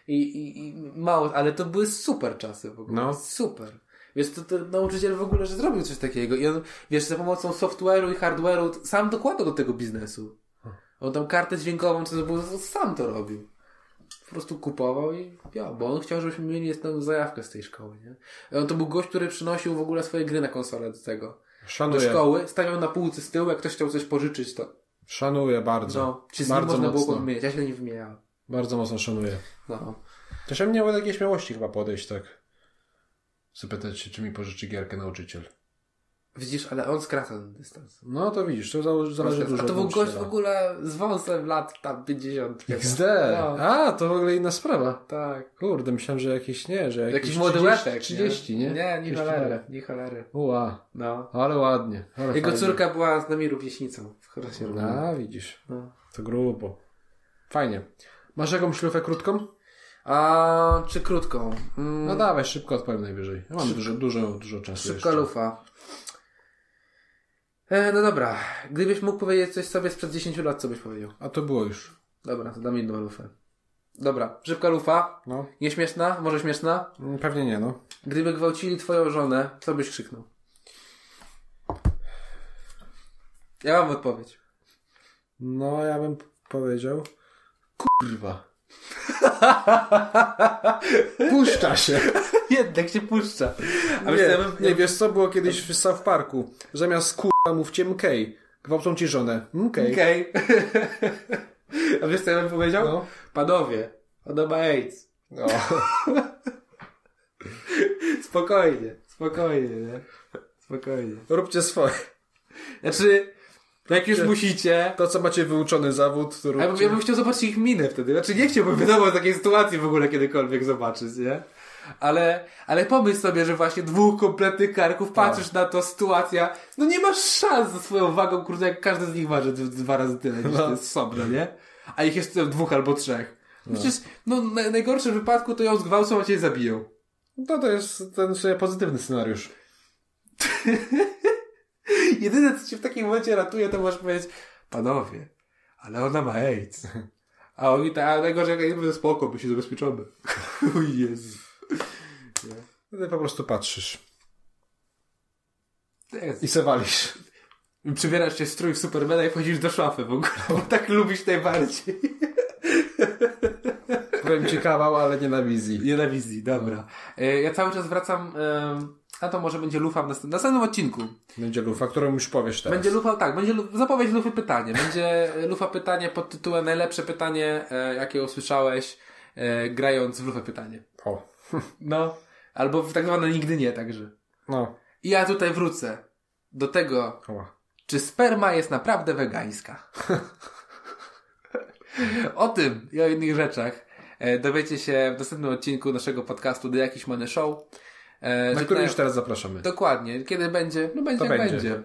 I, i, I mało, ale to były super czasy w ogóle. No. Super. Wiesz, to, to nauczyciel w ogóle, że zrobił coś takiego i on, wiesz, za pomocą software'u i hardware'u t- sam dokładał do tego biznesu. On tam kartę dźwiękową, co to było, to sam to robił po prostu kupował i ja, bo on chciał, żebyśmy mieli jestem zajawkę z tej szkoły, nie? E, On to był gość, który przynosił w ogóle swoje gry na konsolę do tego. Do Szanuję. szkoły, stawiał na półce z tyłu, jak ktoś chciał coś pożyczyć, to Szanuję bardzo. no, czy z nim bardzo można było mocno. podmieniać, ja się nie wymieniałem. Bardzo mocno szanuję. No. Też ja miałem takiej śmiałości chyba podejść, tak. Zapytać się, czy mi pożyczy gierkę nauczyciel. Widzisz, ale on skraca ten dystans. No to widzisz, to zale- zależy dużo no. A to od był gość w nauczyciela. ogóle z wąsem lat tam [laughs] 50. chyba. XD. No, A, to w ogóle inna sprawa. tak. Kurde, myślałem, że jakieś nie, że jakieś Jakiś młody 30, łepek. 30, nie? Nie, nie 30 cholery, nie cholery. Ua, No. ale ładnie. Ale Jego fajnie. córka była z nami rówieśnicą w klasie równym. A, widzisz. No. To grubo. Fajnie. Masz jakąś szlufę krótką? A czy krótką? Mm. No dawaj, szybko odpowiem najwyżej. Ja mam dużo, dużo, dużo czasu Szybka jeszcze. lufa. E, no dobra, gdybyś mógł powiedzieć coś sobie sprzed 10 lat, co byś powiedział? A to było już. Dobra, to dam inną lufę. Dobra, szybka lufa. No. Nieśmieszna, może śmieszna. Mm, Pewnie nie, no. Gdyby gwałcili twoją żonę, co byś krzyknął? Ja mam odpowiedź. No, ja bym p- powiedział... Kurwa. Puszcza się. [laughs] [laughs] Jednak się puszcza. A nie, myślałem, nie, wiesz co było kiedyś w South Parku? Zamiast kurwa mówcie mkej. Gwałcą ci żonę. Mkej. Okej. [laughs] A wiesz, co ja bym powiedział? No. Panowie, ona ma AIDS. Spokojnie, spokojnie, nie? Spokojnie. [laughs] Róbcie swoje. Znaczy, jak już musicie. To, co macie wyuczony zawód, to Ja bym, róbcie. ja bym chciał zobaczyć ich minę wtedy. Znaczy, nie chciałbym wiadomo takiej sytuacji w ogóle kiedykolwiek zobaczyć, nie? Ale, ale pomyśl sobie, że właśnie dwóch kompletnych karków, patrzysz na to, sytuacja, no nie masz szans ze swoją wagą, kurde, jak każdy z nich waży d- dwa razy tyle niż no. jest osobno, nie? A ich jest dwóch albo trzech. Przecież, no, na, najgorszym wypadku to ją zgwałcą, a cię zabiją. [laughs] No to jest ten w sumie pozytywny scenariusz. Jedyne, co cię w takim momencie ratuje, to możesz powiedzieć, panowie, ale ona ma AIDS. A oni tak, a najgorzej, jak ja mówię, spoko, my się zabezpieczamy. [laughs] O Jezu. Ty po prostu patrzysz. Jezu. I se walisz. I Przybierasz się w strój Supermana i wchodzisz do szafy w ogóle, bo tak lubisz najbardziej. Powiem ci kawał, ale nie na wizji. Nie na wizji, dobra. E, Ja cały czas wracam, em, a to może będzie lufa w następnym, następnym odcinku. Będzie lufa, którą już powiesz teraz. Będzie lufa, tak, będzie lu- zapowiedź lufy pytanie. Będzie e, lufa pytanie pod tytułem najlepsze pytanie, e, jakie usłyszałeś e, grając w lufę pytanie. O. No, albo w tak zwane nigdy nie, także. No. I ja tutaj wrócę do tego, Oła. czy sperma jest naprawdę wegańska. [laughs] o tym i o innych rzeczach e, dowiecie się w następnym odcinku naszego podcastu The Jakiś Money Show. E, Na że który te- już teraz zapraszamy. Dokładnie. Kiedy będzie? No będzie To jak będzie. będzie.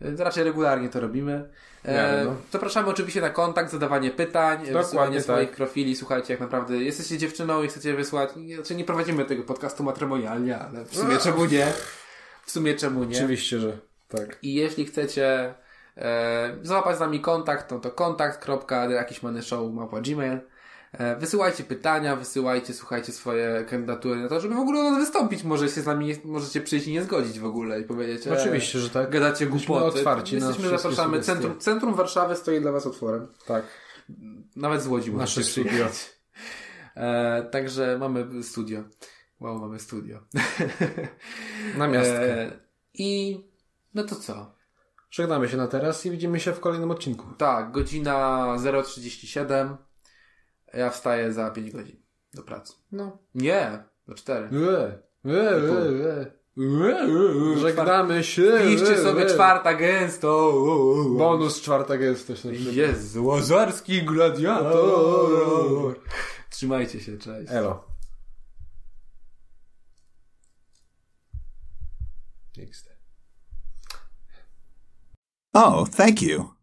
E, to Raczej regularnie to robimy. E, Miarę, no. Zapraszamy oczywiście na kontakt, zadawanie pytań, Dokładnie wysyłanie tak. swoich profili. Słuchajcie, jak naprawdę jesteście dziewczyną i chcecie wysłać. Nie, znaczy nie prowadzimy tego podcastu matrymonialnie, ale w sumie czemu nie? W sumie czemu nie? No. Oczywiście, że tak. I jeśli chcecie e, złapać z nami kontakt, no to kontakt.jakismannyshow.gmail e, Wysyłajcie pytania, wysyłajcie, słuchajcie swoje kandydatury na to, żeby w ogóle o nas wystąpić. Może się z nami, nie- możecie przyjść i nie zgodzić w ogóle i powiedzieć. e, Oczywiście, że tak. Gadacie Jesteśmy głupoty. otwarci na Jesteśmy, wszystkie zapraszamy. sugestie. Centrum, centrum Warszawy stoi dla Was otworem. Tak. Nawet z Łodzi Nasze możecie studio. przyjechać. E, także mamy studio. Wow, mamy studio. Na miastkę. E, I no to co? Żegnamy się na teraz i widzimy się w kolejnym odcinku. Tak, godzina 0.37. Ja wstaję za 5 godzin do pracy. No. Nie, do 4. Ue, ue, ue, ue. Żegnam. Żegnamy się. Piszcie ue, sobie ue. czwarta gęsto. U, u, u. Bonus czwartego jest też na przykład. Jezu, łazarski gladiator. Trzymajcie się, cześć. Elo. XD. Oh, thank you.